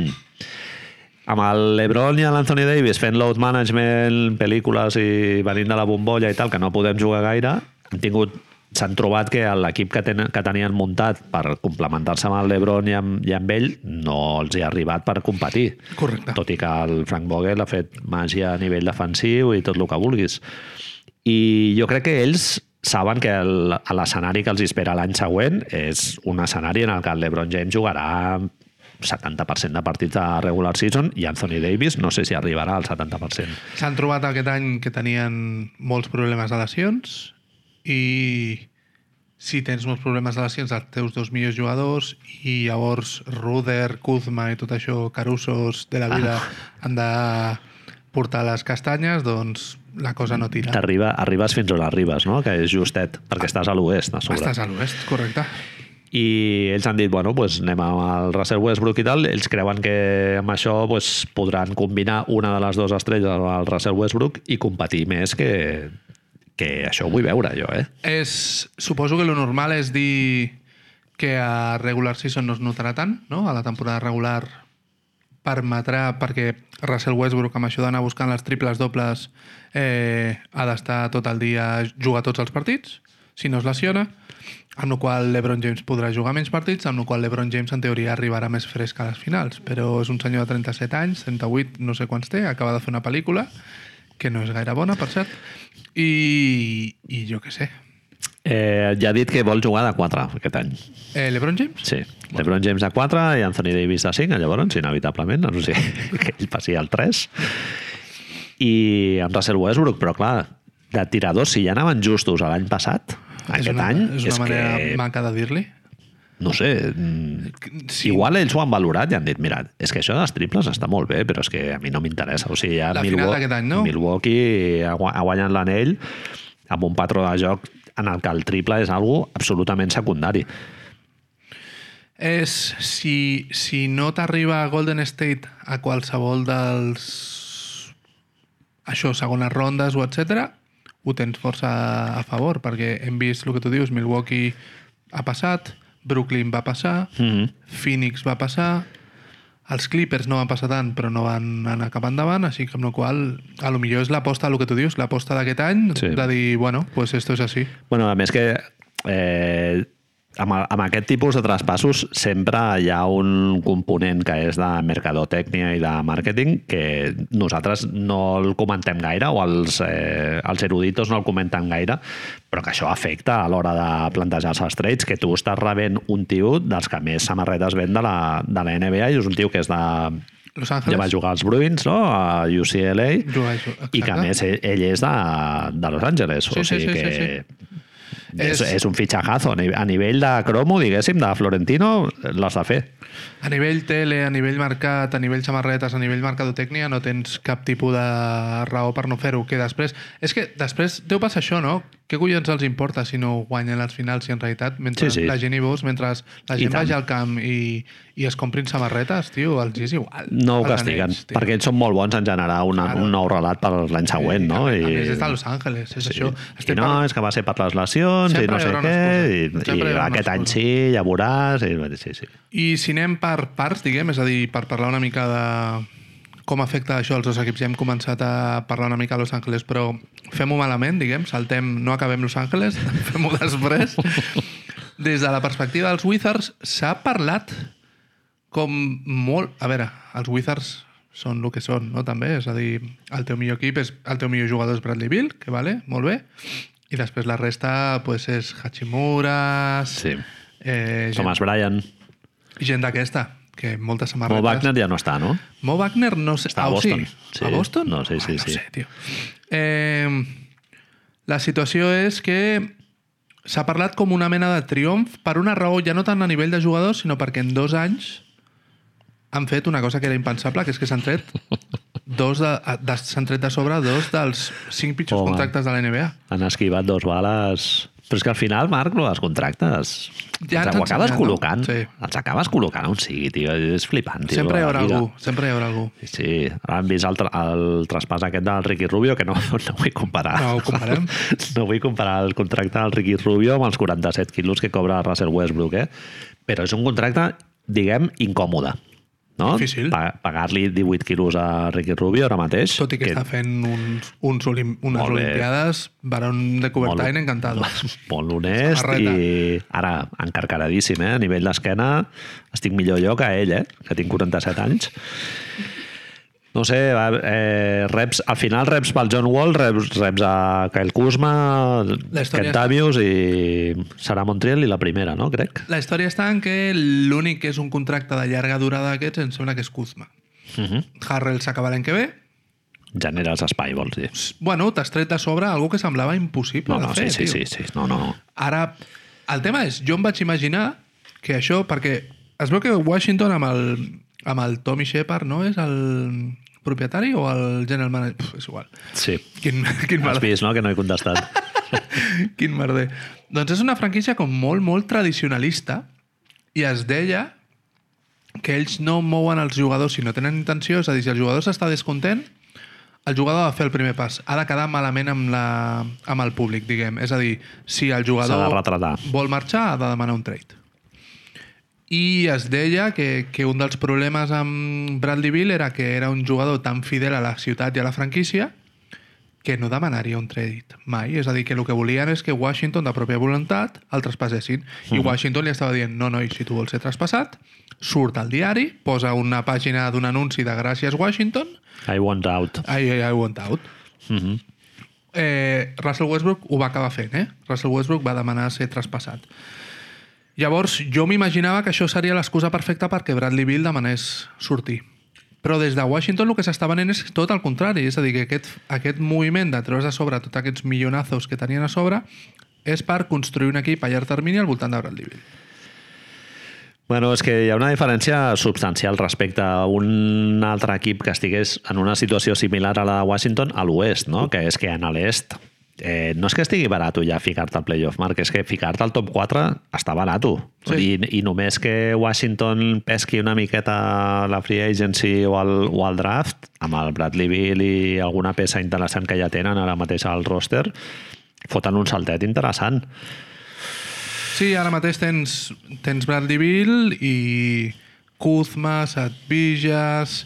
Speaker 1: amb el LeBron i l'Anthony Davis fent load management, pel·lícules i venint de la bombolla i tal, que no podem jugar gaire, han tingut s'han trobat que l'equip que, tenen, que tenien muntat per complementar-se amb el Lebron i amb, i amb ell no els hi ha arribat per competir.
Speaker 2: Correcte.
Speaker 1: Tot i que el Frank Vogel ha fet màgia a nivell defensiu i tot el que vulguis. I jo crec que ells saben que el- a l'escenari que els espera l'any següent és un escenari en el que el LeBron James jugarà 70% de partits de regular season i Anthony Davis no sé si arribarà al 70%.
Speaker 2: S'han trobat aquest any que tenien molts problemes de lesions i si tens molts problemes de lesions dels teus dos millors jugadors i llavors Ruder, Kuzma i tot això, Carusos de la vida, han de portar les castanyes, doncs la cosa no tira.
Speaker 1: T'arriba, arribes fins on arribes, no? que és justet, perquè estàs a l'oest, a sobre.
Speaker 2: Estàs a l'oest, correcte.
Speaker 1: i ells han dit, bueno, pues anem amb el Russell Westbrook i tal, ells creuen que amb això pues, podran combinar una de les dues estrelles al Russell Westbrook i competir més que, que això ho vull veure jo, eh?
Speaker 2: És, suposo que lo normal és dir que a regular season no es notarà tant, no? A la temporada regular permetrà, perquè Russell Westbrook amb això d'anar buscant les triples dobles eh, ha d'estar tot el dia jugar tots els partits, si no es lesiona, amb la qual cosa LeBron James podrà jugar menys partits, amb la qual cosa LeBron James en teoria arribarà més fresc a les finals, però és un senyor de 37 anys, 38, no sé quants té, acaba de fer una pel·lícula, que no és gaire bona, per cert, i, i jo què sé,
Speaker 1: eh ja ha dit que vol jugar de 4 aquest any.
Speaker 2: Eh, LeBron James?
Speaker 1: Sí, LeBron James de 4 i Anthony Davis de 5, llavors, inevitablement, no sé, <laughs> que ell passi al 3. I en Russell Westbrook, però clar, de tiradors, si ja anaven justos a l'any passat,
Speaker 2: és
Speaker 1: aquest
Speaker 2: una,
Speaker 1: any,
Speaker 2: És una manera
Speaker 1: que...
Speaker 2: maca de dir-li.
Speaker 1: no sé, mm,
Speaker 2: Sí,
Speaker 1: Igual ells ho han valorat i han dit, mira, és que això de les triples està molt bé, però és que a mi no m'interessa. O sigui, ja
Speaker 2: La final d'aquest any, no?
Speaker 1: Milwaukee ha gua- ha guanyat l'anell amb un patró de joc en el que el triple és algo absolutament secundari.
Speaker 2: És, si, si no t'arriba a Golden State a qualsevol dels... Això, segones rondes o etc ho tens força a favor, perquè hem vist el que tu dius, Milwaukee ha passat, Brooklyn va passar,
Speaker 1: Mm -hmm.
Speaker 2: Phoenix va passar, els Clippers no van passar tant, però no van anar cap endavant, així que amb la qual cosa, a lo millor és l'aposta, el que tu dius, l'aposta d'aquest any,
Speaker 1: Sí.
Speaker 2: sí. de dir, bueno, pues esto es así.
Speaker 1: bueno, a més que eh, amb, amb aquest tipus de traspassos sempre hi ha un component que és de mercadotècnia i de màrqueting que nosaltres no el comentem gaire o els, eh, els eruditos no el comenten gaire, però que això afecta a l'hora de plantejar-se els trades, que tu estàs rebent un tio dels que més samarretes ven de la, de la NBA i és un tio que és de...
Speaker 2: Los
Speaker 1: Ja va
Speaker 2: Angeles...
Speaker 1: jugar als Bruins, no? A UCLA.
Speaker 2: Jugar, ju-
Speaker 1: I que a
Speaker 2: exacte.
Speaker 1: més ell, ell és de, de Los Angeles.
Speaker 2: Sí,
Speaker 1: o
Speaker 2: sí,
Speaker 1: sigui
Speaker 2: sí, sí,
Speaker 1: que
Speaker 2: sí.
Speaker 1: És,
Speaker 2: És-
Speaker 1: és un fitxajazo. A nivell- A nivell de cromo, diguéssim, de Florentino, l'has de fer.
Speaker 2: A nivell tele, a nivell mercat, a nivell samarretes, a nivell mercadotècnia, no tens cap tipus de raó per no fer-ho. Que després... És que després deu passar això, no? Què collons els importa si no guanyen les finals, si en realitat, mentre
Speaker 1: Sí, sí.
Speaker 2: la gent hi veus, mentre la
Speaker 1: I
Speaker 2: gent
Speaker 1: tant.
Speaker 2: vagi al camp i, i es comprin samarretes, tio, els és igual.
Speaker 1: No ho
Speaker 2: Els
Speaker 1: castiguen,
Speaker 2: anells, tio.
Speaker 1: perquè ells són molt bons en generar una,
Speaker 2: Claro.
Speaker 1: un nou relat per l'any següent, no? eh,
Speaker 2: A, més, és de Los Angeles, és
Speaker 1: Sí.
Speaker 2: això.
Speaker 1: I no,
Speaker 2: parlant-
Speaker 1: és que va ser per les lesions
Speaker 2: Sempre
Speaker 1: i no
Speaker 2: hi
Speaker 1: sé
Speaker 2: haurà una
Speaker 1: què, i,
Speaker 2: excusa.
Speaker 1: i
Speaker 2: Sempre hi haurà una
Speaker 1: aquest any
Speaker 2: excusa.
Speaker 1: sí, ja veuràs... I, sí, sí.
Speaker 2: I si anem per parts, diguem, és a dir, per parlar una mica de com afecta això als dos equips, ja hem començat a parlar una mica a Los Angeles, però fem-ho malament, diguem, saltem, no acabem Los Angeles, <laughs> fem-ho després. Des de la perspectiva dels Wizards, s'ha parlat com molt... A veure, els Wizards són el que són, no? També, és a dir, el teu millor equip, és, el teu millor jugador és Bradley Bill, que vale, molt bé, i després la resta pues, és Hachimura,
Speaker 1: Sí.
Speaker 2: eh, gent-
Speaker 1: Thomas Bryan.
Speaker 2: Gent d'aquesta, que moltes
Speaker 1: Mo
Speaker 2: samarretes...
Speaker 1: Wagner ja no està, no?
Speaker 2: Mo Wagner no sé...
Speaker 1: Està a
Speaker 2: Ah,
Speaker 1: Boston.
Speaker 2: Sí.
Speaker 1: Sí.
Speaker 2: A Boston?
Speaker 1: No, sí, sí,
Speaker 2: Ah, no
Speaker 1: sí.
Speaker 2: sé, tio. Eh, la situació és que s'ha parlat com una mena de triomf per una raó ja no tant a nivell de jugadors, sinó perquè en dos anys han fet una cosa que era impensable, que és que s'han tret dos de, de, s'han tret de sobre dos dels cinc pitjors
Speaker 1: Home.
Speaker 2: contractes de la NBA.
Speaker 1: Han esquivat dos bales... Però és que al final, Marc, els contractes... Ja
Speaker 2: Ja ens
Speaker 1: els ho
Speaker 2: han
Speaker 1: acabes
Speaker 2: ensenyat, no?
Speaker 1: col·locant.
Speaker 2: Sí.
Speaker 1: Els acabes col·locant on sigui, tio. És flipant, tio.
Speaker 2: sempre hi
Speaker 1: la
Speaker 2: haurà
Speaker 1: lliga.
Speaker 2: algú, sempre hi haurà algú.
Speaker 1: Sí, Sí, ara hem vist el, tra- el traspàs aquest del Ricky Rubio, que no, <laughs> no vull comparar.
Speaker 2: No ho comparem.
Speaker 1: <laughs> No vull comparar el contracte del Ricky Rubio amb els 47 quilos que cobra Russell Westbrook, eh? Però és un contracte, diguem, incòmode. No?
Speaker 2: Difícil.
Speaker 1: Pa Pagar-li 18 quilos a Ricky Rubio ara mateix.
Speaker 2: Tot i que, està fent uns, uns olim, unes
Speaker 1: Molt bé.
Speaker 2: olimpiades, Barón de Cobertain encantado.
Speaker 1: <laughs> molt honest
Speaker 2: Samarreta.
Speaker 1: i ara encarcaradíssim, eh? A nivell d'esquena estic millor jo que ell, eh? Que tinc 47 anys. No sé, va, eh, reps, al final reps pel John Wall, reps, reps a Kyle Kuzma,
Speaker 2: La història
Speaker 1: Kentavius i Sara Montriel i la primera, no? Crec.
Speaker 2: La història està en que l'únic que és un contracte de llarga durada d'aquests em sembla que és Kuzma.
Speaker 1: Uh -huh.
Speaker 2: Harrell s'acaba l'any que ve.
Speaker 1: Genera els espai, vols dir.
Speaker 2: Bueno, t'has tret de sobre algú que semblava impossible
Speaker 1: No, no,
Speaker 2: de fer,
Speaker 1: sí, sí,
Speaker 2: tio.
Speaker 1: sí, sí, no, no.
Speaker 2: Ara, el tema és, jo em vaig imaginar que això, perquè es veu que Washington amb el, amb el Tommy Shepard, no? És el propietari o el general manager? Puf, és igual. <laughs>
Speaker 1: Sí.
Speaker 2: Quin, quin mal
Speaker 1: Has vist, no?, que no he contestat.
Speaker 2: <laughs> Quin merder. Doncs és una franquícia com molt, molt tradicionalista i es deia que ells no mouen els jugadors si no tenen intenció, és a dir, si el jugador s'està descontent, el jugador ha de fer el primer pas. Ha de quedar malament amb, la, amb el públic, diguem. És a dir, si
Speaker 1: S'ha
Speaker 2: el
Speaker 1: de
Speaker 2: jugador
Speaker 1: retratar.
Speaker 2: vol marxar, ha de demanar un trade. I es deia que, que un dels problemes amb Bradley Bill era que era un jugador tan fidel a la ciutat i a la franquícia que no demanaria un trade mai. És a dir, que el que volien és que Washington, de pròpia voluntat, el traspassessin. I Washington li estava dient, no, noi, si tu vols ser traspassat, surt al diari, posa una pàgina d'un anunci de Gràcies Washington,
Speaker 1: I want out.
Speaker 2: I, I, I want out.
Speaker 1: Uh -huh.
Speaker 2: Eh, Russell Westbrook ho va acabar fent, eh? Russell Westbrook va demanar ser traspassat. Llavors, jo m'imaginava que això seria l'excusa perfecta perquè Bradley Bill demanés sortir. Però des de Washington el que s'està venent és tot el contrari, és a dir, que aquest, aquest moviment de treure's de sobre tots aquests milionazos que tenien a sobre és per construir un equip a llarg termini al voltant de Bradley Bill.
Speaker 1: Bueno, és que hi ha una diferència substancial respecte a un altre equip que estigués en una situació similar a la de Washington a l'oest, no? que és que en l'est eh, no és que estigui barat ja ficar-te al playoff, Marc, és que ficar-te al top 4 està barat. Sí.
Speaker 2: Sí.
Speaker 1: I, I només que Washington pesqui una miqueta la free agency o el, o el draft, amb el Bradley Bill i alguna peça interessant que ja tenen ara mateix al roster, foten un saltet interessant.
Speaker 2: Sí, ara mateix tens, tens Bradley Bill i Kuzma, Satvillas,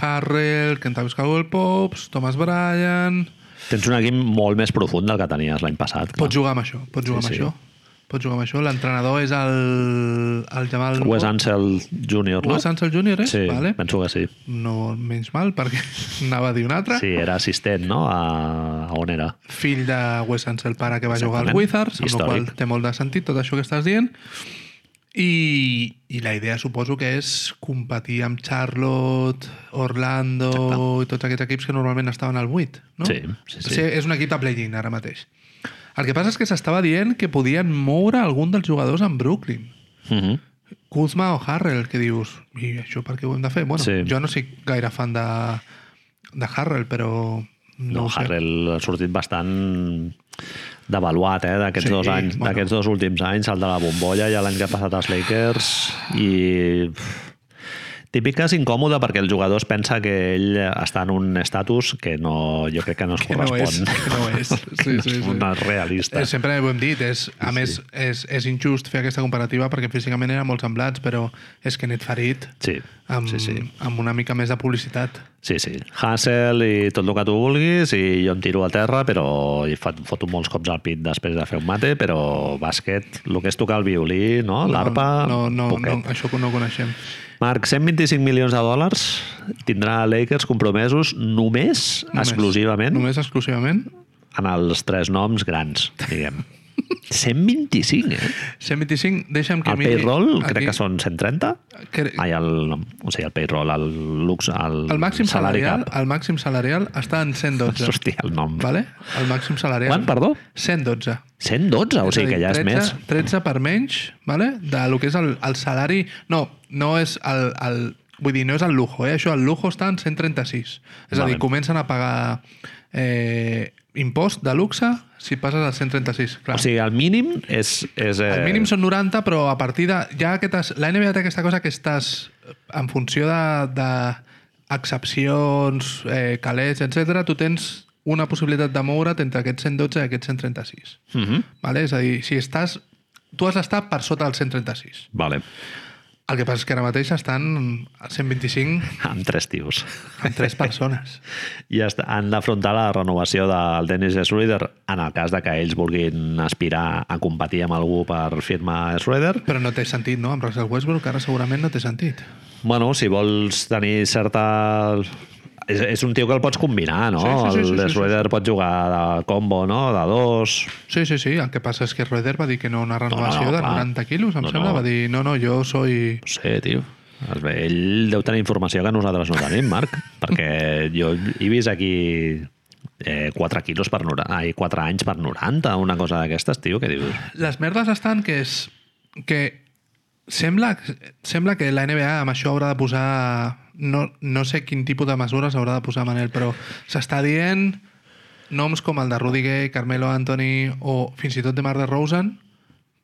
Speaker 2: Harrell, Kentavius Cowell Pops, Thomas Bryan...
Speaker 1: Tens un equip molt més profund del que tenies l'any passat. clar.
Speaker 2: Pots jugar amb això, pots jugar
Speaker 1: Sí,
Speaker 2: amb
Speaker 1: sí.
Speaker 2: això. Pots jugar amb això. L'entrenador és el, el Jamal...
Speaker 1: Wes Ansel Jr., no?
Speaker 2: Wes Ansel Jr., eh?
Speaker 1: Sí,
Speaker 2: Vale.
Speaker 1: penso que sí.
Speaker 2: No menys mal, perquè <laughs> anava a dir un altre.
Speaker 1: Sí, era assistent, no? A, a on era?
Speaker 2: Fill de Wes Ansel, pare que va jugar als
Speaker 1: Exactament.
Speaker 2: Wizards, amb el
Speaker 1: Històric.
Speaker 2: qual té molt de sentit tot això que estàs dient. I, I la idea suposo que és competir amb Charlotte, Orlando Exacte. i tots aquests equips que normalment estaven al 8, no?
Speaker 1: Sí, sí, sí.
Speaker 2: Sí, És un equip de play-in ara mateix. El que passa és que s'estava dient que podien moure algun dels jugadors en Brooklyn.
Speaker 1: Mm -hmm.
Speaker 2: Kuzma o Harrell, que dius, i això per què ho hem de fer? Bueno,
Speaker 1: Sí.
Speaker 2: sí. jo no soc gaire fan de, de Harrell, però...
Speaker 1: No,
Speaker 2: No, ho sé.
Speaker 1: Harrell ha sortit bastant devaluat, eh, d'aquests
Speaker 2: Sí,
Speaker 1: sí, dos anys,
Speaker 2: bueno.
Speaker 1: bueno. d'aquests dos últims anys, el de la bombolla i l'any que ha passat als Lakers, i pff, típica és incòmoda perquè el jugador es pensa que ell està en un estatus que no, jo crec que no es
Speaker 2: Que no és,
Speaker 1: correspon.
Speaker 2: que no és.
Speaker 1: Que <laughs> no és una realista.
Speaker 2: Eh, Sempre ho hem dit, és, a més, és, és injust fer aquesta comparativa perquè físicament eren molt semblats, però és que n'et farit
Speaker 1: Sí,
Speaker 2: amb, sí, sí. amb una mica més de publicitat.
Speaker 1: sí, sí. Hassel i tot el que tu vulguis i jo em tiro a terra, però i fot, foto molts cops al pit després de fer un mate, però bàsquet, el que és tocar el violí, no? L'arpa,
Speaker 2: no, no,
Speaker 1: poquet.
Speaker 2: no, això que no ho coneixem.
Speaker 1: Marc, 125 milions de dòlars tindrà Lakers compromesos només, només exclusivament, només.
Speaker 2: Només exclusivament.
Speaker 1: en els tres noms grans,
Speaker 2: <laughs>
Speaker 1: diguem. 125, eh?
Speaker 2: 125, deixa'm que
Speaker 1: El
Speaker 2: miri...
Speaker 1: payroll
Speaker 2: aquí.
Speaker 1: crec que són 130.
Speaker 2: Cre-
Speaker 1: Ai, el, o sigui, el payroll, el lux, el,
Speaker 2: El màxim
Speaker 1: salari
Speaker 2: salarial,
Speaker 1: cap.
Speaker 2: el màxim salarial està en 112.
Speaker 1: <laughs> Hòstia, el nom.
Speaker 2: Vale? El màxim salarial.
Speaker 1: Quan, perdó?
Speaker 2: 112.
Speaker 1: 112, o
Speaker 2: És a
Speaker 1: sigui
Speaker 2: dir,
Speaker 1: que ja és
Speaker 2: 13,
Speaker 1: més.
Speaker 2: 13 per menys, vale? de lo que és el, el salari... No, no és el, el... Vull dir, no és el lujo, eh? Això, el lujo està en 136. És a
Speaker 1: Vale.
Speaker 2: dir, comencen a pagar eh, impost de luxe si passes al 136. Clar.
Speaker 1: O sigui, el mínim és... és eh,
Speaker 2: El mínim són 90, però a partir de... Ja que t'has- la NBA té aquesta cosa que estàs eh, en funció de, de excepcions, eh, calés, etc. tu tens una possibilitat de moure't entre aquests 112 i aquests 136.
Speaker 1: Uh -huh.
Speaker 2: Vale? És a dir, si estàs... Tu has d'estar per sota del 136.
Speaker 1: Vale,
Speaker 2: El que passa és que ara mateix estan a 125
Speaker 1: amb tres tios.
Speaker 2: amb tres persones.
Speaker 1: i est- han d'afrontar la renovació del Dennis Schroeder en el cas de que ells vulguin aspirar a competir amb algú per firmar Schroeder.
Speaker 2: Però no té sentit, no? Amb Russell Westbrook ara segurament no té sentit.
Speaker 1: Bueno, si vols tenir certa... És, és un tio que el pots combinar, no?
Speaker 2: Sí, sí, sí, sí,
Speaker 1: el
Speaker 2: sí, sí,
Speaker 1: Schroeder pot jugar de combo, no? De dos...
Speaker 2: Sí, sí, sí. El que passa és que Roeder va dir que no a una renovació
Speaker 1: No, no,
Speaker 2: no, no, de
Speaker 1: clar.
Speaker 2: 90 quilos,
Speaker 1: No,
Speaker 2: em no,
Speaker 1: no.
Speaker 2: sembla. No. Va dir, no, no, jo soy...
Speaker 1: No sé, tio. Es ve, ell deu tenir informació que nosaltres no tenim,
Speaker 2: <laughs>
Speaker 1: Marc, perquè jo he vist aquí eh, 4 quilos per 90, ai, 4 anys per 90, una cosa d'aquestes, tio, que dius...
Speaker 2: Les merdes estan que és... que sembla, sembla que la NBA amb això haurà de posar... No, no sé quin tipus de mesures haurà de posar Manel, però s'està dient noms com el de Rudy Gay, Carmelo Anthony o fins i tot de Mar de Rosen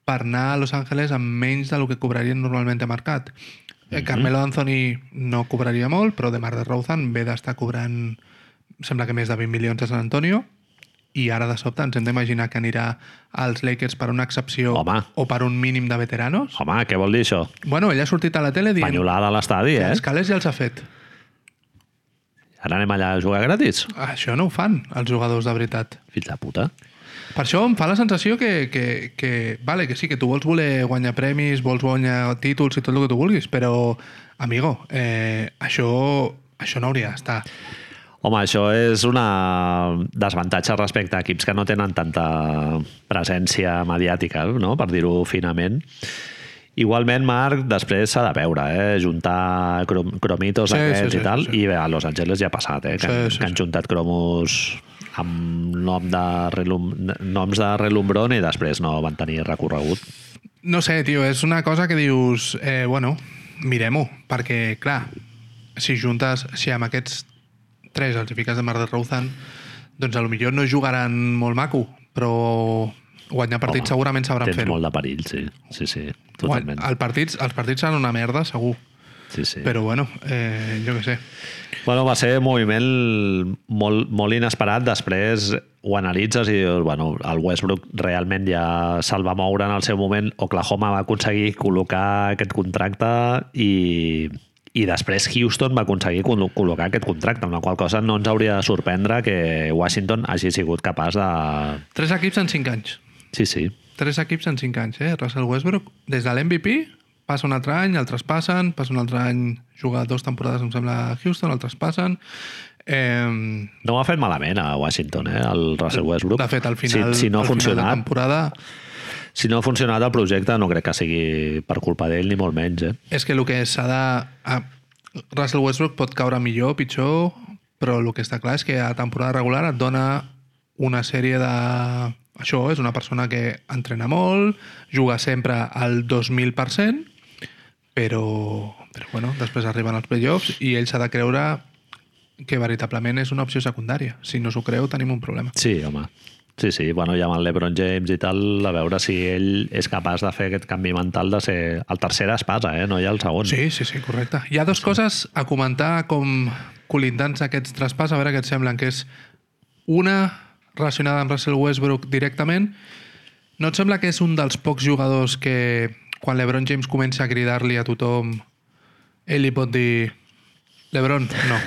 Speaker 2: per anar a Los Angeles amb menys del que cobrarien normalment a mercat. Mm -hmm. Carmelo Anthony no cobraria molt, però de Mar de Rosen ve d'estar cobrant sembla que més de 20 milions a San Antonio i ara de sobte ens hem d'imaginar que anirà als Lakers per una excepció
Speaker 1: Home.
Speaker 2: o per un mínim de veteranos.
Speaker 1: Home, què vol dir això?
Speaker 2: Bueno, ell ha sortit a la tele dient
Speaker 1: Panyolada a l'estadi,
Speaker 2: que
Speaker 1: eh?
Speaker 2: els calés ja els ha fet.
Speaker 1: Ara anem allà a jugar gratis?
Speaker 2: Ah, Això no ho fan els jugadors de veritat.
Speaker 1: Fill de puta.
Speaker 2: Per això em fa la sensació que, que, que, vale, que sí, que tu vols voler guanyar premis, vols guanyar títols i tot el que tu vulguis, però, amigo, eh, això, això no hauria d'estar.
Speaker 1: Home, això és una desavantatge respecte a equips que no tenen tanta presència mediàtica, no? per dir-ho finament. Igualment, Marc, després s'ha de veure, eh? juntar crom cromitos sí,
Speaker 2: Sí, sí,
Speaker 1: aquests sí,
Speaker 2: sí,
Speaker 1: i tal,
Speaker 2: sí.
Speaker 1: sí. i bé, a Los Angeles ja ha passat, eh? que,
Speaker 2: Sí,
Speaker 1: sí,
Speaker 2: sí,
Speaker 1: sí, que han
Speaker 2: sí.
Speaker 1: juntat cromos amb nom de relum noms de relumbron i després no van tenir recorregut.
Speaker 2: No sé, tio, és una cosa que dius, eh, bueno, mirem-ho, perquè, clar, si juntes, si amb aquests tres els hi fiques de Mar de Rouzan, doncs a lo millor no jugaran molt maco, però guanyar partits
Speaker 1: Home,
Speaker 2: segurament sabran
Speaker 1: Tens
Speaker 2: fer-ho.
Speaker 1: molt de perill, sí, sí, sí
Speaker 2: Guany-
Speaker 1: totalment.
Speaker 2: El partits, els partits seran una merda, segur.
Speaker 1: Sí, sí.
Speaker 2: Però bueno, eh, jo què sé.
Speaker 1: Bueno, va ser un moviment molt, molt inesperat. Després ho analitzes i dius, bueno, el Westbrook realment ja se'l va moure en el seu moment. Oklahoma va aconseguir col·locar aquest contracte i, i després Houston va aconseguir col- col·locar aquest contracte, amb la qual cosa no ens hauria de sorprendre que Washington hagi sigut capaç de...
Speaker 2: Tres equips en cinc anys.
Speaker 1: Sí, sí,
Speaker 2: Tres equips en cinc anys, eh? Russell Westbrook, des de l'MVP, passa un altre any, el traspassen, passa un altre any, juga dos temporades, em sembla, a Houston, el traspassen. Eh,
Speaker 1: No ho ha fet malament a Washington, eh, el Russell Westbrook.
Speaker 2: de fet, al final,
Speaker 1: Si, si no ha
Speaker 2: al final de
Speaker 1: funcionat,
Speaker 2: temporada
Speaker 1: Si no ha funcionat el projecte, no crec que sigui per culpa d'ell, ni molt menys, eh?
Speaker 2: És que el que s'ha de... A... Russell Westbrook pot caure millor, pitjor, però el que està clar és que a temporada regular et dona una sèrie de... Això és una persona que entrena molt, juga sempre al 2.000%, però, però bueno, després arriben els playoffs i ell s'ha de creure que veritablement és una opció secundària. Si no s'ho creu, tenim un problema.
Speaker 1: Sí, home. Sí, sí, bueno, ja amb el LeBron James i tal, a veure si ell és capaç de fer aquest canvi mental de ser el tercer espasa, eh? no ja el segon.
Speaker 2: Sí, sí, sí, correcte. Hi ha dues coses a comentar com colindants aquests traspàs, a veure què et semblen, que és una relacionada amb Russell Westbrook directament. No et sembla que és un dels pocs jugadors que quan LeBron James comença a cridar-li a tothom ell li pot dir LeBron,
Speaker 1: <laughs>
Speaker 2: no.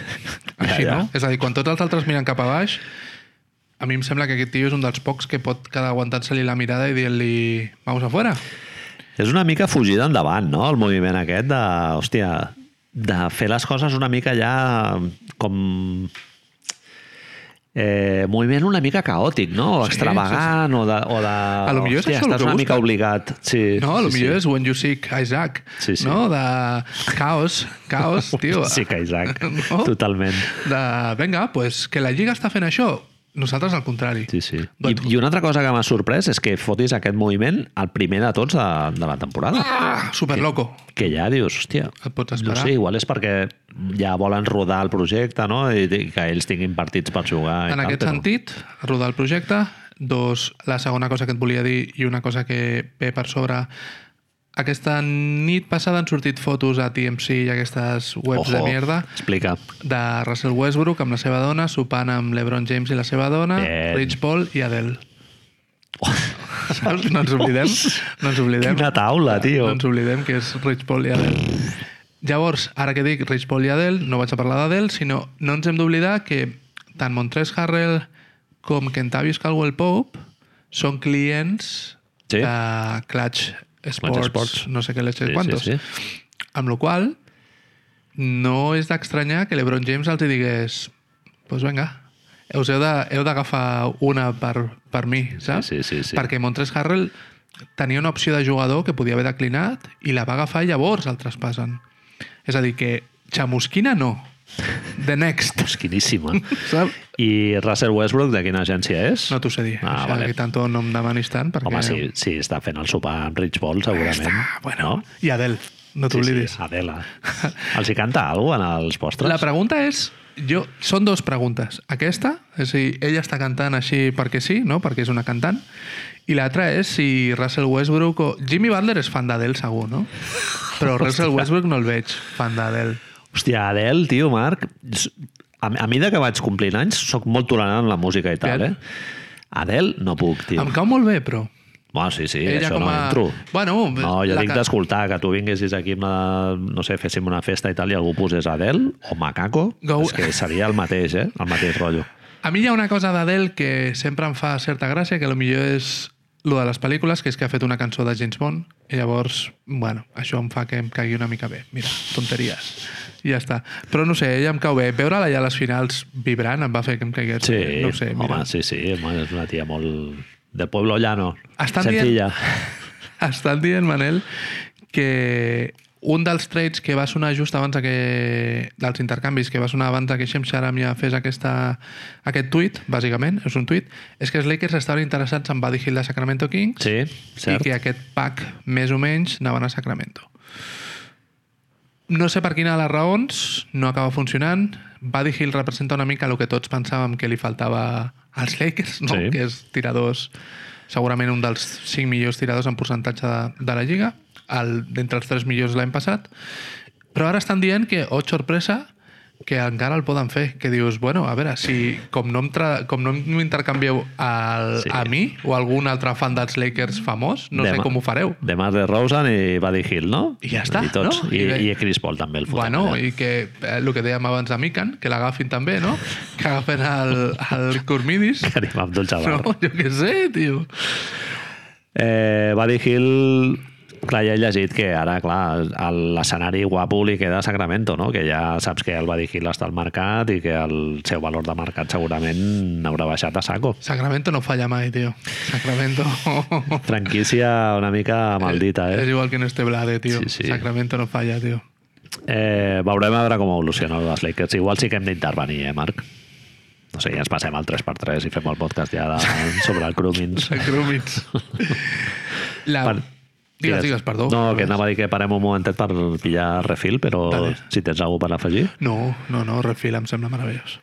Speaker 1: Ja,
Speaker 2: Així,
Speaker 1: ja.
Speaker 2: no? És a dir, quan tots els altres miren cap a baix, a mi em sembla que aquest tio és un dels pocs que pot quedar aguantant-se-li la mirada i dir-li vamos afuera.
Speaker 1: És una mica fugida endavant, no?, el moviment aquest de, hòstia, de fer les coses una mica ja com... Eh, moviment una mica caòtic, no? O
Speaker 2: Sí,
Speaker 1: extravagant, o de... O de
Speaker 2: A lo millor és
Speaker 1: hòstia,
Speaker 2: això el
Speaker 1: estàs
Speaker 2: que
Speaker 1: una
Speaker 2: busquen.
Speaker 1: mica obligat. Sí,
Speaker 2: No, a lo
Speaker 1: sí,
Speaker 2: millor
Speaker 1: sí.
Speaker 2: és When You Seek Isaac,
Speaker 1: Sí, sí.
Speaker 2: no? De caos,
Speaker 1: <laughs>
Speaker 2: caos, tio.
Speaker 1: Sí que Isaac,
Speaker 2: <laughs> No?
Speaker 1: totalment.
Speaker 2: De, vinga, pues que la Lliga està fent això, nosaltres al contrari.
Speaker 1: Sí, sí. I,
Speaker 2: Doncs-
Speaker 1: I una altra cosa que m'ha sorprès és que fotis aquest moviment el primer de tots de, de la temporada.
Speaker 2: Ah, superloco.
Speaker 1: Que ja dius, hòstia,
Speaker 2: Et pots
Speaker 1: no
Speaker 2: esperar.
Speaker 1: sé, igual és perquè ja volen rodar el projecte, no? I, i que ells tinguin partits per jugar. i
Speaker 2: En
Speaker 1: tal,
Speaker 2: aquest
Speaker 1: però-
Speaker 2: sentit, rodar el projecte. Dos, la segona cosa que et volia dir i una cosa que ve per sobre. Aquesta nit passada han sortit fotos a TMC i aquestes webs de
Speaker 1: Ojo,
Speaker 2: mierda
Speaker 1: Explica.
Speaker 2: de Russell Westbrook amb la seva dona, sopant amb LeBron James i la seva dona,
Speaker 1: Bien.
Speaker 2: Rich Paul i Adele. Saps? No ens oblidem. No ens oblidem.
Speaker 1: Quina taula, tio.
Speaker 2: doncs, No ens oblidem que és Rich Paul i Adele. Llavors, ara que dic Rich Paul i Adele, no vaig a parlar d'Adele, sinó no ens hem d'oblidar que tant Montrezl Harrell com Kentavious Caldwell Pope són clients
Speaker 1: Sí.
Speaker 2: de Clutch Sports,
Speaker 1: Sports.
Speaker 2: no sé què les
Speaker 1: Sí,
Speaker 2: sí, quantos.
Speaker 1: sí,
Speaker 2: Amb la qual cosa, no és d'estranyar que l'Ebron James els hi digués pues vinga, us heu de- heu d'agafar una per, per mi, saps?
Speaker 1: sí, sí, sí.
Speaker 2: Perquè Montres Harrell tenia una opció de jugador que podia haver declinat i la va agafar i llavors el traspassen. És a dir, que xamusquina no. The next.
Speaker 1: Esquiníssima.
Speaker 2: <laughs> Saps?
Speaker 1: I Russell Westbrook, de quina agència és?
Speaker 2: No t'ho sé dir.
Speaker 1: Ah,
Speaker 2: Això
Speaker 1: vale.
Speaker 2: que tanto no em demanis tant perquè...
Speaker 1: Home, sí, sí, està fent el sopar amb Rich Paul, segurament.
Speaker 2: Ah, bueno.
Speaker 1: No?
Speaker 2: I Adele, no t'oblidis.
Speaker 1: Sí, sí,
Speaker 2: <laughs>
Speaker 1: Adela. Els hi canta alguna cosa en els postres?
Speaker 2: La pregunta és... Jo, són dues preguntes. Aquesta, és a dir, ella està cantant així perquè sí, no? perquè és una cantant, i l'altra és si Russell Westbrook o... Jimmy Butler és fan d'Adele, segur, no? Però Russell Westbrook no el veig fan d'Adele.
Speaker 1: Hòstia, Adel, tio, Marc, s- a, a mida que vaig complint anys, sóc molt tolerant amb la música i tal,
Speaker 2: Bien.
Speaker 1: eh? Adel, no puc, tio.
Speaker 2: Em cau molt bé, però...
Speaker 1: Bueno, sí, sí,
Speaker 2: Ella
Speaker 1: això
Speaker 2: com
Speaker 1: no
Speaker 2: a-
Speaker 1: entro.
Speaker 2: Bueno,
Speaker 1: no, jo
Speaker 2: la
Speaker 1: dic
Speaker 2: ca-
Speaker 1: d'escoltar, que tu vinguessis aquí, amb la, no sé, féssim una festa i tal, i algú posés Adel o Macaco,
Speaker 2: Go-
Speaker 1: és que seria el mateix, eh? El mateix rotllo.
Speaker 2: A mi hi ha una cosa d'Adele que sempre em fa certa gràcia, que millor és lo de les pel·lícules, que és que ha fet una cançó de James Bond, i llavors, bueno, això em fa que em caigui una mica bé. Mira, tonteries. I ja està. Però no sé, ella em cau bé. Veure-la ja a les finals vibrant em va fer que em caigués.
Speaker 1: Sí,
Speaker 2: bé. no ho sé,
Speaker 1: home,
Speaker 2: mira.
Speaker 1: sí, sí, home, és una tia molt... De Pueblo Llano,
Speaker 2: Estan dient-
Speaker 1: senzilla.
Speaker 2: Estan dient, Manel, que un dels trades que va sonar just abans de que... dels intercanvis que va sonar abans de que Shem Sharamia fes aquesta, aquest tuit, bàsicament, és un tuit, és que els Lakers estaven interessats en Buddy Hill de Sacramento Kings
Speaker 1: Sí, cert.
Speaker 2: i que aquest pack, més o menys, anaven a Sacramento. No sé per quina de les raons, no acaba funcionant. Buddy Hill representa una mica el que tots pensàvem que li faltava als Lakers, no?
Speaker 1: Sí.
Speaker 2: que és tiradors, segurament un dels 5 millors tiradors en percentatge de, de la Lliga, el, d'entre els 3 millors l'any passat. Però ara estan dient que, oh, sorpresa, que encara el poden fer. Que dius, bueno, a veure, si com no, em tra- com no m'intercanvieu al,
Speaker 1: Sí.
Speaker 2: sí. a mi o a algun altre fan dels Lakers famós, no
Speaker 1: Demà-
Speaker 2: sé com ho fareu.
Speaker 1: De Mar de Rosen i Buddy Hill, no?
Speaker 2: I ja està,
Speaker 1: I tots.
Speaker 2: no?
Speaker 1: I,
Speaker 2: I bé.
Speaker 1: I, Chris Paul també el fotem.
Speaker 2: Bueno,
Speaker 1: <laughs> allà.
Speaker 2: i que eh, el que dèiem abans de Mikan, que l'agafin també, no? <laughs> Que agafen el, el Cormidis.
Speaker 1: Karim Abdul-Jabbar.
Speaker 2: No, jo què sé, tio.
Speaker 1: Eh, Buddy Hill Clar, ja he llegit que ara, clar, a l'escenari guapo li queda a Sacramento, no? Que ja saps que el Buddy Hill està al mercat i que el seu valor de mercat segurament haurà baixat a saco.
Speaker 2: Sacramento no falla mai, tio. Sacramento...
Speaker 1: Franquícia una mica maldita,
Speaker 2: És
Speaker 1: eh?
Speaker 2: igual que en este Blade, tío.
Speaker 1: Sí, sí.
Speaker 2: Sacramento no falla, tío.
Speaker 1: eh veurem a veure com evoluciona els Lakers. Igual sí que hem d'intervenir, eh, Marc? No sé, ja ens passem al 3x3 i fem el podcast ja de, sobre el Crumins.
Speaker 2: Sacraments. La...
Speaker 1: Per-
Speaker 2: Digues, digues, perdó.
Speaker 1: No, que anava a dir que parem un momentet per pillar refil, però
Speaker 2: Dale.
Speaker 1: si tens alguna cosa per afegir.
Speaker 2: No, no, no, refil, em sembla meravellós.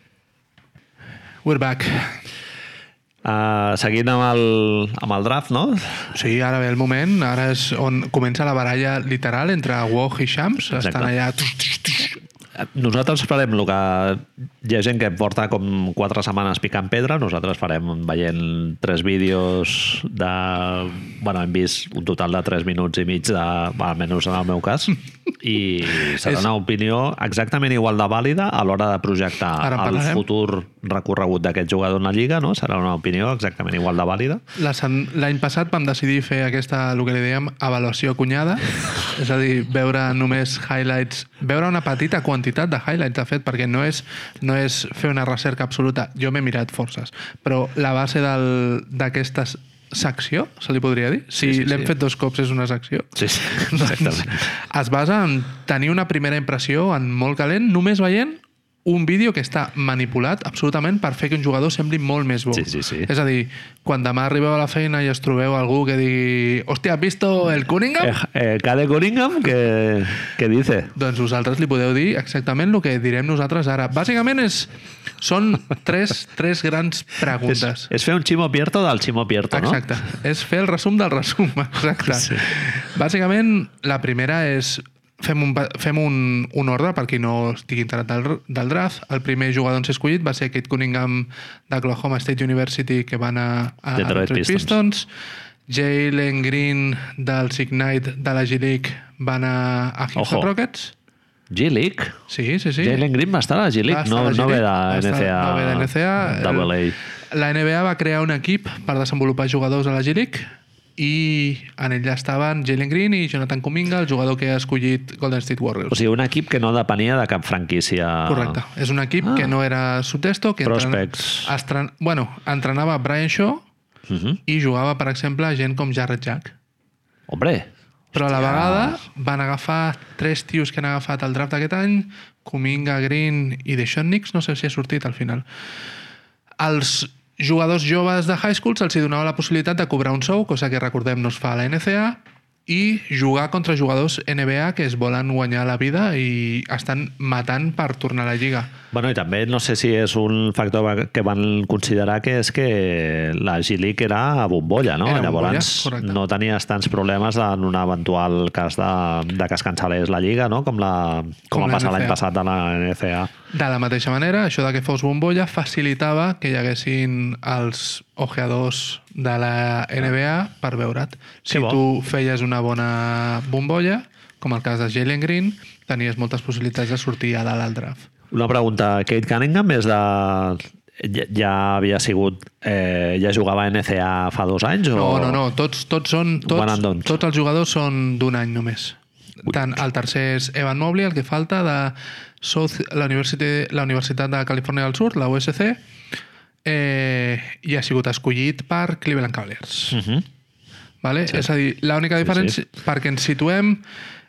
Speaker 2: We're back.
Speaker 1: Uh, seguint amb el, amb el draft, no?
Speaker 2: Sí, ara ve el moment, ara és on comença la baralla literal entre Woj i Shams.
Speaker 1: Exacte.
Speaker 2: Estan allà...
Speaker 1: Nosaltres farem el que... Hi ha gent que porta com quatre setmanes picant pedra, nosaltres farem veient tres vídeos de... bueno, hem vist un total de tres minuts i mig, de, bueno, almenys en el meu cas, i serà una opinió exactament igual de vàlida a l'hora de projectar
Speaker 2: Ara en
Speaker 1: el
Speaker 2: parlarem.
Speaker 1: futur recorregut d'aquest jugador en la Lliga, no? Serà una opinió exactament igual de vàlida.
Speaker 2: La sen- L'any passat vam decidir fer aquesta, el que li dèiem, avaluació cunyada, és a dir, veure només highlights, veure una petita quantitat de highlights, de fet, perquè no és, no és fer una recerca absoluta. Jo m'he mirat forces, però la base del- d'aquesta s- secció, se li podria dir? Si
Speaker 1: Sí, sí,
Speaker 2: l'hem
Speaker 1: sí.
Speaker 2: fet dos cops és una secció.
Speaker 1: Sí, sí,
Speaker 2: Doncs,
Speaker 1: exactament.
Speaker 2: es basa en tenir una primera impressió en molt calent, només veient un vídeo que està manipulat absolutament per fer que un jugador sembli molt més bo.
Speaker 1: Sí, sí, sí.
Speaker 2: És a dir, quan demà arribeu a la feina i us trobeu algú que digui «Hòstia, has visto el Cunningham?»
Speaker 1: Eh,
Speaker 2: eh.
Speaker 1: eh, Cade Cunningham, que, que dice?
Speaker 2: Doncs vosaltres li podeu dir exactament el que direm nosaltres ara. Bàsicament és, són tres, tres grans
Speaker 1: És,
Speaker 2: preguntes.
Speaker 1: és fer un Chimo Pierto del Chimo Pierto, no?
Speaker 2: Exacte. És fer el resum del resum, <laughs> exacte.
Speaker 1: Sí.
Speaker 2: Sí. Bàsicament, la primera és... Fem un, pa- fem un, un ordre per qui no estigui interessat del, del draft. El primer jugador en ser escollit va ser Kate Cunningham d'Oklahoma State University que va anar a
Speaker 1: Detroit
Speaker 2: Detroit
Speaker 1: Pistons.
Speaker 2: Pistons. Jalen Green del Signite de la G-League va anar a Houston
Speaker 1: Ojo.
Speaker 2: Rockets.
Speaker 1: G-League.
Speaker 2: Sí, sí, sí.
Speaker 1: Jalen Green va estar a la
Speaker 2: Va
Speaker 1: G-League,
Speaker 2: estar
Speaker 1: no,
Speaker 2: la
Speaker 1: no ve de
Speaker 2: G-League, va estar-
Speaker 1: NCA.
Speaker 2: No ve de NCAA.
Speaker 1: Double A.
Speaker 2: La NBA va crear un equip per desenvolupar jugadors a la G-League i en ell estaven Jalen Green i Jonathan Kuminga, el jugador que ha escollit Golden State Warriors.
Speaker 1: O sigui, un equip que no depenia de cap franquícia.
Speaker 2: Correcte. És un equip
Speaker 1: Ah.
Speaker 2: que no era subtesto, que entren-
Speaker 1: Prospects.
Speaker 2: estren... bueno, entrenava Brian Shaw
Speaker 1: Uh -huh.
Speaker 2: i jugava, per exemple, gent com Jarrett Jack.
Speaker 1: Hombre,
Speaker 2: Però a la vegada van agafar tres tios que han agafat el draft d'aquest any, Kuminga, Green i Deshaun Nix, no sé si ha sortit al final. Els jugadors joves de high school se'ls hi donava la possibilitat de cobrar un sou, cosa que recordem no es fa a la NCA, i jugar contra jugadors NBA que es volen guanyar la vida i estan matant per tornar a la lliga.
Speaker 1: Bueno, i també no sé si és un factor que van considerar que és que la G-League era a bombolla, no?
Speaker 2: Era a bombolla,
Speaker 1: Llavors
Speaker 2: correcte.
Speaker 1: no tenies tants problemes en un eventual cas de, de que es cancel·lés la Lliga, no? Com, la, com,
Speaker 2: Com
Speaker 1: va
Speaker 2: la
Speaker 1: passar l'any
Speaker 2: NCAA.
Speaker 1: passat a la NCA.
Speaker 2: De la mateixa manera, això de que fos bombolla facilitava que hi haguessin els ojeadors de la NBA per veure't. Si
Speaker 1: Que bo.
Speaker 2: tu feies una bona bombolla, com el cas de Jalen Green, tenies moltes possibilitats de sortir a dalt al draft.
Speaker 1: Una pregunta. Kate Cunningham és de... Ja, ja havia sigut... Eh, ja jugava a NCA fa dos anys?
Speaker 2: No,
Speaker 1: o...
Speaker 2: no, no, tots, tots són...
Speaker 1: One and
Speaker 2: Tots,
Speaker 1: done.
Speaker 2: tots els jugadors són d'un any només. Tant el tercer és Evan Mobley, el que falta de South, la, Universitat, la Universitat de Califòrnia del Sud, la USC, eh, i ha sigut escollit per Cleveland Cavaliers.
Speaker 1: Uh -huh.
Speaker 2: Vale? Sí. És a dir, l'única diferència, sí, sí. perquè ens situem,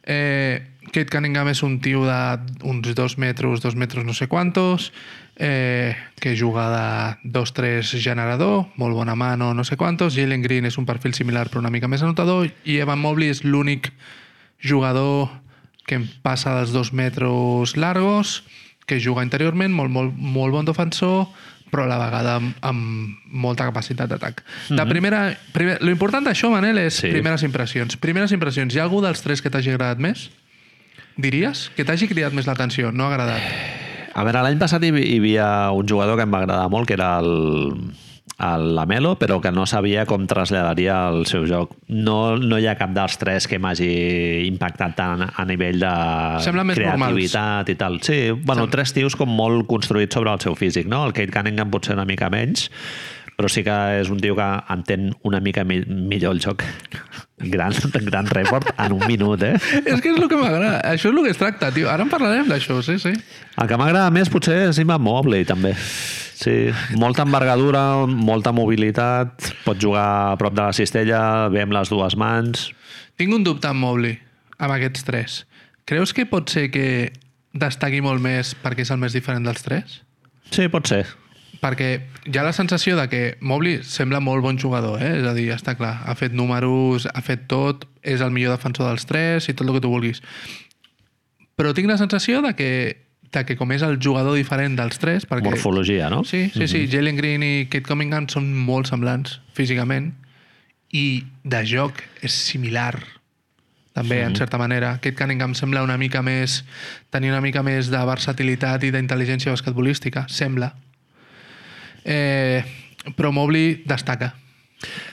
Speaker 2: eh, Kate Cunningham és un tio d'uns dos metres, dos metres no sé quantos, eh, que juga de 2-3 generador, molt bona mano, no sé quantos, Jalen Green és un perfil similar però una mica més anotador, i Evan Mobley és l'únic jugador que em passa dels dos metres largos, que juga interiorment, molt, molt, molt bon defensor, però a la vegada amb, amb molta capacitat d'atac. Mm -hmm. De primera... Primer, lo important d'això, Manel, és
Speaker 1: Sí.
Speaker 2: sí. primeres impressions. Primeres impressions. Hi ha algú dels tres que t'hagi agradat més? Diries? Que t'hagi cridat més l'atenció? No ha agradat.
Speaker 1: A veure, l'any passat hi, hi havia un jugador que em va agradar molt, que era el, el Lamelo, però que no sabia com traslladaria el seu joc. No, no hi ha cap dels tres que m'hagi impactat tant a nivell de
Speaker 2: Semblen més
Speaker 1: creativitat i tal. Sí, bueno,
Speaker 2: Sembla-
Speaker 1: tres tios com molt construïts sobre el seu físic, no? El Kate Cunningham potser una mica menys, però sí que és un tio que entén una mica mi millor el joc Gran, <laughs> gran report en un minut, eh?
Speaker 2: És que és el que m'agrada. Això és el que es tracta, tio. Ara en parlarem d'això, sí, sí.
Speaker 1: El que m'agrada més potser és Imba Mobley, també. Sí, molta envergadura, molta mobilitat, pot jugar a prop de la cistella, bé amb les dues mans...
Speaker 2: Tinc un dubte amb Mobley, amb aquests tres. Creus que pot ser que destaqui molt més perquè és el més diferent dels tres?
Speaker 1: Sí, pot ser.
Speaker 2: Perquè hi ha la sensació de que Mobley sembla molt bon jugador, eh? és a dir, està clar, ha fet números, ha fet tot, és el millor defensor dels tres i tot el que tu vulguis. Però tinc la sensació de que, de que com és el jugador diferent dels tres... Perquè...
Speaker 1: Morfologia, no? Mhm.
Speaker 2: Sí, sí, sí. Jalen Green i Kate Cunningham són molt semblants físicament i de joc és similar també, en certa manera. Kate Cunningham sembla una mica més... tenir una mica més de versatilitat i d'intel·ligència basquetbolística, sembla. Eh, però Mobley destaca.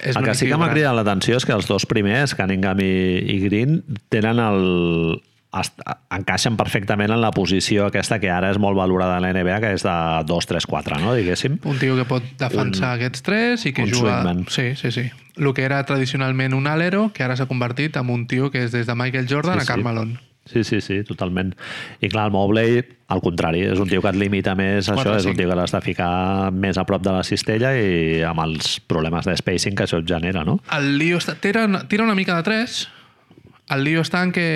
Speaker 2: És
Speaker 1: el que
Speaker 2: l'únic
Speaker 1: sí que m'ha
Speaker 2: gran.
Speaker 1: cridat l'atenció és que els dos primers, Cunningham i, i Green, tenen el est- encaixen perfectament en la posició aquesta que ara és molt valorada a la NBA, que és de 2-3-4, no? diguéssim.
Speaker 2: Un tio que pot defensar un, aquests tres i que
Speaker 1: un
Speaker 2: juga...
Speaker 1: swingman.
Speaker 2: Sí, sí, sí. El que era tradicionalment un alero, que ara s'ha convertit en un tio que és des de Michael Jordan
Speaker 1: Sí,
Speaker 2: sí, a
Speaker 1: sí.
Speaker 2: Carmelon.
Speaker 1: Sí, sí, sí, totalment. I clar, el Mobley, al contrari, és un tio que et limita més a això,
Speaker 2: Quatre,
Speaker 1: és un
Speaker 2: cinc.
Speaker 1: tio que l'has de ficar més a prop de la cistella i amb els problemes de spacing que això et genera, no?
Speaker 2: El lío està... Tira, tira una mica de tres. El lío està en que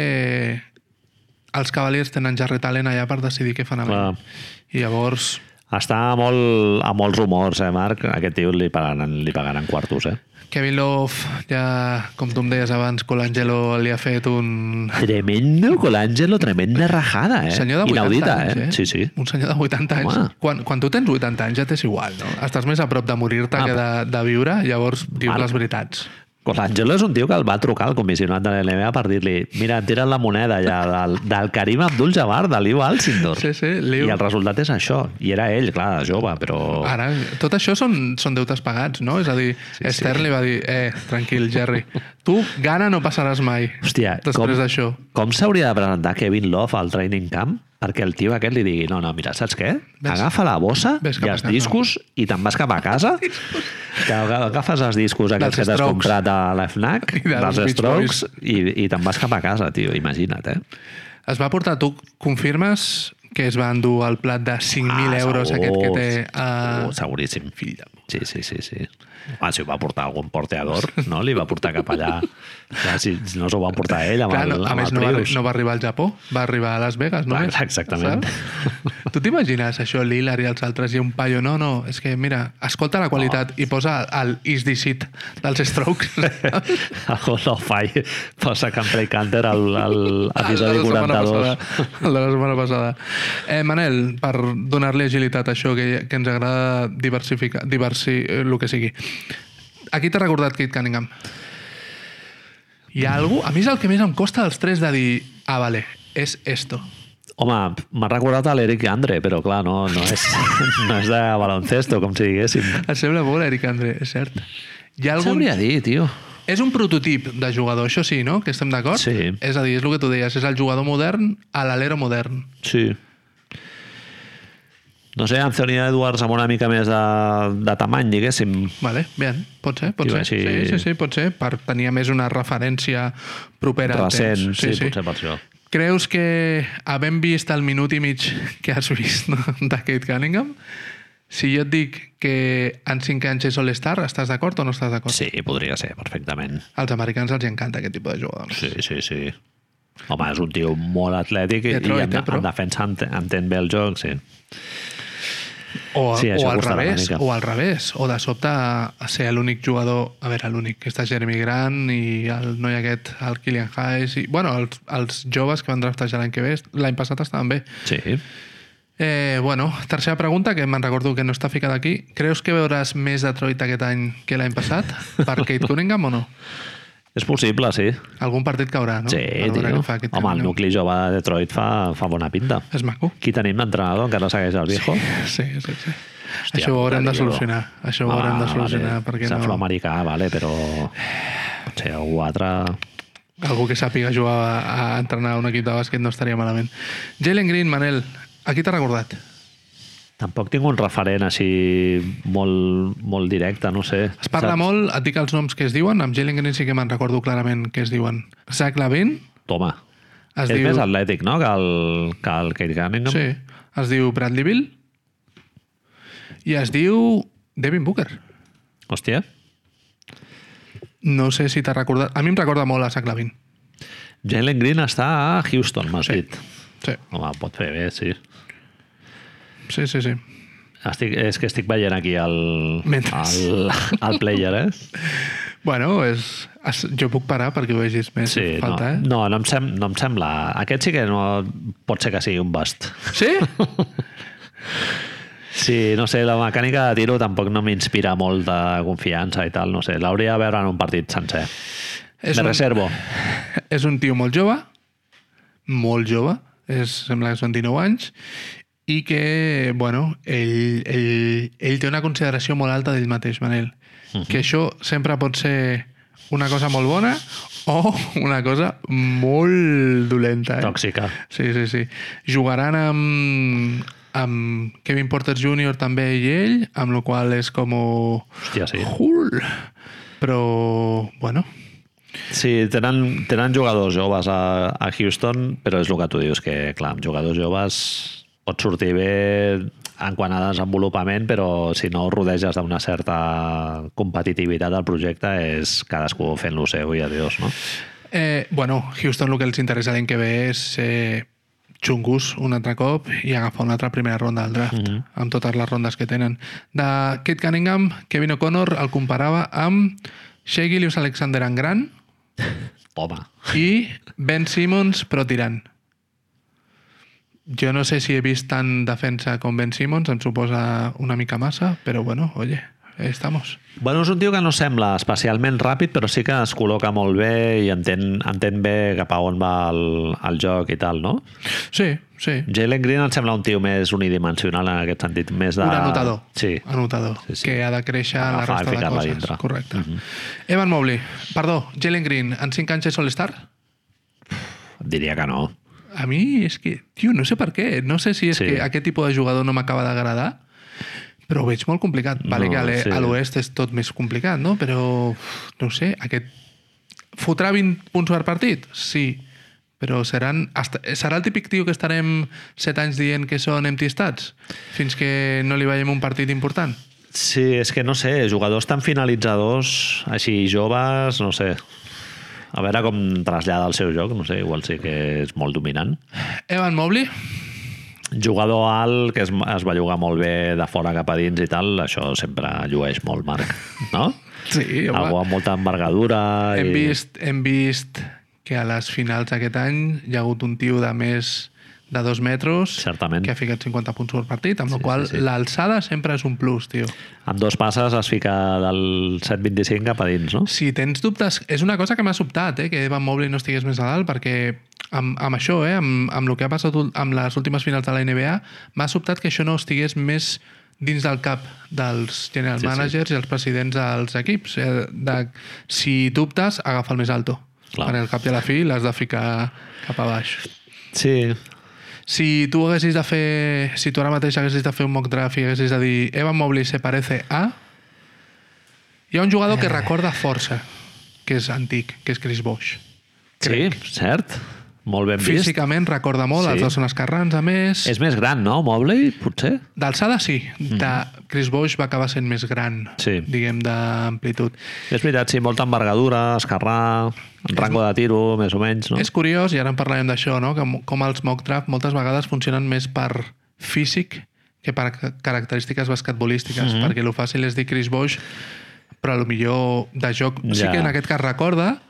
Speaker 2: els Cavaliers tenen Jarret Allen allà per decidir què fan amb
Speaker 1: Clar.
Speaker 2: ell. I llavors,
Speaker 1: Està a, molt, a molts rumors, eh, Marc? A Aquest tio li pagaran, li pagaran quartos, eh?
Speaker 2: Kevin Love, ja, com tu em deies abans, Colangelo li ha fet un...
Speaker 1: Tremendo Colangelo, tremenda rajada, eh?
Speaker 2: Senyor de 80
Speaker 1: Inaudita,
Speaker 2: anys, eh?
Speaker 1: eh? Sí, sí.
Speaker 2: Un senyor de 80 anys.
Speaker 1: Home.
Speaker 2: Quan, quan tu tens 80 anys ja t'és igual, no? Estàs més a prop de morir-te
Speaker 1: Ah,
Speaker 2: que de, de viure, llavors dius
Speaker 1: Marc.
Speaker 2: les veritats.
Speaker 1: Colangelo és un tio que el va trucar al comissionat de l'NBA per dir-li mira, tira la moneda ja del, del Karim Abdul-Jabbar, de l'Ivo Alcindor.
Speaker 2: Sí, sí,
Speaker 1: I
Speaker 2: Liu.
Speaker 1: el resultat és això. I era ell, clar, jove, però...
Speaker 2: Ara, tot això són, són deutes pagats, no? És a dir, sí, Stern li va dir, eh, tranquil, Jerry, tu gana no passaràs mai.
Speaker 1: Hòstia, com,
Speaker 2: Després d'això.
Speaker 1: com s'hauria de presentar Kevin Love al training camp perquè el tio aquest li digui, no, no, mira, saps què?
Speaker 2: Ves-
Speaker 1: Agafa la bossa
Speaker 2: ves
Speaker 1: i
Speaker 2: cap a
Speaker 1: els
Speaker 2: casa."
Speaker 1: discos i te'n vas cap a casa
Speaker 2: <laughs>
Speaker 1: que aga- agafes els discos aquests que t'has
Speaker 2: Strokes.
Speaker 1: comprat a la FNAC
Speaker 2: I dels
Speaker 1: dels
Speaker 2: Beach
Speaker 1: Strokes
Speaker 2: Boys.
Speaker 1: i, i te'n vas cap a casa, tio, imagina't, eh?
Speaker 2: Es va portar, tu confirmes que es va endur el plat de 5.000
Speaker 1: Ah,
Speaker 2: euros
Speaker 1: segur,
Speaker 2: aquest que té...
Speaker 1: segur,
Speaker 2: Uh,
Speaker 1: Seguríssim. Fill de Sí, sí, sí. sí. Ah, si ho va portar algun porteador, no? Li va portar cap allà. Ja, si no s'ho va portar ell amb
Speaker 2: Clar,
Speaker 1: el,
Speaker 2: no, a
Speaker 1: amb
Speaker 2: més,
Speaker 1: el
Speaker 2: no va,
Speaker 1: Prius.
Speaker 2: no va arribar al Japó, va arribar a Las Vegas,
Speaker 1: Clar,
Speaker 2: només.
Speaker 1: exactament.
Speaker 2: Saps? <laughs> Tu t'imagines això, l'Hilar i els altres, i un paio, no, no, és que, mira, escolta la qualitat
Speaker 1: Oh.
Speaker 2: i posa el Is This It dels Strokes.
Speaker 1: <laughs>
Speaker 2: saps?
Speaker 1: El Hall of Fire posa Camplay Canter al, al episodi
Speaker 2: El de Ah, la
Speaker 1: 42.
Speaker 2: setmana passada. <laughs> El de la setmana passada. Eh, Manel, per donar-li agilitat a això que, que ens agrada diversificar, diversi, eh, el que sigui. Aquí t'ha recordat Kate Cunningham. Hi ha algú... A mi és el que més em costa dels tres de dir ah, vale, és esto.
Speaker 1: Home, m'ha recordat a l'Eric Andre, però clar, no, no, és, <laughs> no és de baloncesto, com si diguéssim.
Speaker 2: Et sembla molt, Eric Andre, és cert. Hi ha
Speaker 1: Què
Speaker 2: algun...
Speaker 1: s'hauria de dir, tio?
Speaker 2: És un prototip de jugador, això sí, no? Que estem d'acord?
Speaker 1: Sí.
Speaker 2: És a dir, és el que tu deies, és el jugador modern a l'alero modern.
Speaker 1: Sí. No sé, Anthony Edwards amb una mica més de, de tamany, diguéssim.
Speaker 2: Vale, bien, pot ser, pot
Speaker 1: Tio,
Speaker 2: ser.
Speaker 1: així-
Speaker 2: Sí, sí, sí, pot ser, per tenir a més una referència propera al
Speaker 1: Recent,
Speaker 2: temps.
Speaker 1: sí, sí, potser per això.
Speaker 2: Creus que, havent vist el minut i mig que has vist no, de Kate Cunningham, si jo et dic que en 5 anys és All-Star, estàs d'acord o no estàs d'acord?
Speaker 1: Sí, podria ser, perfectament.
Speaker 2: Als americans els encanta aquest tipus de jugadors.
Speaker 1: Sí, sí, sí. Home, és un tio molt atlètic i-
Speaker 2: Detroit,
Speaker 1: i en,
Speaker 2: eh, però.
Speaker 1: en defensa ent- entén bé el joc, sí.
Speaker 2: O,
Speaker 1: Sí,
Speaker 2: sí,
Speaker 1: això
Speaker 2: o al
Speaker 1: costa una
Speaker 2: revés,
Speaker 1: mica.
Speaker 2: o al revés, o de sobte a ser l'únic jugador, a veure, l'únic, que està Jeremy Grant i el noi aquest, el Killian Hayes, i, bueno, els, els joves que van draftejar l'any que ve, l'any passat estaven bé.
Speaker 1: Sí.
Speaker 2: Eh, bueno, tercera pregunta, que me'n recordo que no està ficada aquí. Creus que veuràs més Detroit aquest any que l'any passat
Speaker 1: <laughs>
Speaker 2: per Kate Cunningham o no?
Speaker 1: És possible, sí.
Speaker 2: Algun partit caurà, no?
Speaker 1: Sí,
Speaker 2: Per veure
Speaker 1: tio.
Speaker 2: què fa aquest
Speaker 1: Home, el
Speaker 2: Cunningham.
Speaker 1: nucli jove de Detroit fa, fa bona pinta.
Speaker 2: És maco.
Speaker 1: Qui tenim d'entrenador? Encara segueix el viejo?
Speaker 2: Sí, sí, sí.
Speaker 1: Hòstia,
Speaker 2: Això ho haurem de
Speaker 1: puta, tio. Ah,
Speaker 2: solucionar. Això ho haurem de solucionar, perquè
Speaker 1: És
Speaker 2: no...
Speaker 1: afroamericà, vale, però potser algú altre...
Speaker 2: Algú que sàpiga jugar a, a entrenar un equip de bàsquet no estaria malament. Jalen Green, Manel, a qui t'ha recordat?
Speaker 1: Tampoc tinc un referent així molt, molt directe, no sé.
Speaker 2: Es parla
Speaker 1: Saps?
Speaker 2: molt, et dic els noms que es diuen, amb Jalen sí que me'n recordo clarament què es diuen. Zach Lavin
Speaker 1: Toma.
Speaker 2: es
Speaker 1: és
Speaker 2: diu...
Speaker 1: més atlètic, no?, que el, que el Kate Cunningham.
Speaker 2: Sí, es diu Bradley Bill i es diu Devin Booker.
Speaker 1: Hòstia.
Speaker 2: No sé si t'ha recordat... A mi em recorda molt a Zach Lavin.
Speaker 1: Jalen Green està a Houston, m'has
Speaker 2: Sí.
Speaker 1: dit.
Speaker 2: Sí,
Speaker 1: Home, pot fer bé, sí.
Speaker 2: sí, sí. sí.
Speaker 1: Estic, és que estic veient aquí el,
Speaker 2: Mentre.
Speaker 1: el, el player, eh?
Speaker 2: <laughs> Bueno, és... es... jo puc parar perquè ho vegis més
Speaker 1: Sí,
Speaker 2: si falta, eh?
Speaker 1: no, no, no, em sem, no em sembla. Aquest sí que no, pot ser que sigui un bust.
Speaker 2: eh?
Speaker 1: <laughs>
Speaker 2: Sí?
Speaker 1: Sí, no sé, la mecànica de tiro tampoc no m'inspira molt de confiança i tal, no sé. L'hauria de veure en un partit sencer.
Speaker 2: És
Speaker 1: Me
Speaker 2: un-
Speaker 1: reservo.
Speaker 2: És un tio molt jove, molt jove, és, sembla que són 19 anys, i que, bueno, ell, ell, ell té una consideració molt alta d'ell mateix, Manel.
Speaker 1: Mhm.
Speaker 2: Que això sempre pot ser una cosa molt bona o una cosa molt dolenta. Eh?
Speaker 1: Tòxica.
Speaker 2: Sí, sí, sí. Jugaran amb, amb Kevin Porter Jr. també i ell, amb la qual cosa és com...
Speaker 1: Hòstia, sí.
Speaker 2: Jul! Però, bueno,
Speaker 1: Sí, tenen, tenen jugadors joves a, a Houston, però és el que tu dius, que clar, amb jugadors joves pot sortir bé en quant a desenvolupament, però si no el rodeges d'una certa competitivitat al projecte és cadascú fent lo seu i adiós, no?
Speaker 2: Eh, bueno, Houston el que els interessa l'any que ve és ser xungus un altre cop i agafar una altra primera ronda del draft, mm -hmm. amb totes les rondes que tenen. De Kate Cunningham, Kevin O'Connor el comparava amb Shea Gilius Alexander en gran
Speaker 1: Home,
Speaker 2: i Ben Simmons però tirant. Jo no sé si he vist tant defensa com Ben Simmons, em suposa una mica massa, però bueno, oye, ahí estamos.
Speaker 1: Bueno, és un tio que no sembla especialment ràpid, però sí que es col·loca molt bé i entén, entén bé cap a on va el, el joc i tal, no?
Speaker 2: Sí, sí.
Speaker 1: Jalen Green em sembla un tio més unidimensional en aquest sentit, més de...
Speaker 2: Un anotador.
Speaker 1: Sí.
Speaker 2: Anotador,
Speaker 1: Sí, sí.
Speaker 2: que ha de créixer a la
Speaker 1: Agafar i
Speaker 2: resta de
Speaker 1: ficar-la
Speaker 2: coses.
Speaker 1: dintre.
Speaker 2: Correcte.
Speaker 1: Mhm.
Speaker 2: Evan Mobley, perdó, Jalen Green, en 5 anys és All-Star?
Speaker 1: Diria que no.
Speaker 2: A mi és que, tio, no sé per què. No sé si és
Speaker 1: Sí.
Speaker 2: que aquest tipus de jugador no m'acaba d'agradar, però ho veig molt complicat.
Speaker 1: No,
Speaker 2: Vale, que a l'e-
Speaker 1: sí.
Speaker 2: a l'oest és tot més complicat, no? Però, uf, no ho sé, aquest... Fotrà 20 punts per partit? Sí. Però seran, hasta, serà el típic tio que estarem 7 anys dient que són empty stats fins que no li veiem un partit important?
Speaker 1: Sí, és que no sé, jugadors tan finalitzadors, així joves, no sé. A veure com trasllada el seu joc, no sé, igual sí que és molt dominant.
Speaker 2: Evan Mobley,
Speaker 1: Jugador alt, que es, es va jugar molt bé de fora cap a dins i tal, això sempre llueix molt, Marc, no?
Speaker 2: Sí, home.
Speaker 1: Algú amb molta envergadura
Speaker 2: Hem,
Speaker 1: i...
Speaker 2: vist, hem vist que a les finals d'aquest any hi ha hagut un tio de més de dos metres
Speaker 1: Certament.
Speaker 2: que ha ficat 50 punts per partit, amb la
Speaker 1: Sí,
Speaker 2: qual
Speaker 1: sí, sí.
Speaker 2: l'alçada sempre és un plus, tio.
Speaker 1: Amb dos passes es fica del 7.25 cap a dins, no?
Speaker 2: Si tens dubtes, és una cosa que m'ha sobtat, eh, que Evan Mobley no estigués més a dalt, perquè amb, amb això, eh, amb, amb el que ha passat ul- amb les últimes finals de la NBA, m'ha sobtat que això no estigués més dins del cap dels general
Speaker 1: Sí, sí.
Speaker 2: managers i els presidents dels equips. Eh, de, si dubtes, agafa el més alto.
Speaker 1: Clar.
Speaker 2: Perquè al cap i a la fi l'has de ficar cap a baix.
Speaker 1: Sí.
Speaker 2: Si tu haguessis de fer... Si tu ara mateix haguessis de fer un mock draft i haguessis de dir Evan Mobley se parece a... Hi ha un jugador
Speaker 1: Eh.
Speaker 2: que recorda força, que és antic, que és Chris Bosh.
Speaker 1: Sí, cert. Molt ben vist.
Speaker 2: Físicament recorda molt, sí. els
Speaker 1: Sí.
Speaker 2: dos són escarrans, a més...
Speaker 1: És més gran, no, Mobley, potser?
Speaker 2: D'alçada sí, de Chris Bosh va acabar sent més gran,
Speaker 1: Mm. Sí.
Speaker 2: diguem, d'amplitud.
Speaker 1: És veritat, sí, molta envergadura, escarrar, rango de tiro, més o menys, no?
Speaker 2: És curiós, i ara en parlarem d'això, no? que mo- com els mock draft moltes vegades funcionen més per físic que per ca- característiques basquetbolístiques,
Speaker 1: Mhm.
Speaker 2: mm -hmm. perquè el fàcil és dir Chris Bosch, però a lo millor de joc ja. sí
Speaker 1: Ja.
Speaker 2: que en aquest cas recorda,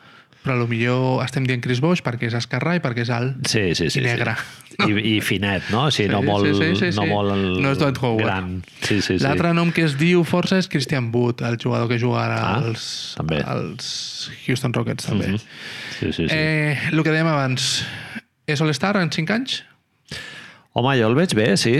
Speaker 2: però a lo millor estem dient Chris Bosch perquè és escarrà i perquè és alt.
Speaker 1: Sí, sí, sí.
Speaker 2: i negre.
Speaker 1: Sí. I, I finet, no? Sí,
Speaker 2: Sí,
Speaker 1: no
Speaker 2: sí,
Speaker 1: molt,
Speaker 2: sí, sí,
Speaker 1: no
Speaker 2: sí.
Speaker 1: molt el-
Speaker 2: No és Dwight Howard.
Speaker 1: gran. Sí, sí, sí.
Speaker 2: L'altre nom que es diu força és Christian Wood, el jugador que jugarà
Speaker 1: Ah,
Speaker 2: als,
Speaker 1: també.
Speaker 2: als Houston Rockets, també. Mm
Speaker 1: Mhm.
Speaker 2: -hmm.
Speaker 1: Sí, sí, sí. Eh...
Speaker 2: eh, el que dèiem abans, és All-Star en 5 anys?
Speaker 1: Home, jo el veig bé, sí.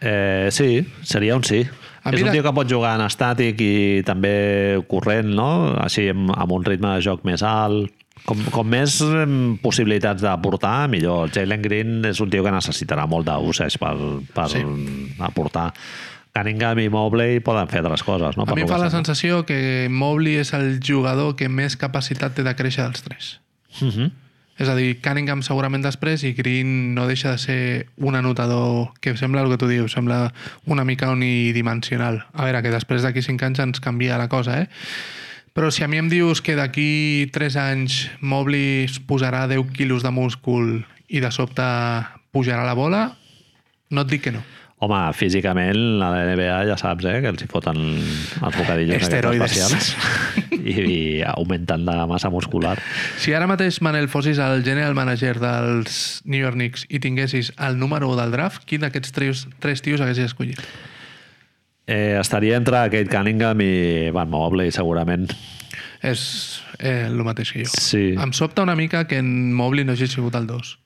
Speaker 1: Eh, sí, seria un sí.
Speaker 2: A mi
Speaker 1: És un
Speaker 2: la-
Speaker 1: tio que pot jugar en estàtic i també corrent, no? Així amb, amb un ritme de joc més alt. Com, com més em, possibilitats de portar, millor. Jalen Green és un tio que necessitarà molt d'usage per, per sí.
Speaker 2: Sí.
Speaker 1: aportar. Cunningham i Mobley poden fer altres coses, no?
Speaker 2: A mi
Speaker 1: lo
Speaker 2: em fa
Speaker 1: que
Speaker 2: la
Speaker 1: sembla.
Speaker 2: sensació que Mobley és el jugador que més capacitat té de créixer dels tres.
Speaker 1: Mhm.
Speaker 2: És a dir, Cunningham segurament després i Green no deixa de ser un anotador que sembla el que tu dius, sembla una mica unidimensional. A veure, que després d'aquí cinc anys ens canvia la cosa, eh? Però si a mi em dius que d'aquí 3 anys Mobley es posarà 10 quilos de múscul i de sobte pujarà la bola, no et dic que no.
Speaker 1: Home, físicament, a la NBA ja saps, eh, que els hi foten els bocadillos aquests
Speaker 2: Esteroides.
Speaker 1: especials <laughs> i, i augmenten la massa muscular.
Speaker 2: Si ara mateix, Manel, fossis el general manager dels New York Knicks i tinguessis el número 1 del draft, quin d'aquests tres, tres tios haguessis escollit?
Speaker 1: Eh, estaria entre Kate Cunningham i Van Mobley, segurament.
Speaker 2: És eh, el mateix que jo.
Speaker 1: Sí.
Speaker 2: Em sobta una mica que en Mobley no hagi sigut el 2.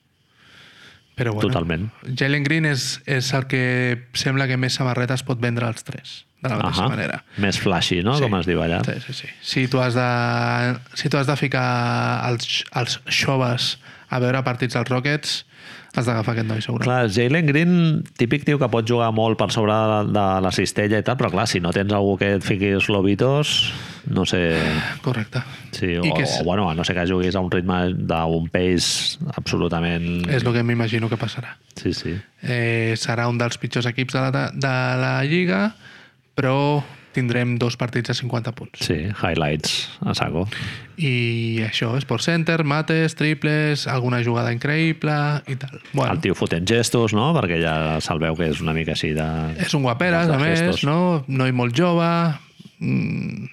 Speaker 2: Però bueno,
Speaker 1: Totalment.
Speaker 2: Jalen Green és, és el que sembla que més samarretes pot vendre als tres, de la mateixa
Speaker 1: Ahà.
Speaker 2: manera.
Speaker 1: Més flashy, no? Sí. Com es diu allà.
Speaker 2: Sí, sí, sí. Si tu has de, si tu has de ficar els, els xoves a veure partits dels Rockets, has d'agafar aquest noi, segurament.
Speaker 1: Clar, Jalen Green, típic tio que pot jugar molt per sobre de, de la cistella i tal, però clar, si no tens algú que et fiquis lobitos, no sé...
Speaker 2: Correcte.
Speaker 1: Sí,
Speaker 2: I
Speaker 1: o,
Speaker 2: que
Speaker 1: és...
Speaker 2: és-
Speaker 1: o, bueno, a no sé que juguis a un ritme d'un pace absolutament...
Speaker 2: És el que m'imagino que passarà.
Speaker 1: Sí, sí.
Speaker 2: Eh, serà un dels pitjors equips de la, de la Lliga, però tindrem dos partits de 50 punts.
Speaker 1: Sí, highlights a saco.
Speaker 2: I això, Sport Center, mates, triples, alguna jugada increïble i tal.
Speaker 1: Bueno.
Speaker 2: Bueno,
Speaker 1: El tio fotent gestos, no? Perquè ja se'l veu que és una mica així de...
Speaker 2: és un guaperes,
Speaker 1: Els
Speaker 2: a més,
Speaker 1: gestos.
Speaker 2: no? Noi molt jove... Mm,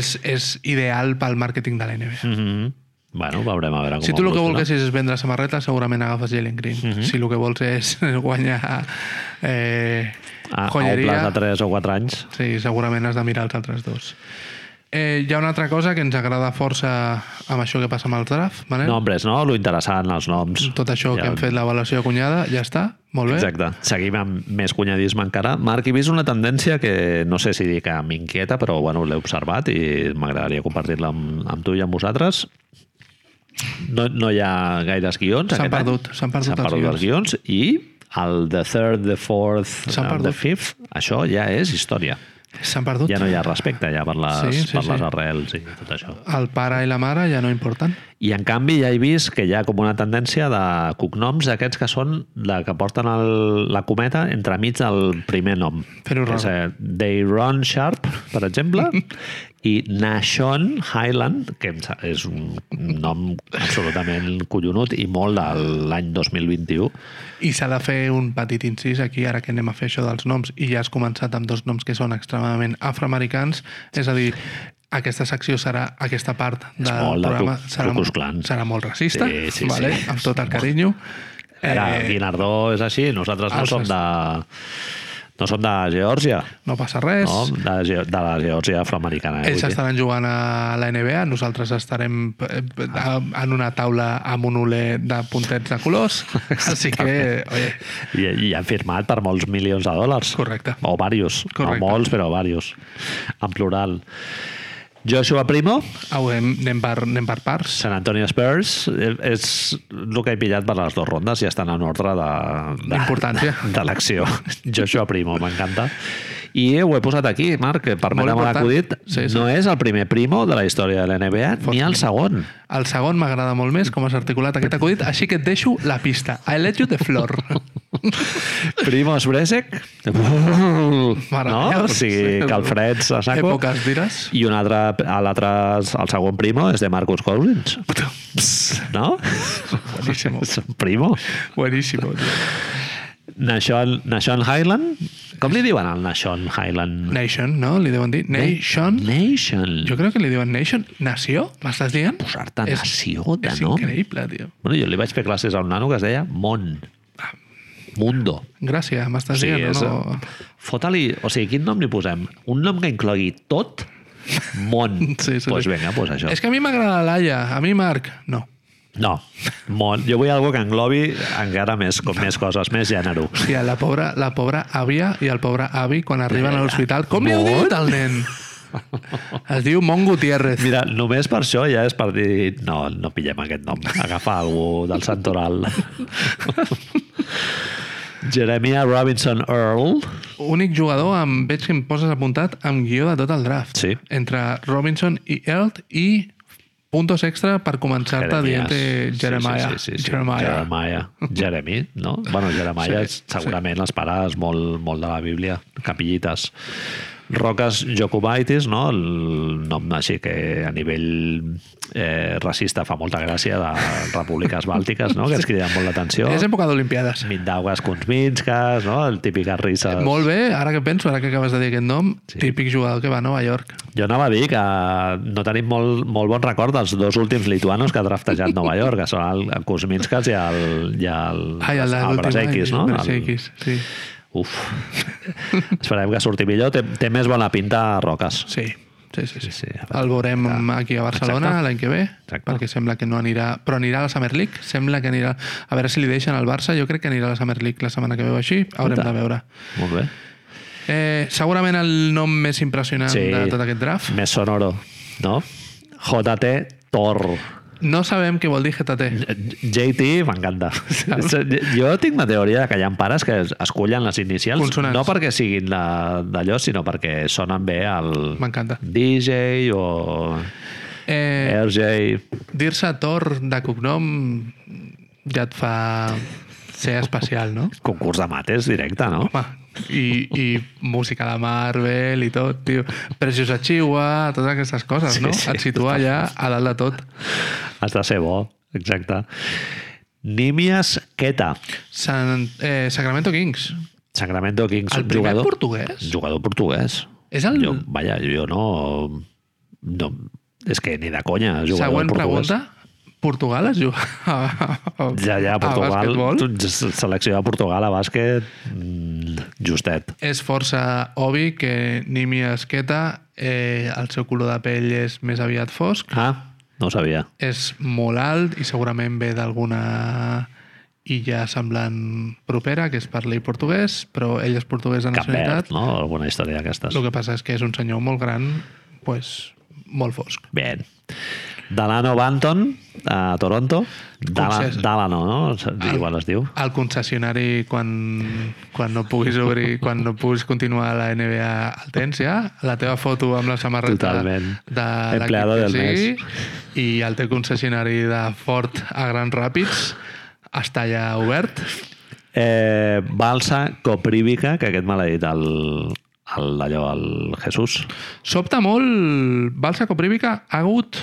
Speaker 2: és, és ideal pel màrqueting de la NBA.
Speaker 1: Mm -hmm. Bueno, veurem a veure com
Speaker 2: Si tu el que
Speaker 1: evoluciona.
Speaker 2: volguessis és vendre samarretes, segurament agafes Jalen Green.
Speaker 1: Mhm.
Speaker 2: Si el que vols és <laughs> guanyar eh,
Speaker 1: A, a un
Speaker 2: joieria...
Speaker 1: plaç de 3 o 4 anys.
Speaker 2: Sí, segurament has de mirar els altres dos. Eh, hi ha una altra cosa que ens agrada força amb això que passa amb els draft, Manel.
Speaker 1: Nombres, no? Lo interessant, els noms.
Speaker 2: Eh? Tot això
Speaker 1: Ja.
Speaker 2: ja. que hem fet l'avaluació de cunyada, ja està, molt bé.
Speaker 1: Exacte. Seguim amb més cunyadisme encara. Marc, he vist una tendència que no sé si dir que m'inquieta, però bueno, l'he observat i m'agradaria compartir-la amb, amb tu i amb vosaltres. No, no hi ha gaires guions. aquest
Speaker 2: S'han
Speaker 1: any.
Speaker 2: perdut, s'han perdut
Speaker 1: S'han
Speaker 2: els
Speaker 1: perdut els guions. I el The Third, The Fourth,
Speaker 2: S'han
Speaker 1: el The
Speaker 2: perdut.
Speaker 1: Fifth, això ja és història.
Speaker 2: S'han perdut.
Speaker 1: Ja no hi ha respecte ja per les,
Speaker 2: Sí, sí,
Speaker 1: per les
Speaker 2: sí.
Speaker 1: arrels i tot això.
Speaker 2: El pare i la mare ja no importen.
Speaker 1: I en canvi ja he vist que hi ha com una tendència de cognoms aquests que són la que porten el, la cometa entremig del primer nom.
Speaker 2: Fer-ho
Speaker 1: Que és, eh, Dayron Sharp, per exemple, i Nashon Highland, que em sa- és un nom absolutament collonut i molt de l'any 2021.
Speaker 2: I s'ha de fer un petit incís aquí, ara que anem a fer això dels noms, i ja has començat amb dos noms que són extremadament afroamericans, és a dir, aquesta secció serà, aquesta part del
Speaker 1: molt de
Speaker 2: programa
Speaker 1: Ku-
Speaker 2: serà,
Speaker 1: Ku Klux Klan.
Speaker 2: serà molt racista,
Speaker 1: Sí, sí,
Speaker 2: vale?
Speaker 1: sí.
Speaker 2: amb tot el carinyo.
Speaker 1: Era, eh, Guinardó és així, nosaltres no
Speaker 2: els-
Speaker 1: som de... No som de Geòrgia,
Speaker 2: no passa res.
Speaker 1: no? De, Ge- de la Geòrgia afroamericana. Eh?
Speaker 2: Ells
Speaker 1: vull dir.
Speaker 2: estaran jugant a la NBA, nosaltres estarem eh, eh,
Speaker 1: Ah.
Speaker 2: en una taula amb un oler de puntets de
Speaker 1: <laughs>
Speaker 2: colors, així que, oye,
Speaker 1: I, I han firmat per molts milions de dòlars.
Speaker 2: Correcte.
Speaker 1: O varios.
Speaker 2: Correcte.
Speaker 1: No molts, però varios. En plural. Joshua Primo,
Speaker 2: au, hem- anem per, anem per parts.
Speaker 1: San Antonio Spurs, eh, és el que he pillat per les dues rondes i estan en ordre de, de, de,
Speaker 2: D'importància.
Speaker 1: de l'acció. <laughs> Joshua Primo, m'encanta. I ho he posat aquí, Marc, que per
Speaker 2: Molt
Speaker 1: mi
Speaker 2: important.
Speaker 1: l'acudit
Speaker 2: Sí, sí.
Speaker 1: no és el primer Primo de la història de la NBA, ni el segon.
Speaker 2: El segon m'agrada molt més com has articulat aquest acudit, així que et deixo la pista. I let you the floor.
Speaker 1: Primos
Speaker 2: <laughs>
Speaker 1: Bresek, no? O sigui, calfreds a saco.
Speaker 2: Èpoques d'ires.
Speaker 1: I un altre, a l'altre, el segon primo és de Marcus Cousins, no? <laughs>
Speaker 2: Buenísimo.
Speaker 1: És un primo.
Speaker 2: Buenísimo, tio.
Speaker 1: Nashon, Nashon Highland? Com li diuen al Nashon Highland?
Speaker 2: Nation, no? Li deuen dir? Nation?
Speaker 1: Nation.
Speaker 2: Jo crec que li diuen Nation. Nació? M'estàs dient?
Speaker 1: Posar-te
Speaker 2: És-
Speaker 1: nació de
Speaker 2: És
Speaker 1: nom.
Speaker 2: increïble, tio.
Speaker 1: Bueno, jo li vaig fer classes a un nano que es deia Mon.
Speaker 2: Ah.
Speaker 1: Mundo.
Speaker 2: Gràcies, m'estàs sí, dient,
Speaker 1: és- eh,
Speaker 2: no?
Speaker 1: Fota-li... O sigui, quin nom li posem? Un nom que inclogui tot? Mon.
Speaker 2: <laughs> Sí, sí,
Speaker 1: pues
Speaker 2: sí.
Speaker 1: vinga, pues això.
Speaker 2: És que a mi m'agrada l'Aia, a mi Marc, no.
Speaker 1: No, molt. Jo vull algo que englobi encara més, com més coses, més gènere.
Speaker 2: Hòstia, la pobra, la pobra àvia i el pobre avi quan arriben a l'hospital. Com li heu
Speaker 1: Molt?
Speaker 2: dit al nen? Es diu Mon Gutiérrez.
Speaker 1: Mira, només per això ja és per dir no, no pillem aquest nom, agafa algú del
Speaker 2: <laughs>
Speaker 1: santoral. Jeremiah Robinson Earl.
Speaker 2: Únic jugador amb, veig que em poses apuntat, amb guió de tot el draft.
Speaker 1: Sí.
Speaker 2: Entre Robinson i Earl i puntos extra per començar-te dient eh, Jeremiah.
Speaker 1: Sí, sí, sí, sí.
Speaker 2: Jeremiah.
Speaker 1: Jeremiah. Jeremy, no? Bueno, Jeremiah
Speaker 2: Sí,
Speaker 1: sí, segurament sí. les parades molt, molt de la Bíblia, capillites. Roques Jocobaitis, no? el nom així que a nivell eh, racista fa molta gràcia de repúbliques bàltiques, no? que ens criden molt l'atenció.
Speaker 2: És època d'Olimpiades.
Speaker 1: Mindaugas, Kunzminskas, no? el típiques risses.
Speaker 2: Molt bé, ara que penso, ara que acabes de dir aquest nom, sí. típic jugador que va a Nova York.
Speaker 1: Jo anava a dir que no tenim molt, molt bon record dels dos últims lituanos que ha draftejat
Speaker 2: <laughs>
Speaker 1: Nova York, que són el, el Kuzminskas i el, i el,
Speaker 2: Ai, el de l'últim
Speaker 1: Brzezinskis,
Speaker 2: any,
Speaker 1: Ah, no?
Speaker 2: el Brzezinskis, sí.
Speaker 1: Uf. <laughs> Esperem que surti millor. Té, té més bona pinta a Roques.
Speaker 2: Sí, sí, sí. sí.
Speaker 1: Sí, a veure,
Speaker 2: El veurem aquí a Barcelona
Speaker 1: Exacte.
Speaker 2: l'any que ve,
Speaker 1: Exacte.
Speaker 2: perquè sembla que no anirà... Però anirà a la Summer League, sembla que anirà... A veure si li deixen al Barça, jo crec que anirà a la Summer League la setmana que veu així, haurem
Speaker 1: Escolta.
Speaker 2: de veure.
Speaker 1: Molt bé.
Speaker 2: Eh, segurament el nom més impressionant
Speaker 1: Sí.
Speaker 2: de tot aquest draft.
Speaker 1: Més sonoro, no? JT Tor.
Speaker 2: No sabem què vol dir GTT.
Speaker 1: JT m'encanta. <laughs> Jo tinc una teoria que hi ha pares que es escollen les inicials,
Speaker 2: Consonants.
Speaker 1: no perquè siguin la- d'allò, sinó perquè sonen bé al
Speaker 2: M'encanta.
Speaker 1: DJ o
Speaker 2: Eh,
Speaker 1: RJ.
Speaker 2: Dir-se Tor de cognom ja et fa ser especial, no?
Speaker 1: Concurs de mates directe, no?
Speaker 2: Home, i, i música de Marvel i tot, tio. Precious Chihuahua, totes aquestes coses,
Speaker 1: Sí,
Speaker 2: no?
Speaker 1: sí.
Speaker 2: Et situa allà a dalt de tot.
Speaker 1: Has de ser bo, exacte. Nímies Queta,
Speaker 2: San, eh, Sacramento Kings.
Speaker 1: Sacramento Kings,
Speaker 2: El primer
Speaker 1: jugador,
Speaker 2: portuguès?
Speaker 1: jugador portuguès.
Speaker 2: És el
Speaker 1: Jo, vaja, jo no... no és que ni de conya, jugador
Speaker 2: següent
Speaker 1: portuguès.
Speaker 2: pregunta. Portugal es juga a, a,
Speaker 1: Ja, ja,
Speaker 2: a
Speaker 1: Portugal,
Speaker 2: basquetbol?
Speaker 1: selecció de Portugal a bàsquet, mm, justet.
Speaker 2: És força obvi que Nimi Esqueta, eh, el seu color de pell és més aviat fosc,
Speaker 1: Ah, no ho sabia.
Speaker 2: és molt alt i segurament ve d'alguna illa semblant propera, que és parli portuguès, però ell és portuguès de
Speaker 1: Cap
Speaker 2: nacionalitat.
Speaker 1: verd, no? Alguna història d'aquestes.
Speaker 2: El que passa és que és un senyor molt gran, pues, molt fosc.
Speaker 1: Bé. Delano Banton, a Toronto. Dala-
Speaker 2: Concesa.
Speaker 1: Dalano, no? Se-
Speaker 2: Ah.
Speaker 1: Igual es diu.
Speaker 2: El concessionari, quan, quan no puguis obrir, quan no puguis continuar a la NBA al temps, ja, la teva foto amb la samarreta
Speaker 1: Totalment.
Speaker 2: de
Speaker 1: Empleado del
Speaker 2: l'equip que
Speaker 1: mes.
Speaker 2: sigui, i el teu concessionari de Ford a Gran Ràpids està ja obert.
Speaker 1: Eh, Balsa Coprívica, que aquest me l'ha dit el, el, allò, el Jesús.
Speaker 2: Sobta molt, Balsa Coprívica ha hagut...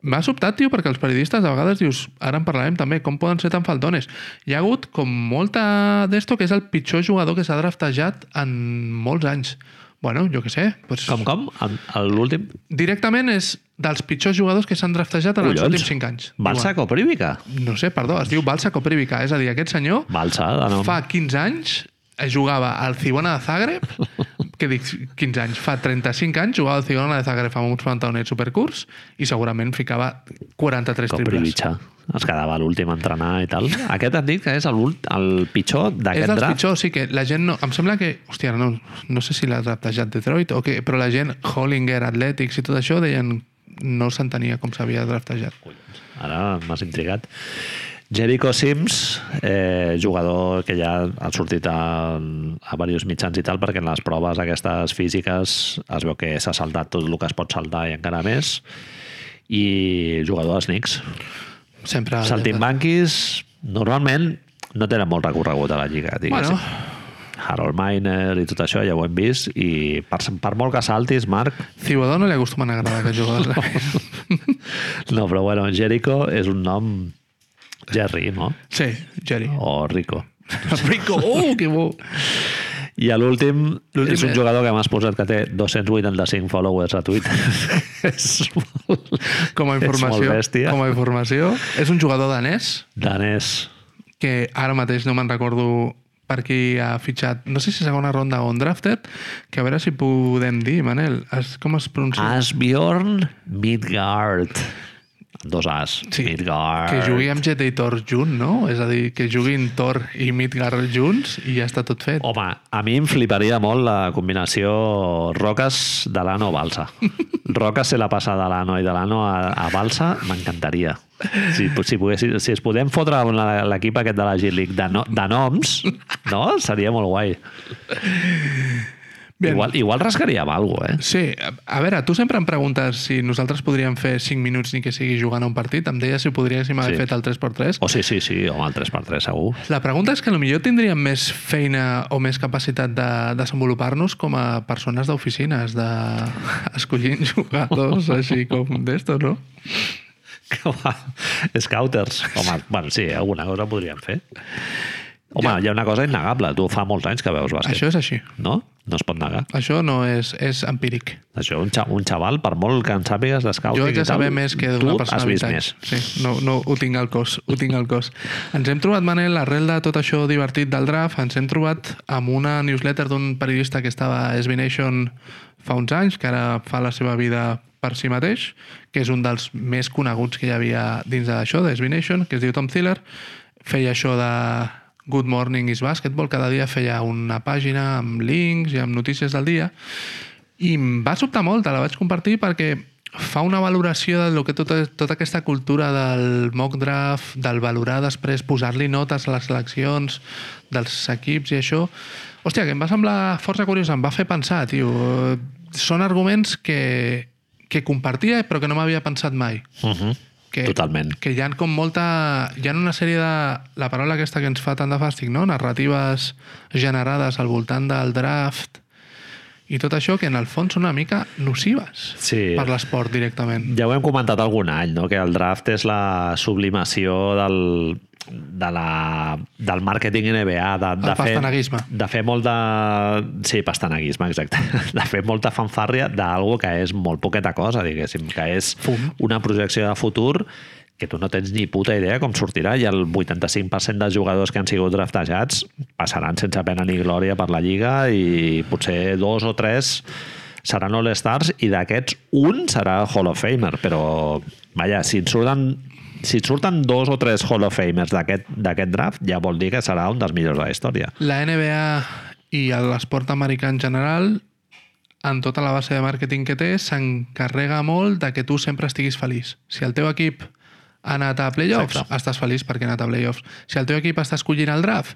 Speaker 2: M'ha sobtat, tio, perquè els periodistes a vegades dius, ara en parlarem també, com poden ser tan faltones? Hi ha hagut com molta d'esto que és el pitjor jugador que s'ha draftejat en molts anys. Bueno, jo que sé. Doncs
Speaker 1: Com, com? En- en L'últim?
Speaker 2: Directament és dels pitjors jugadors que s'han draftejat en els
Speaker 1: Collons.
Speaker 2: últims 5 anys.
Speaker 1: Balsa Coprívica.
Speaker 2: Diuen. No sé, perdó, es diu Balsa Coprívica. És a dir, aquest senyor
Speaker 1: Balsa, de nom.
Speaker 2: fa 15 anys eh, jugava al Cibona de Zagreb, que dic 15 anys, fa 35 anys jugava al Cibona de Zagreb amb uns pantalonets supercurs i segurament ficava 43 triples.
Speaker 1: Coprivica. Es quedava a l'últim a entrenar i tal. Aquest et dic que és el, ult- el pitjor
Speaker 2: És
Speaker 1: d'aquest
Speaker 2: dels
Speaker 1: draft.
Speaker 2: pitjors, sí que la gent no... Em sembla que... Hòstia, no, no sé si l'ha draftejat Detroit o què, però la gent, Hollinger, Athletics i tot això, deien no s'entenia com s'havia draftejat.
Speaker 1: Ara m'has intrigat. Jericho Sims, eh, jugador que ja ha sortit a, a diversos mitjans i tal, perquè en les proves aquestes físiques es veu que s'ha saltat tot el que es pot saltar i encara més. I jugador dels Knicks.
Speaker 2: Sempre...
Speaker 1: Saltimbanquis, normalment, no tenen molt recorregut a la lliga, diguéssim.
Speaker 2: Bueno,
Speaker 1: Bueno. Harold Miner i tot això ja ho hem vist i per, per molt que saltis, Marc,
Speaker 2: Cibodó no li acostumen a agradar aquests jugadors.
Speaker 1: no, però bueno, Jericho és un nom Jerry, no?
Speaker 2: <laughs> Sí, Jerry.
Speaker 1: O Rico.
Speaker 2: Rico, oh, que bo!
Speaker 1: I a l'últim
Speaker 2: L'últim
Speaker 1: és un
Speaker 2: és-
Speaker 1: jugador que m'has posat que té 285 followers a Twitter. <laughs>
Speaker 2: <laughs>
Speaker 1: és molt...
Speaker 2: Com
Speaker 1: <laughs>
Speaker 2: a
Speaker 1: És
Speaker 2: informació,
Speaker 1: molt bèstia.
Speaker 2: com a informació, és un jugador danès
Speaker 1: Danès.
Speaker 2: que ara mateix no me'n recordo per qui ha fitxat, no sé si segona ronda o un drafted, que a veure si
Speaker 1: Ah,
Speaker 2: podem dir, Manel, es, com es pronuncia?
Speaker 1: Asbjorn Midgard. amb dos As,
Speaker 2: Sí,
Speaker 1: Midgard...
Speaker 2: Que jugui MGT i Thor junt, no? És a dir, que juguin Thor i Midgar junts i ja està tot fet.
Speaker 1: Home, a mi em fliparia molt la combinació roques de l'ano balsa. Roques se la passa de l'ano i de l'ano a, a balsa, m'encantaria. Si, si, poguessi- si es podem fotre amb la- l'equip aquest de la G-League de, no, de noms, no? seria molt guai.
Speaker 2: Bien.
Speaker 1: Igual, igual rascaríem alguna cosa, eh?
Speaker 2: Sí, a, a veure, tu sempre em preguntes si nosaltres podríem fer 5 minuts ni que sigui jugant a un partit. Em deies si ho podríem haver
Speaker 1: Sí.
Speaker 2: sí. fet el 3x3.
Speaker 1: O sí, sí, sí, home, el 3x3 segur.
Speaker 2: La pregunta és que millor tindríem més feina o més capacitat de desenvolupar-nos com a persones d'oficines, de <laughs> escollint jugadors així com d'esto, no?
Speaker 1: Home, Scouters. Home, bueno, sí, alguna cosa podríem fer. Home, ja. hi ha una cosa innegable. Tu fa molts anys que veus bàsquet,
Speaker 2: Això és així.
Speaker 1: no? No es pot negar.
Speaker 2: Això no és, és empíric.
Speaker 1: Això, un, xa, un xaval, per molt que en sàpigues d'escouting...
Speaker 2: Jo
Speaker 1: i
Speaker 2: haig de
Speaker 1: tal,
Speaker 2: saber més que
Speaker 1: tu
Speaker 2: d'una persona
Speaker 1: has vist
Speaker 2: habitant.
Speaker 1: més.
Speaker 2: Sí, no, no, ho tinc al cos, ho tinc al cos. Ens hem trobat, Manel, arrel de tot això divertit del draft, ens hem trobat amb una newsletter d'un periodista que estava a SB Nation fa uns anys, que ara fa la seva vida per si mateix, que és un dels més coneguts que hi havia dins d'això, de SB Nation, que es diu Tom Thiller. Feia això de Good Morning is Basketball, cada dia feia una pàgina amb links i amb notícies del dia, i em va sobtar molt, te la vaig compartir perquè fa una valoració de lo que tota, tota aquesta cultura del mock draft, del valorar després, posar-li notes a les seleccions dels equips i això... Hòstia, que em va semblar força curiós, em va fer pensar, tio. Eh, Són arguments que, que compartia però que no m'havia pensat mai
Speaker 1: Uh -huh.
Speaker 2: que,
Speaker 1: Totalment.
Speaker 2: que hi ha com molta... Hi ha una sèrie de... La paraula aquesta que ens fa tant de fàstic, no? Narratives generades al voltant del draft i tot això que en el fons són una mica nocives
Speaker 1: Sí.
Speaker 2: per l'esport directament.
Speaker 1: Ja ho hem comentat algun any, no? que el draft és la sublimació del, de la, del màrqueting NBA, de, de,
Speaker 2: El pastanaguisme.
Speaker 1: de fer molt de... Sí, pastanaguisme, exacte. <laughs> De fer molta fanfàrria d'algo que és molt poqueta cosa, diguéssim, que és
Speaker 2: Fum.
Speaker 1: una projecció de futur que tu no tens ni puta idea com sortirà i el 85% dels jugadors que han sigut draftejats passaran sense pena ni glòria per la Lliga i potser dos o tres seran All-Stars i d'aquests un serà Hall of Famer, però vaja, si et surten, si et surten dos o tres Hall of Famers d'aquest d'aquest draft, ja vol dir que serà un dels millors de la història.
Speaker 2: La NBA i l'esport americà en general en tota la base de màrqueting que té, s'encarrega molt de que tu sempre estiguis feliç. Si el teu equip ha anat a playoffs,
Speaker 1: Exacte.
Speaker 2: estàs feliç perquè ha anat a playoffs. Si el teu equip està escollint el draft,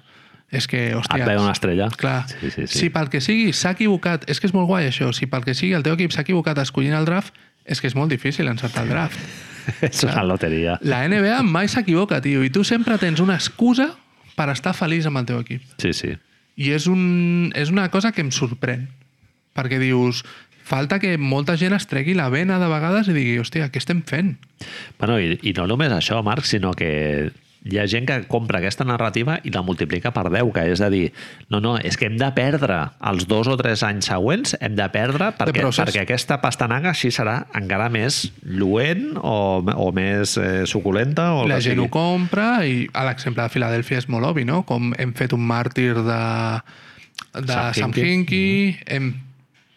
Speaker 2: és que,
Speaker 1: Et
Speaker 2: hòstia...
Speaker 1: ve una estrella.
Speaker 2: Clar,
Speaker 1: Sí, sí, sí.
Speaker 2: si pel que sigui s'ha equivocat, és que és molt guai això, si pel que sigui el teu equip s'ha equivocat escollint el draft, és que és molt difícil encertar el draft.
Speaker 1: <laughs> és una loteria.
Speaker 2: La NBA mai s'equivoca, tio, i tu sempre tens una excusa per estar feliç amb el teu equip.
Speaker 1: Sí, sí.
Speaker 2: I és, un, és una cosa que em sorprèn, perquè dius, falta que molta gent es tregui la vena de vegades i digui, hòstia, què estem fent?
Speaker 1: Bueno, i, I no només això, Marc, sinó que hi ha gent que compra aquesta narrativa i la multiplica per 10, que és a dir, no, no, és que hem de perdre els dos o tres anys següents, hem de perdre perquè,
Speaker 2: procés.
Speaker 1: perquè aquesta pastanaga així serà encara més lluent o, o més eh, suculenta. O el
Speaker 2: la
Speaker 1: que
Speaker 2: gent ho
Speaker 1: sigui.
Speaker 2: compra i a l'exemple de Filadèlfia és molt obvi, no? Com hem fet un màrtir de, de
Speaker 1: Sam
Speaker 2: Sam
Speaker 1: Hinkie. Mm-hmm.
Speaker 2: Hinkie, hem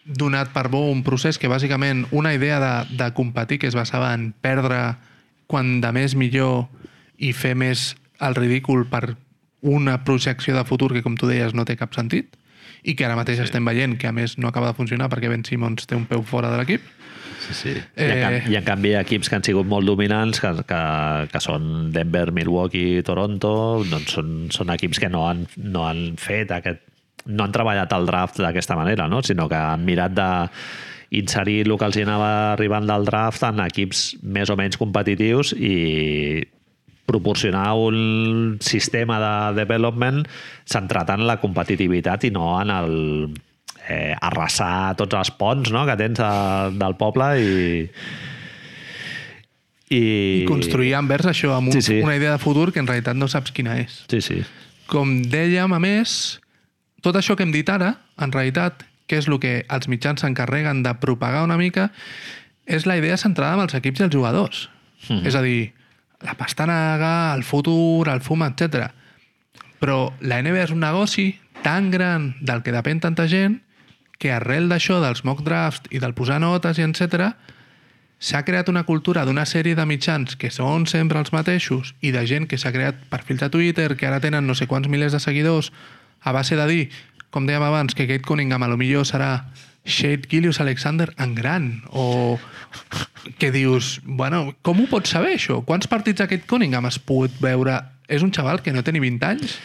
Speaker 2: donat per bo un procés que bàsicament una idea de, de competir que es basava en perdre quan de més millor i fer més el ridícul per una projecció de futur que, com tu deies, no té cap sentit i que ara mateix sí. estem veient que, a més, no acaba de funcionar perquè Ben Simmons té un peu fora de l'equip.
Speaker 1: Sí, sí. I, en
Speaker 2: Eh.
Speaker 1: canvi, I en canvi hi ha equips que han sigut molt dominants, que, que, que són Denver, Milwaukee, Toronto, doncs són, són equips que no han, no han fet aquest no han treballat el draft d'aquesta manera, no? sinó que han mirat de inserir el que els hi anava arribant del draft en equips més o menys competitius i proporcionar un sistema de development centrat en la competitivitat i no en el eh, arrasar tots els ponts no? que tens de, del poble i, i...
Speaker 2: I construir envers això amb un,
Speaker 1: Sí, sí.
Speaker 2: una idea de futur que en realitat no saps quina és.
Speaker 1: Sí, sí.
Speaker 2: Com dèiem, a més, tot això que hem dit ara, en realitat, que és el que els mitjans s'encarreguen de propagar una mica, és la idea centrada en els equips i els jugadors.
Speaker 1: Mhm.
Speaker 2: Mm -hmm. És a dir, la pastanaga, el futur, el fum, etc. Però la NBA és un negoci tan gran del que depèn tanta gent que arrel d'això dels mock drafts i del posar notes i etc s'ha creat una cultura d'una sèrie de mitjans que són sempre els mateixos i de gent que s'ha creat perfils de Twitter que ara tenen no sé quants milers de seguidors a base de dir, com dèiem abans, que Kate Cunningham a lo millor serà Shade Gilius Alexander en gran o que dius, bueno, com ho pots saber això? Quants partits de Kate Cunningham has pogut veure? És un xaval que no té ni 20 anys?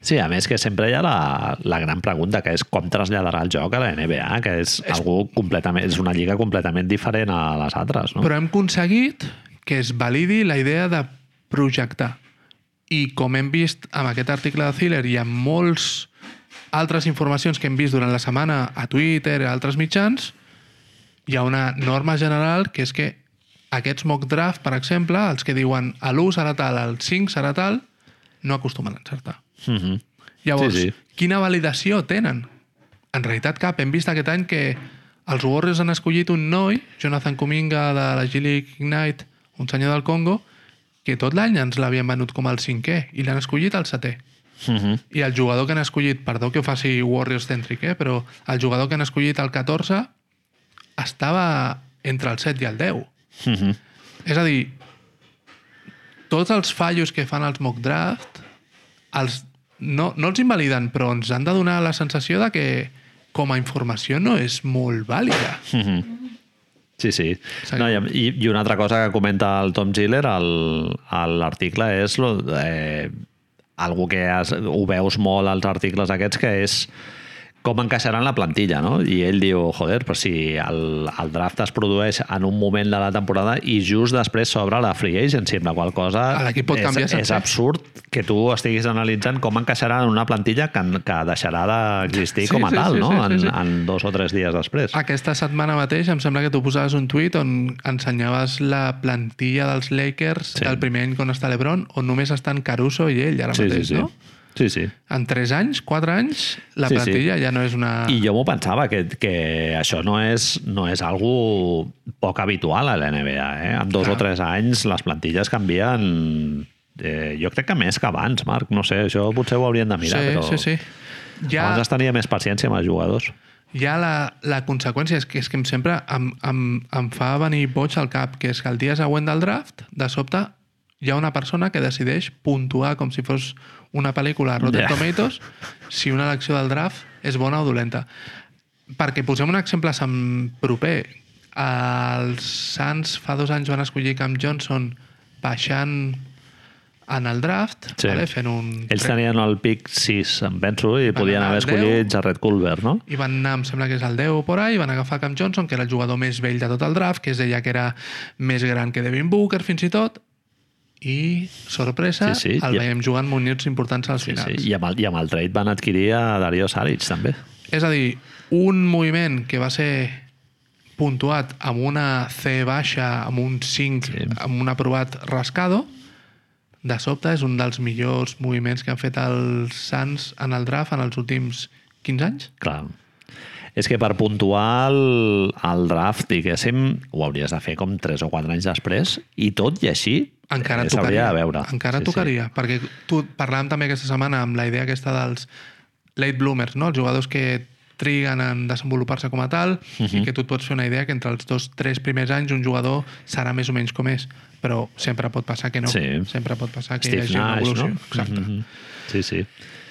Speaker 1: Sí, a més que sempre hi ha la, la gran pregunta, que és com traslladarà el joc a la NBA, que és, és... algú completament, és una lliga completament diferent a les altres, no?
Speaker 2: Però hem aconseguit que es validi la idea de projectar. I com hem vist amb aquest article de Thriller i amb molts altres informacions que hem vist durant la setmana a Twitter i a altres mitjans, hi ha una norma general que és que aquests mock draft, per exemple, els que diuen a l'1 serà tal, al 5 serà tal, no acostumen a encertar.
Speaker 1: Mm -hmm.
Speaker 2: Llavors,
Speaker 1: Sí,
Speaker 2: sí,
Speaker 1: sí.
Speaker 2: sí. quina validació tenen? En realitat cap. Hem vist aquest any que els Warriors han escollit un noi, Jonathan Kuminga, de la G-League Ignite, un senyor del Congo, que tot l'any ens l'havien venut com el cinquè i l'han escollit al setè.
Speaker 1: Mm -hmm.
Speaker 2: I el jugador que han escollit, perdó que ho faci Warriors centric, eh? però el jugador que han escollit al 14 estava entre el 7 i el 10.
Speaker 1: Mm -hmm.
Speaker 2: És a dir, tots els fallos que fan els mock draft els, no, no els invaliden, però ens han de donar la sensació de que com a informació no és molt vàlida.
Speaker 1: Mhm. Sí, sí.
Speaker 2: Seguim.
Speaker 1: No, i, I una altra cosa que comenta el Tom Giller al- a l'article és lo, eh, algú que has, ho veus molt als articles aquests, que és com encaixaran la plantilla, no? I ell diu, joder, però si el, el draft es produeix en un moment de la temporada i just després s'obre la free agency, amb la qual cosa
Speaker 2: Ah, L'equip pot canviar
Speaker 1: és, és
Speaker 2: sencer.
Speaker 1: absurd que tu estiguis analitzant com encaixarà en una plantilla que, que deixarà d'existir
Speaker 2: Sí,
Speaker 1: com a
Speaker 2: sí,
Speaker 1: tal,
Speaker 2: sí,
Speaker 1: no?
Speaker 2: sí, sí,
Speaker 1: en,
Speaker 2: sí. Ah,
Speaker 1: en dos o tres dies després.
Speaker 2: Aquesta setmana mateix em sembla que tu posaves un tuit on ensenyaves la plantilla dels Lakers
Speaker 1: Sí.
Speaker 2: sí. del primer any quan està l'Ebron, on només estan Caruso i ell ara mateix,
Speaker 1: sí, sí.
Speaker 2: no?
Speaker 1: Sí, sí.
Speaker 2: En 3 anys, 4 anys, la
Speaker 1: Sí, sí.
Speaker 2: sí, plantilla sí. ja no és una...
Speaker 1: I jo m'ho pensava, que, que això no és, no és algo poc habitual a la NBA. Eh? En dos
Speaker 2: Clar.
Speaker 1: o tres anys les plantilles canvien... Eh, jo crec que més que abans, Marc. No sé, això potser ho haurien de mirar,
Speaker 2: sí,
Speaker 1: però
Speaker 2: sí, sí.
Speaker 1: ja... abans es tenia més paciència amb els jugadors.
Speaker 2: ja la, la conseqüència és que, és que em sempre em, em, em fa venir boig al cap, que és que el dia següent del draft, de sobte, hi ha una persona que decideix puntuar com si fos una pel·lícula a Rotten
Speaker 1: Ja.
Speaker 2: Tomatoes si una elecció del draft és bona o dolenta. Perquè posem un exemple sem proper. Els Sants fa dos anys van escollir Cam Johnson baixant en el draft,
Speaker 1: Sí.
Speaker 2: vale? fent un...
Speaker 1: Ells tenien el pic 6, em penso, i podien
Speaker 2: anar
Speaker 1: haver
Speaker 2: al
Speaker 1: escollit Jared Culver, no?
Speaker 2: i van anar, em sembla que és el 10 por ahí, i van agafar Cam Johnson, que era el jugador més vell de tot el draft, que es deia que era més gran que Devin Booker, fins i tot, i, sorpresa,
Speaker 1: Sí,
Speaker 2: sí,
Speaker 1: sí,
Speaker 2: sí, el
Speaker 1: i-
Speaker 2: veiem jugant minuts importants als
Speaker 1: Sí, sí.
Speaker 2: finals.
Speaker 1: I, amb el, I amb el trade van adquirir a Dario Saric, també.
Speaker 2: És a dir, un moviment que va ser puntuat amb una C baixa, amb un 5,
Speaker 1: Sí.
Speaker 2: sí. amb un aprovat rascado, de sobte és un dels millors moviments que han fet els Sants en el draft en els últims 15 anys.
Speaker 1: Clar. És que per puntuar el, el draft, diguéssim, ho hauries de fer com 3 o 4 anys després i tot i així
Speaker 2: Encara
Speaker 1: eh, s'hauria
Speaker 2: tocaria.
Speaker 1: de veure.
Speaker 2: Encara sí, tocaria, sí. perquè tu parlàvem també aquesta setmana amb la idea aquesta dels late bloomers, no? els jugadors que triguen en desenvolupar-se com a tal uh
Speaker 1: Mhm.
Speaker 2: -huh. i que tu et pots fer una idea que entre els dos, tres primers anys un jugador serà més o menys com és, però sempre pot passar que no.
Speaker 1: Sí.
Speaker 2: Sempre pot passar que hi
Speaker 1: Steve
Speaker 2: hagi una
Speaker 1: Nash,
Speaker 2: evolució.
Speaker 1: no?
Speaker 2: Exacte.
Speaker 1: Mhm. Sí, sí.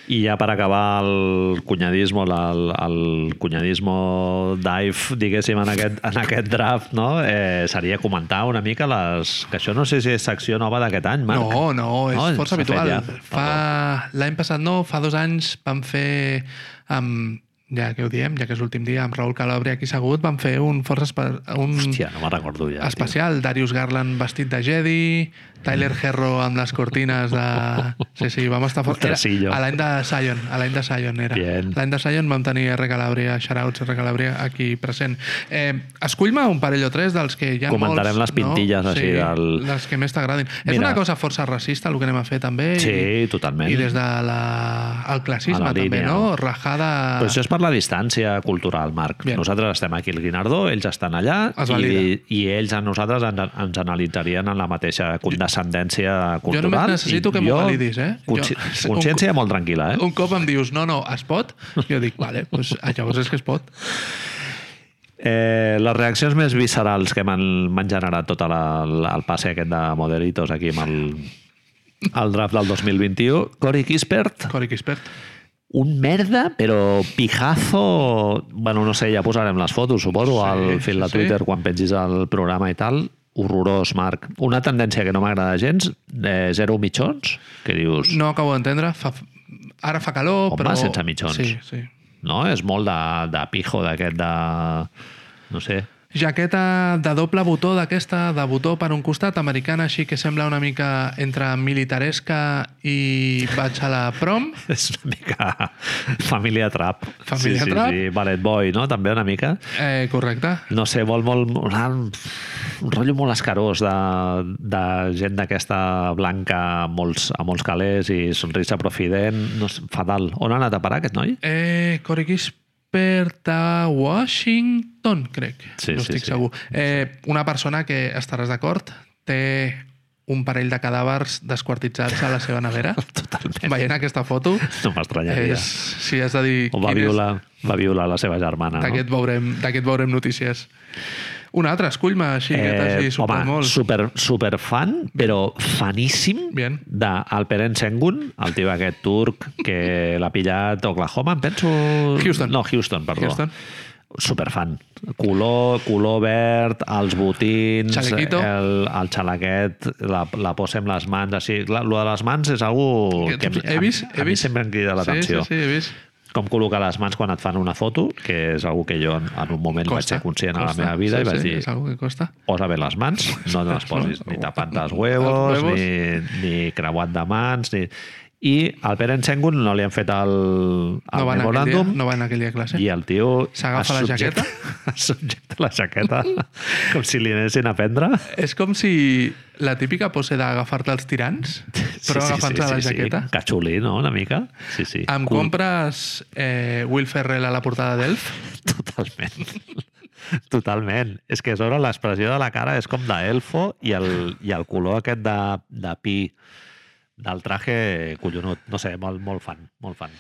Speaker 1: I ja per acabar el cunyadismo, la- el, el cunyadismo dive, diguéssim, en aquest, en aquest draft, no? eh, seria comentar una mica les... que això no sé si és secció nova d'aquest any, Marc.
Speaker 2: No, no, és
Speaker 1: No,
Speaker 2: no, força
Speaker 1: s'ha fet
Speaker 2: habitual.
Speaker 1: ja.
Speaker 2: Ja. Fa... L'any passat no, fa dos anys vam fer amb ja que ho diem, ja que és l'últim dia, amb Raül Calabria aquí segut, vam fer un força... espe- Un...
Speaker 1: Hòstia, no me'n recordo ja. tio.
Speaker 2: especial. Darius Garland vestit de Jedi, Tyler Herro amb les cortines de... Sí, sí, vam estar fort. Era
Speaker 1: Tracillo.
Speaker 2: A l'any de Sion, a l'any de Sion era.
Speaker 1: Bien.
Speaker 2: L'any de Sion vam tenir R. Calabria, shoutouts R. Calabria aquí present. Eh, Escull-me un parell o tres dels que ja
Speaker 1: Comentarem les
Speaker 2: molts,
Speaker 1: pintilles
Speaker 2: no?
Speaker 1: així del-
Speaker 2: Les que més t'agradin. És
Speaker 1: Mira.
Speaker 2: una cosa força racista el que anem a fer també.
Speaker 1: Sí,
Speaker 2: i,
Speaker 1: totalment.
Speaker 2: I des de la... el classisme
Speaker 1: A la
Speaker 2: també,
Speaker 1: línia.
Speaker 2: no? Rajada...
Speaker 1: Però això és per la distància cultural, Marc.
Speaker 2: Ah. Bien.
Speaker 1: Bien. Nosaltres estem aquí al Guinardó, ells estan allà
Speaker 2: Es
Speaker 1: i,
Speaker 2: valida.
Speaker 1: i ells a nosaltres ens, ens analitzarien en la mateixa condescendència
Speaker 2: només
Speaker 1: cultural.
Speaker 2: necessito
Speaker 1: i
Speaker 2: que m'ho
Speaker 1: jo-
Speaker 2: validis, eh?
Speaker 1: Consci <laughs>
Speaker 2: Jo-
Speaker 1: consciència molt tranquil·la, eh?
Speaker 2: Un cop em dius, no, no, es pot? Jo dic, vale, doncs, llavors és que es pot.
Speaker 1: Eh, les reaccions més viscerals que m'han m'han generat tot el, el passe aquest de Moderitos aquí amb el, el draft del 2021. Cory Kispert,
Speaker 2: Cory Kispert.
Speaker 1: un merda, però pijazo... Bueno, no sé, ja posarem les fotos, suposo,
Speaker 2: Sí,
Speaker 1: al
Speaker 2: sí,
Speaker 1: fil de
Speaker 2: sí.
Speaker 1: Twitter quan pengis el programa i tal. Horrorós, Marc. Una tendència que no m'agrada gens, eh, zero mitjons, que dius...
Speaker 2: No acabo d'entendre. Fa... Ara fa calor,
Speaker 1: Home,
Speaker 2: però...
Speaker 1: sense mitjons.
Speaker 2: Sí, sí.
Speaker 1: No? És molt de, de pijo, d'aquest de... No sé. <laughs>
Speaker 2: Jaqueta de doble botó d'aquesta, de botó per un costat, americana, així que sembla una mica entre militaresca i vaig a la prom.
Speaker 1: És una mica família trap.
Speaker 2: Família
Speaker 1: sí, sí,
Speaker 2: trap.
Speaker 1: Sí, ballet boy, no? També una mica.
Speaker 2: Eh, correcte.
Speaker 1: No sé, vol molt... una- Un rotllo molt escarós de, de gent d'aquesta blanca amb molts, amb molts calés i sonrisa profident. No sé, fatal. On ha anat a parar aquest noi?
Speaker 2: Eh, Corey Kispert a Washington, crec.
Speaker 1: Sí,
Speaker 2: no
Speaker 1: sí,
Speaker 2: estic
Speaker 1: sí.
Speaker 2: segur. Eh, una persona que estaràs d'acord té un parell de cadàvers desquartitzats a la seva nevera.
Speaker 1: <laughs> Totalment.
Speaker 2: Veient aquesta foto,
Speaker 1: No m'estranyaria.
Speaker 2: és, si has de dir
Speaker 1: O va
Speaker 2: quin és,
Speaker 1: violar, va violar la seva germana, no?
Speaker 2: d'aquest veurem, d'aquest veurem notícies. Un altre, escull-me així, eh, que t'hagi
Speaker 1: home,
Speaker 2: sobtat molt.
Speaker 1: super, super fan, però faníssim
Speaker 2: Bien.
Speaker 1: d'Alperen Sengun, el tio aquest turc que l'ha pillat Oklahoma, em penso...
Speaker 2: Houston.
Speaker 1: No, Houston, perdó.
Speaker 2: Houston.
Speaker 1: Superfan. Color, color verd, els botins,
Speaker 2: Chalequito.
Speaker 1: el, el xalaquet, la, la posa amb les mans, així. La, lo de les mans és algo que, a mi-
Speaker 2: he vist,
Speaker 1: a,
Speaker 2: he
Speaker 1: a mi
Speaker 2: vist.
Speaker 1: sempre em crida l'atenció.
Speaker 2: Sí, sí, sí, he vist.
Speaker 1: Com col·locar les mans quan et fan una foto, que és algo que jo en, en un moment vaig ser conscient a la
Speaker 2: costa.
Speaker 1: meva vida
Speaker 2: sí,
Speaker 1: i vaig
Speaker 2: sí,
Speaker 1: dir,
Speaker 2: És algo que costa.
Speaker 1: posa bé les
Speaker 2: <laughs>
Speaker 1: mans, no te les posis ni tapant els huevos,
Speaker 2: Els huevos.
Speaker 1: Ni, ni creuat de mans, ni... I al Pere Ensengun no li han fet el, el
Speaker 2: No va, anar aquell dia,
Speaker 1: memoràndum
Speaker 2: no va anar aquell dia a classe.
Speaker 1: i el tio...
Speaker 2: S'agafa
Speaker 1: es
Speaker 2: la
Speaker 1: subjecta- <laughs> Es subjecta la jaqueta com si li anessin a prendre.
Speaker 2: És com si la típica pose d'agafar-te els
Speaker 1: <laughs>
Speaker 2: tirants, però agafant-se la jaqueta.
Speaker 1: Sí. Catxulí, no?, una mica. Sí, sí.
Speaker 2: Em compres eh, Will Ferrell a la portada d'Elf?
Speaker 1: <laughs> Totalment. Totalment. És que sobre l'expressió de la cara és com d'elfo i el, i el color aquest de, de pi del traje collonut. No sé, molt, molt fan, molt fan.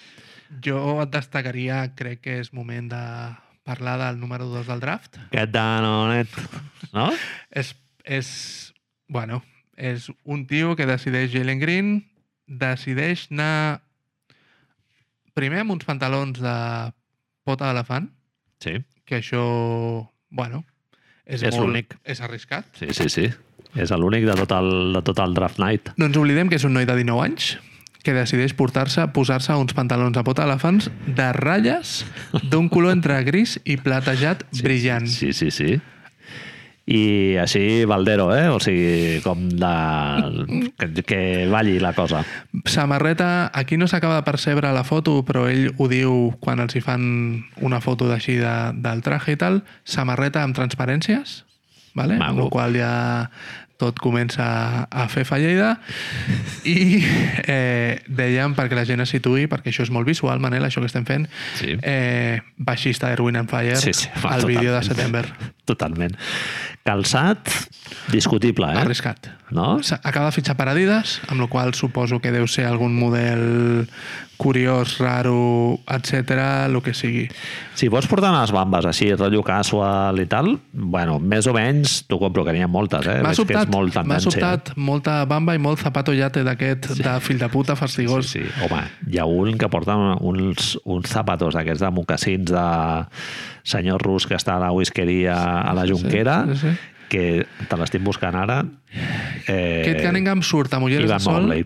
Speaker 2: Jo et destacaria, crec que és moment de parlar del número 2 del draft.
Speaker 1: Get down on it. No?
Speaker 2: És, és, bueno, és un tio que decideix Jalen Green, decideix anar primer amb uns pantalons de pota d'elefant,
Speaker 1: Sí,
Speaker 2: que això, bueno, és,
Speaker 1: És
Speaker 2: molt,
Speaker 1: únic.
Speaker 2: és arriscat.
Speaker 1: sí, sí. sí. És l'únic de, tot el, de tot el draft night.
Speaker 2: No ens oblidem que és un noi de 19 anys que decideix portar-se posar-se uns pantalons a pota d'elefants de ratlles d'un color entre gris i platejat sí, brillant. Sí,
Speaker 1: Sí, sí, sí. I així Valdero, eh? O sigui, com de... Que, que balli la cosa.
Speaker 2: sí. Samarreta, aquí no s'acaba de percebre la foto, però ell ho diu quan els hi fan una foto d'així de, del traje i tal, samarreta amb transparències, vale? amb
Speaker 1: Maco.
Speaker 2: la qual ja tot comença a fer fallida i eh, dèiem perquè la gent es situï, perquè això és molt visual, Manel, això que estem fent,
Speaker 1: Sí.
Speaker 2: eh, baixista d'Erwin and Fire
Speaker 1: Sí, sí, va,
Speaker 2: al vídeo de
Speaker 1: totalment.
Speaker 2: setembre.
Speaker 1: Totalment. Calçat, discutible, eh?
Speaker 2: Arriscat.
Speaker 1: No?
Speaker 2: S'ha- Acaba de fitxar per Adidas, amb la qual cosa suposo que deu ser algun model curiós, raro, etc, el que sigui.
Speaker 1: Si vols portar unes bambes així, rotllo casual i tal, bueno, més o menys t'ho compro, que n'hi ha moltes, eh? Veig
Speaker 2: M'ha
Speaker 1: que
Speaker 2: sobtat,
Speaker 1: és molt
Speaker 2: m'ha
Speaker 1: tendència.
Speaker 2: sobtat molta bamba i molt zapato llate d'aquest de fill de puta
Speaker 1: Sí,
Speaker 2: fastigós.
Speaker 1: sí. Home, hi ha un que porta uns, uns zapatos d'aquests de mocassins de senyor rus que està a la whiskeria a la Junquera,
Speaker 2: sí, sí.
Speaker 1: que te l'estic buscant ara. Eh,
Speaker 2: Kate Cunningham surt a Mulleres
Speaker 1: Ivan
Speaker 2: de Sol.
Speaker 1: Mobley.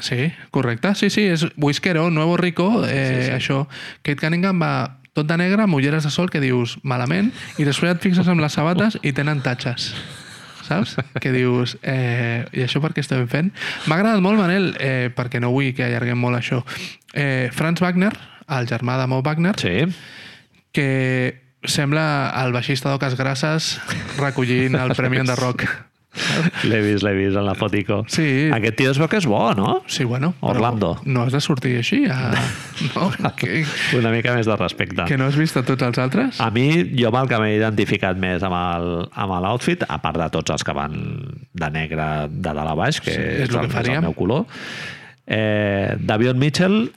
Speaker 2: Sí, correcte. Sí, sí, és Whiskero, Nuevo Rico, eh, sí, sí, això. Kate Cunningham va tot de negre, amb ulleres de sol, que dius malament, i després et fixes amb les sabates i tenen tatxes. Saps? Que dius, eh, i això per què estem fent? M'ha agradat molt, Manel, eh, perquè no vull que allarguem molt això. Eh, Franz Wagner, el germà de Mo Wagner,
Speaker 1: Sí,
Speaker 2: que sembla el baixista d'Oques Grasses recollint el Premi de Rock.
Speaker 1: l'he vist, l'he vist en la fotico.
Speaker 2: Sí.
Speaker 1: Aquest tio es veu que és bo, no?
Speaker 2: Sí, bueno. però
Speaker 1: Orlando.
Speaker 2: No has de sortir així.
Speaker 1: <laughs>
Speaker 2: A... No, que,
Speaker 1: Una mica més de respecte.
Speaker 2: que no has vist a tots els altres?
Speaker 1: A mi, jo amb el que m'he identificat més amb el- amb l'outfit, a part de tots els que van de negre de dalt a baix, que
Speaker 2: Sí,
Speaker 1: sí,
Speaker 2: és
Speaker 1: és,
Speaker 2: lo
Speaker 1: el,
Speaker 2: que
Speaker 1: és
Speaker 2: faríem.
Speaker 1: el meu color, eh, Davion Mitchell,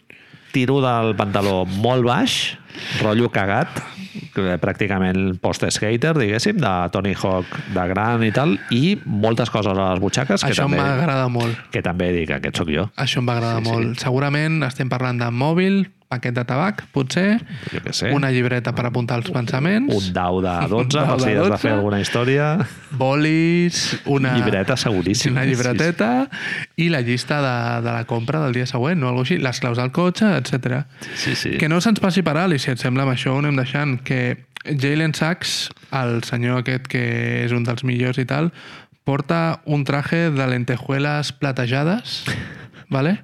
Speaker 1: tiro del pantaló molt baix, rotllo cagat, clàssic, eh, pràcticament post-skater, diguéssim, de Tony Hawk de gran i tal, i moltes coses a les butxaques que
Speaker 2: Això
Speaker 1: també,
Speaker 2: m'agrada molt.
Speaker 1: que també dic, aquest sóc jo.
Speaker 2: Això em va agradar
Speaker 1: Sí,
Speaker 2: sí,
Speaker 1: sí.
Speaker 2: molt. Segurament estem parlant de mòbil, paquet de tabac, potser,
Speaker 1: Jo què sé.
Speaker 2: sí. una llibreta per apuntar els pensaments,
Speaker 1: un dau
Speaker 2: <laughs>
Speaker 1: de 12,
Speaker 2: dau
Speaker 1: per si has
Speaker 2: de
Speaker 1: de
Speaker 2: 12.
Speaker 1: fer alguna història.
Speaker 2: bolis, una...
Speaker 1: Llibreta,
Speaker 2: Sí,
Speaker 1: seguríssim.
Speaker 2: una llibreteta i la llista de, de la compra del dia següent, no? Algo així, les claus del cotxe, etc.
Speaker 1: Sí, sí. sí.
Speaker 2: Que no se'ns passi per alt, i si et sembla, amb això ho anem deixant, que Jalen Sachs, el senyor aquest que és un dels millors i tal, porta un traje de lentejuelas <laughs> platejades, vale?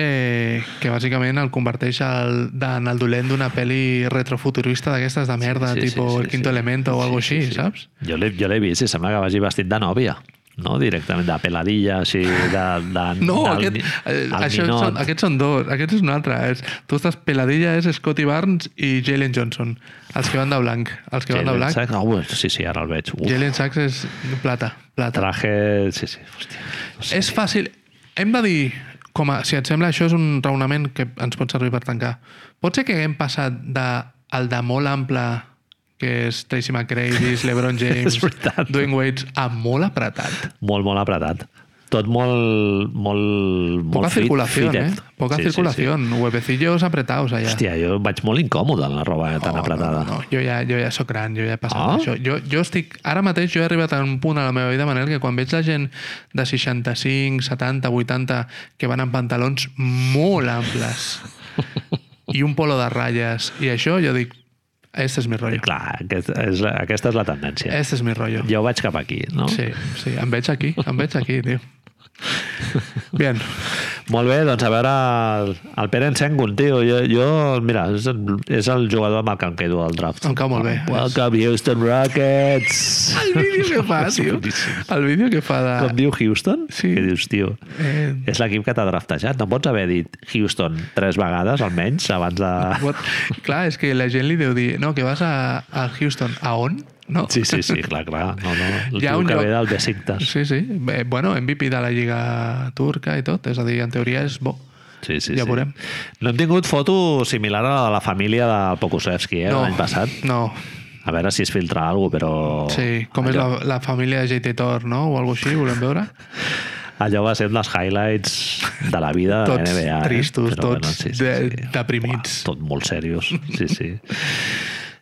Speaker 2: Eh, que bàsicament el converteix al, de- en el dolent d'una pel·li retrofuturista d'aquestes de merda, sí, sí, tipus sí, sí, El Quinto sí. Elemento o algo així, sí, sí. saps?
Speaker 1: Jo l'he jo l'he vist i sembla que vagi vestit de nòvia, no? Directament de peladilla, així, de... de
Speaker 2: <laughs> No,
Speaker 1: del,
Speaker 2: aquest, eh,
Speaker 1: del
Speaker 2: això
Speaker 1: ninot.
Speaker 2: són, aquests són dos. Aquest és un altre. És, tu estàs peladilla, és Scotty Barnes i Jalen Johnson. Els que van de blanc. Els que van de
Speaker 1: Jalen
Speaker 2: blanc.
Speaker 1: Sachs, au, sí, sí, ara el veig. Uf,
Speaker 2: Jalen Sachs és plata. plata.
Speaker 1: traje... Sí, sí, hòstia.
Speaker 2: És fàcil. Hem de dir, com a, si et sembla, això és un raonament que ens pot servir per tancar. Pot ser que haguem passat de, el de molt ample que és Tracy McGrady,
Speaker 1: <laughs>
Speaker 2: LeBron James,
Speaker 1: veritat.
Speaker 2: Dwayne Wade, a molt apretat.
Speaker 1: Molt, molt apretat. Tot molt... molt
Speaker 2: Poca
Speaker 1: molt fit-
Speaker 2: circulació, eh?
Speaker 1: fitet.
Speaker 2: Poca
Speaker 1: Sí, sí, sí.
Speaker 2: circulació. Huevecillos apretados allà.
Speaker 1: Hòstia, jo vaig molt incòmode en la roba tan apretada.
Speaker 2: No, no, jo ja, jo ja sóc gran, jo ja he passat
Speaker 1: Ah?
Speaker 2: ah? això. Jo, jo estic... Ara mateix jo he arribat a un punt a la meva vida, Manel, que quan veig la gent de 65, 70, 80 que van amb pantalons molt amples <laughs> i un polo de ratlles i això, jo dic, este és mi rotllo.
Speaker 1: Clar, aquest, és, la- aquesta és la tendència.
Speaker 2: Este és mi rotllo.
Speaker 1: Jo vaig cap aquí, no?
Speaker 2: Eh. Sí, sí, em veig aquí, em veig aquí, <laughs> tio. Bien.
Speaker 1: Molt bé, doncs a veure, el, el Pere Ensengun, tio, jo, jo mira, és el, és el jugador amb el que em quedo al draft.
Speaker 2: Em cau molt bé.
Speaker 1: Welcome Houston Rockets!
Speaker 2: El vídeo <laughs> que fa, tio. El vídeo que fa de...
Speaker 1: Com diu Houston?
Speaker 2: Sí.
Speaker 1: Que dius, tio,
Speaker 2: Eh,
Speaker 1: és l'equip que t'ha draftejat. No pots haver dit Houston tres vegades, almenys, abans de...
Speaker 2: What? Clar, és que la gent li deu dir no, que vas a, a Houston, a on? No?
Speaker 1: Sí, sí, sí, clar, clar. No, no. El
Speaker 2: Hi ha
Speaker 1: tio
Speaker 2: un
Speaker 1: que
Speaker 2: lloc-
Speaker 1: ve del Besiktas.
Speaker 2: <laughs> Sí, sí. Bé, bueno, MVP de la Lliga Turca i tot, és a dir, en teoria és bo.
Speaker 1: Sí, sí,
Speaker 2: Ja
Speaker 1: sí.
Speaker 2: veurem.
Speaker 1: No hem tingut foto similar a la de la família de Pokusevski, eh,
Speaker 2: no,
Speaker 1: l'any passat. Oh,
Speaker 2: No,
Speaker 1: A veure si es filtra alguna però...
Speaker 2: sí, com és la, la família de JT Tor, no? O alguna així, volem veure?
Speaker 1: Allò va ser un dels highlights de la vida de <laughs> la
Speaker 2: Tots
Speaker 1: NBA. eh?
Speaker 2: tristos,
Speaker 1: Però,
Speaker 2: tots de- deprimits.
Speaker 1: Uah, tot molt serios, sí, sí.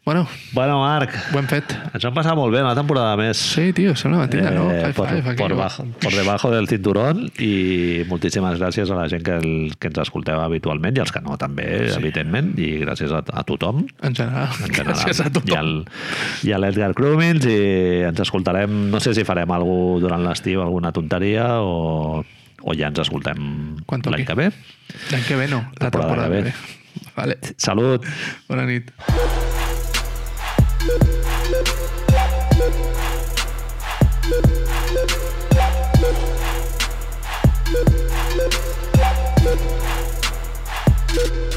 Speaker 2: Bueno,
Speaker 1: bueno, Marc,
Speaker 2: ho hem fet.
Speaker 1: ens han passat molt bé una temporada més. eh,
Speaker 2: Sí, tio, sembla mentida, no? High
Speaker 1: por,
Speaker 2: five, aquí.
Speaker 1: por, bajo, por debajo del cinturón i moltíssimes gràcies a la gent que, el, que ens escolteu habitualment i als que no també, sí. evidentment, i gràcies a, a tothom
Speaker 2: En general,
Speaker 1: en general.
Speaker 2: <laughs> gràcies a
Speaker 1: I,
Speaker 2: tothom.
Speaker 1: al, i a l'Edgar Crumins i ens escoltarem, no sé si farem algú durant l'estiu, alguna tonteria o, o ja ens escoltem
Speaker 2: Quan toqui.
Speaker 1: l'any que ve.
Speaker 2: L'any que ve no, la temporada que ve. Vale,
Speaker 1: Salut!
Speaker 2: bona nit.
Speaker 3: Thank you.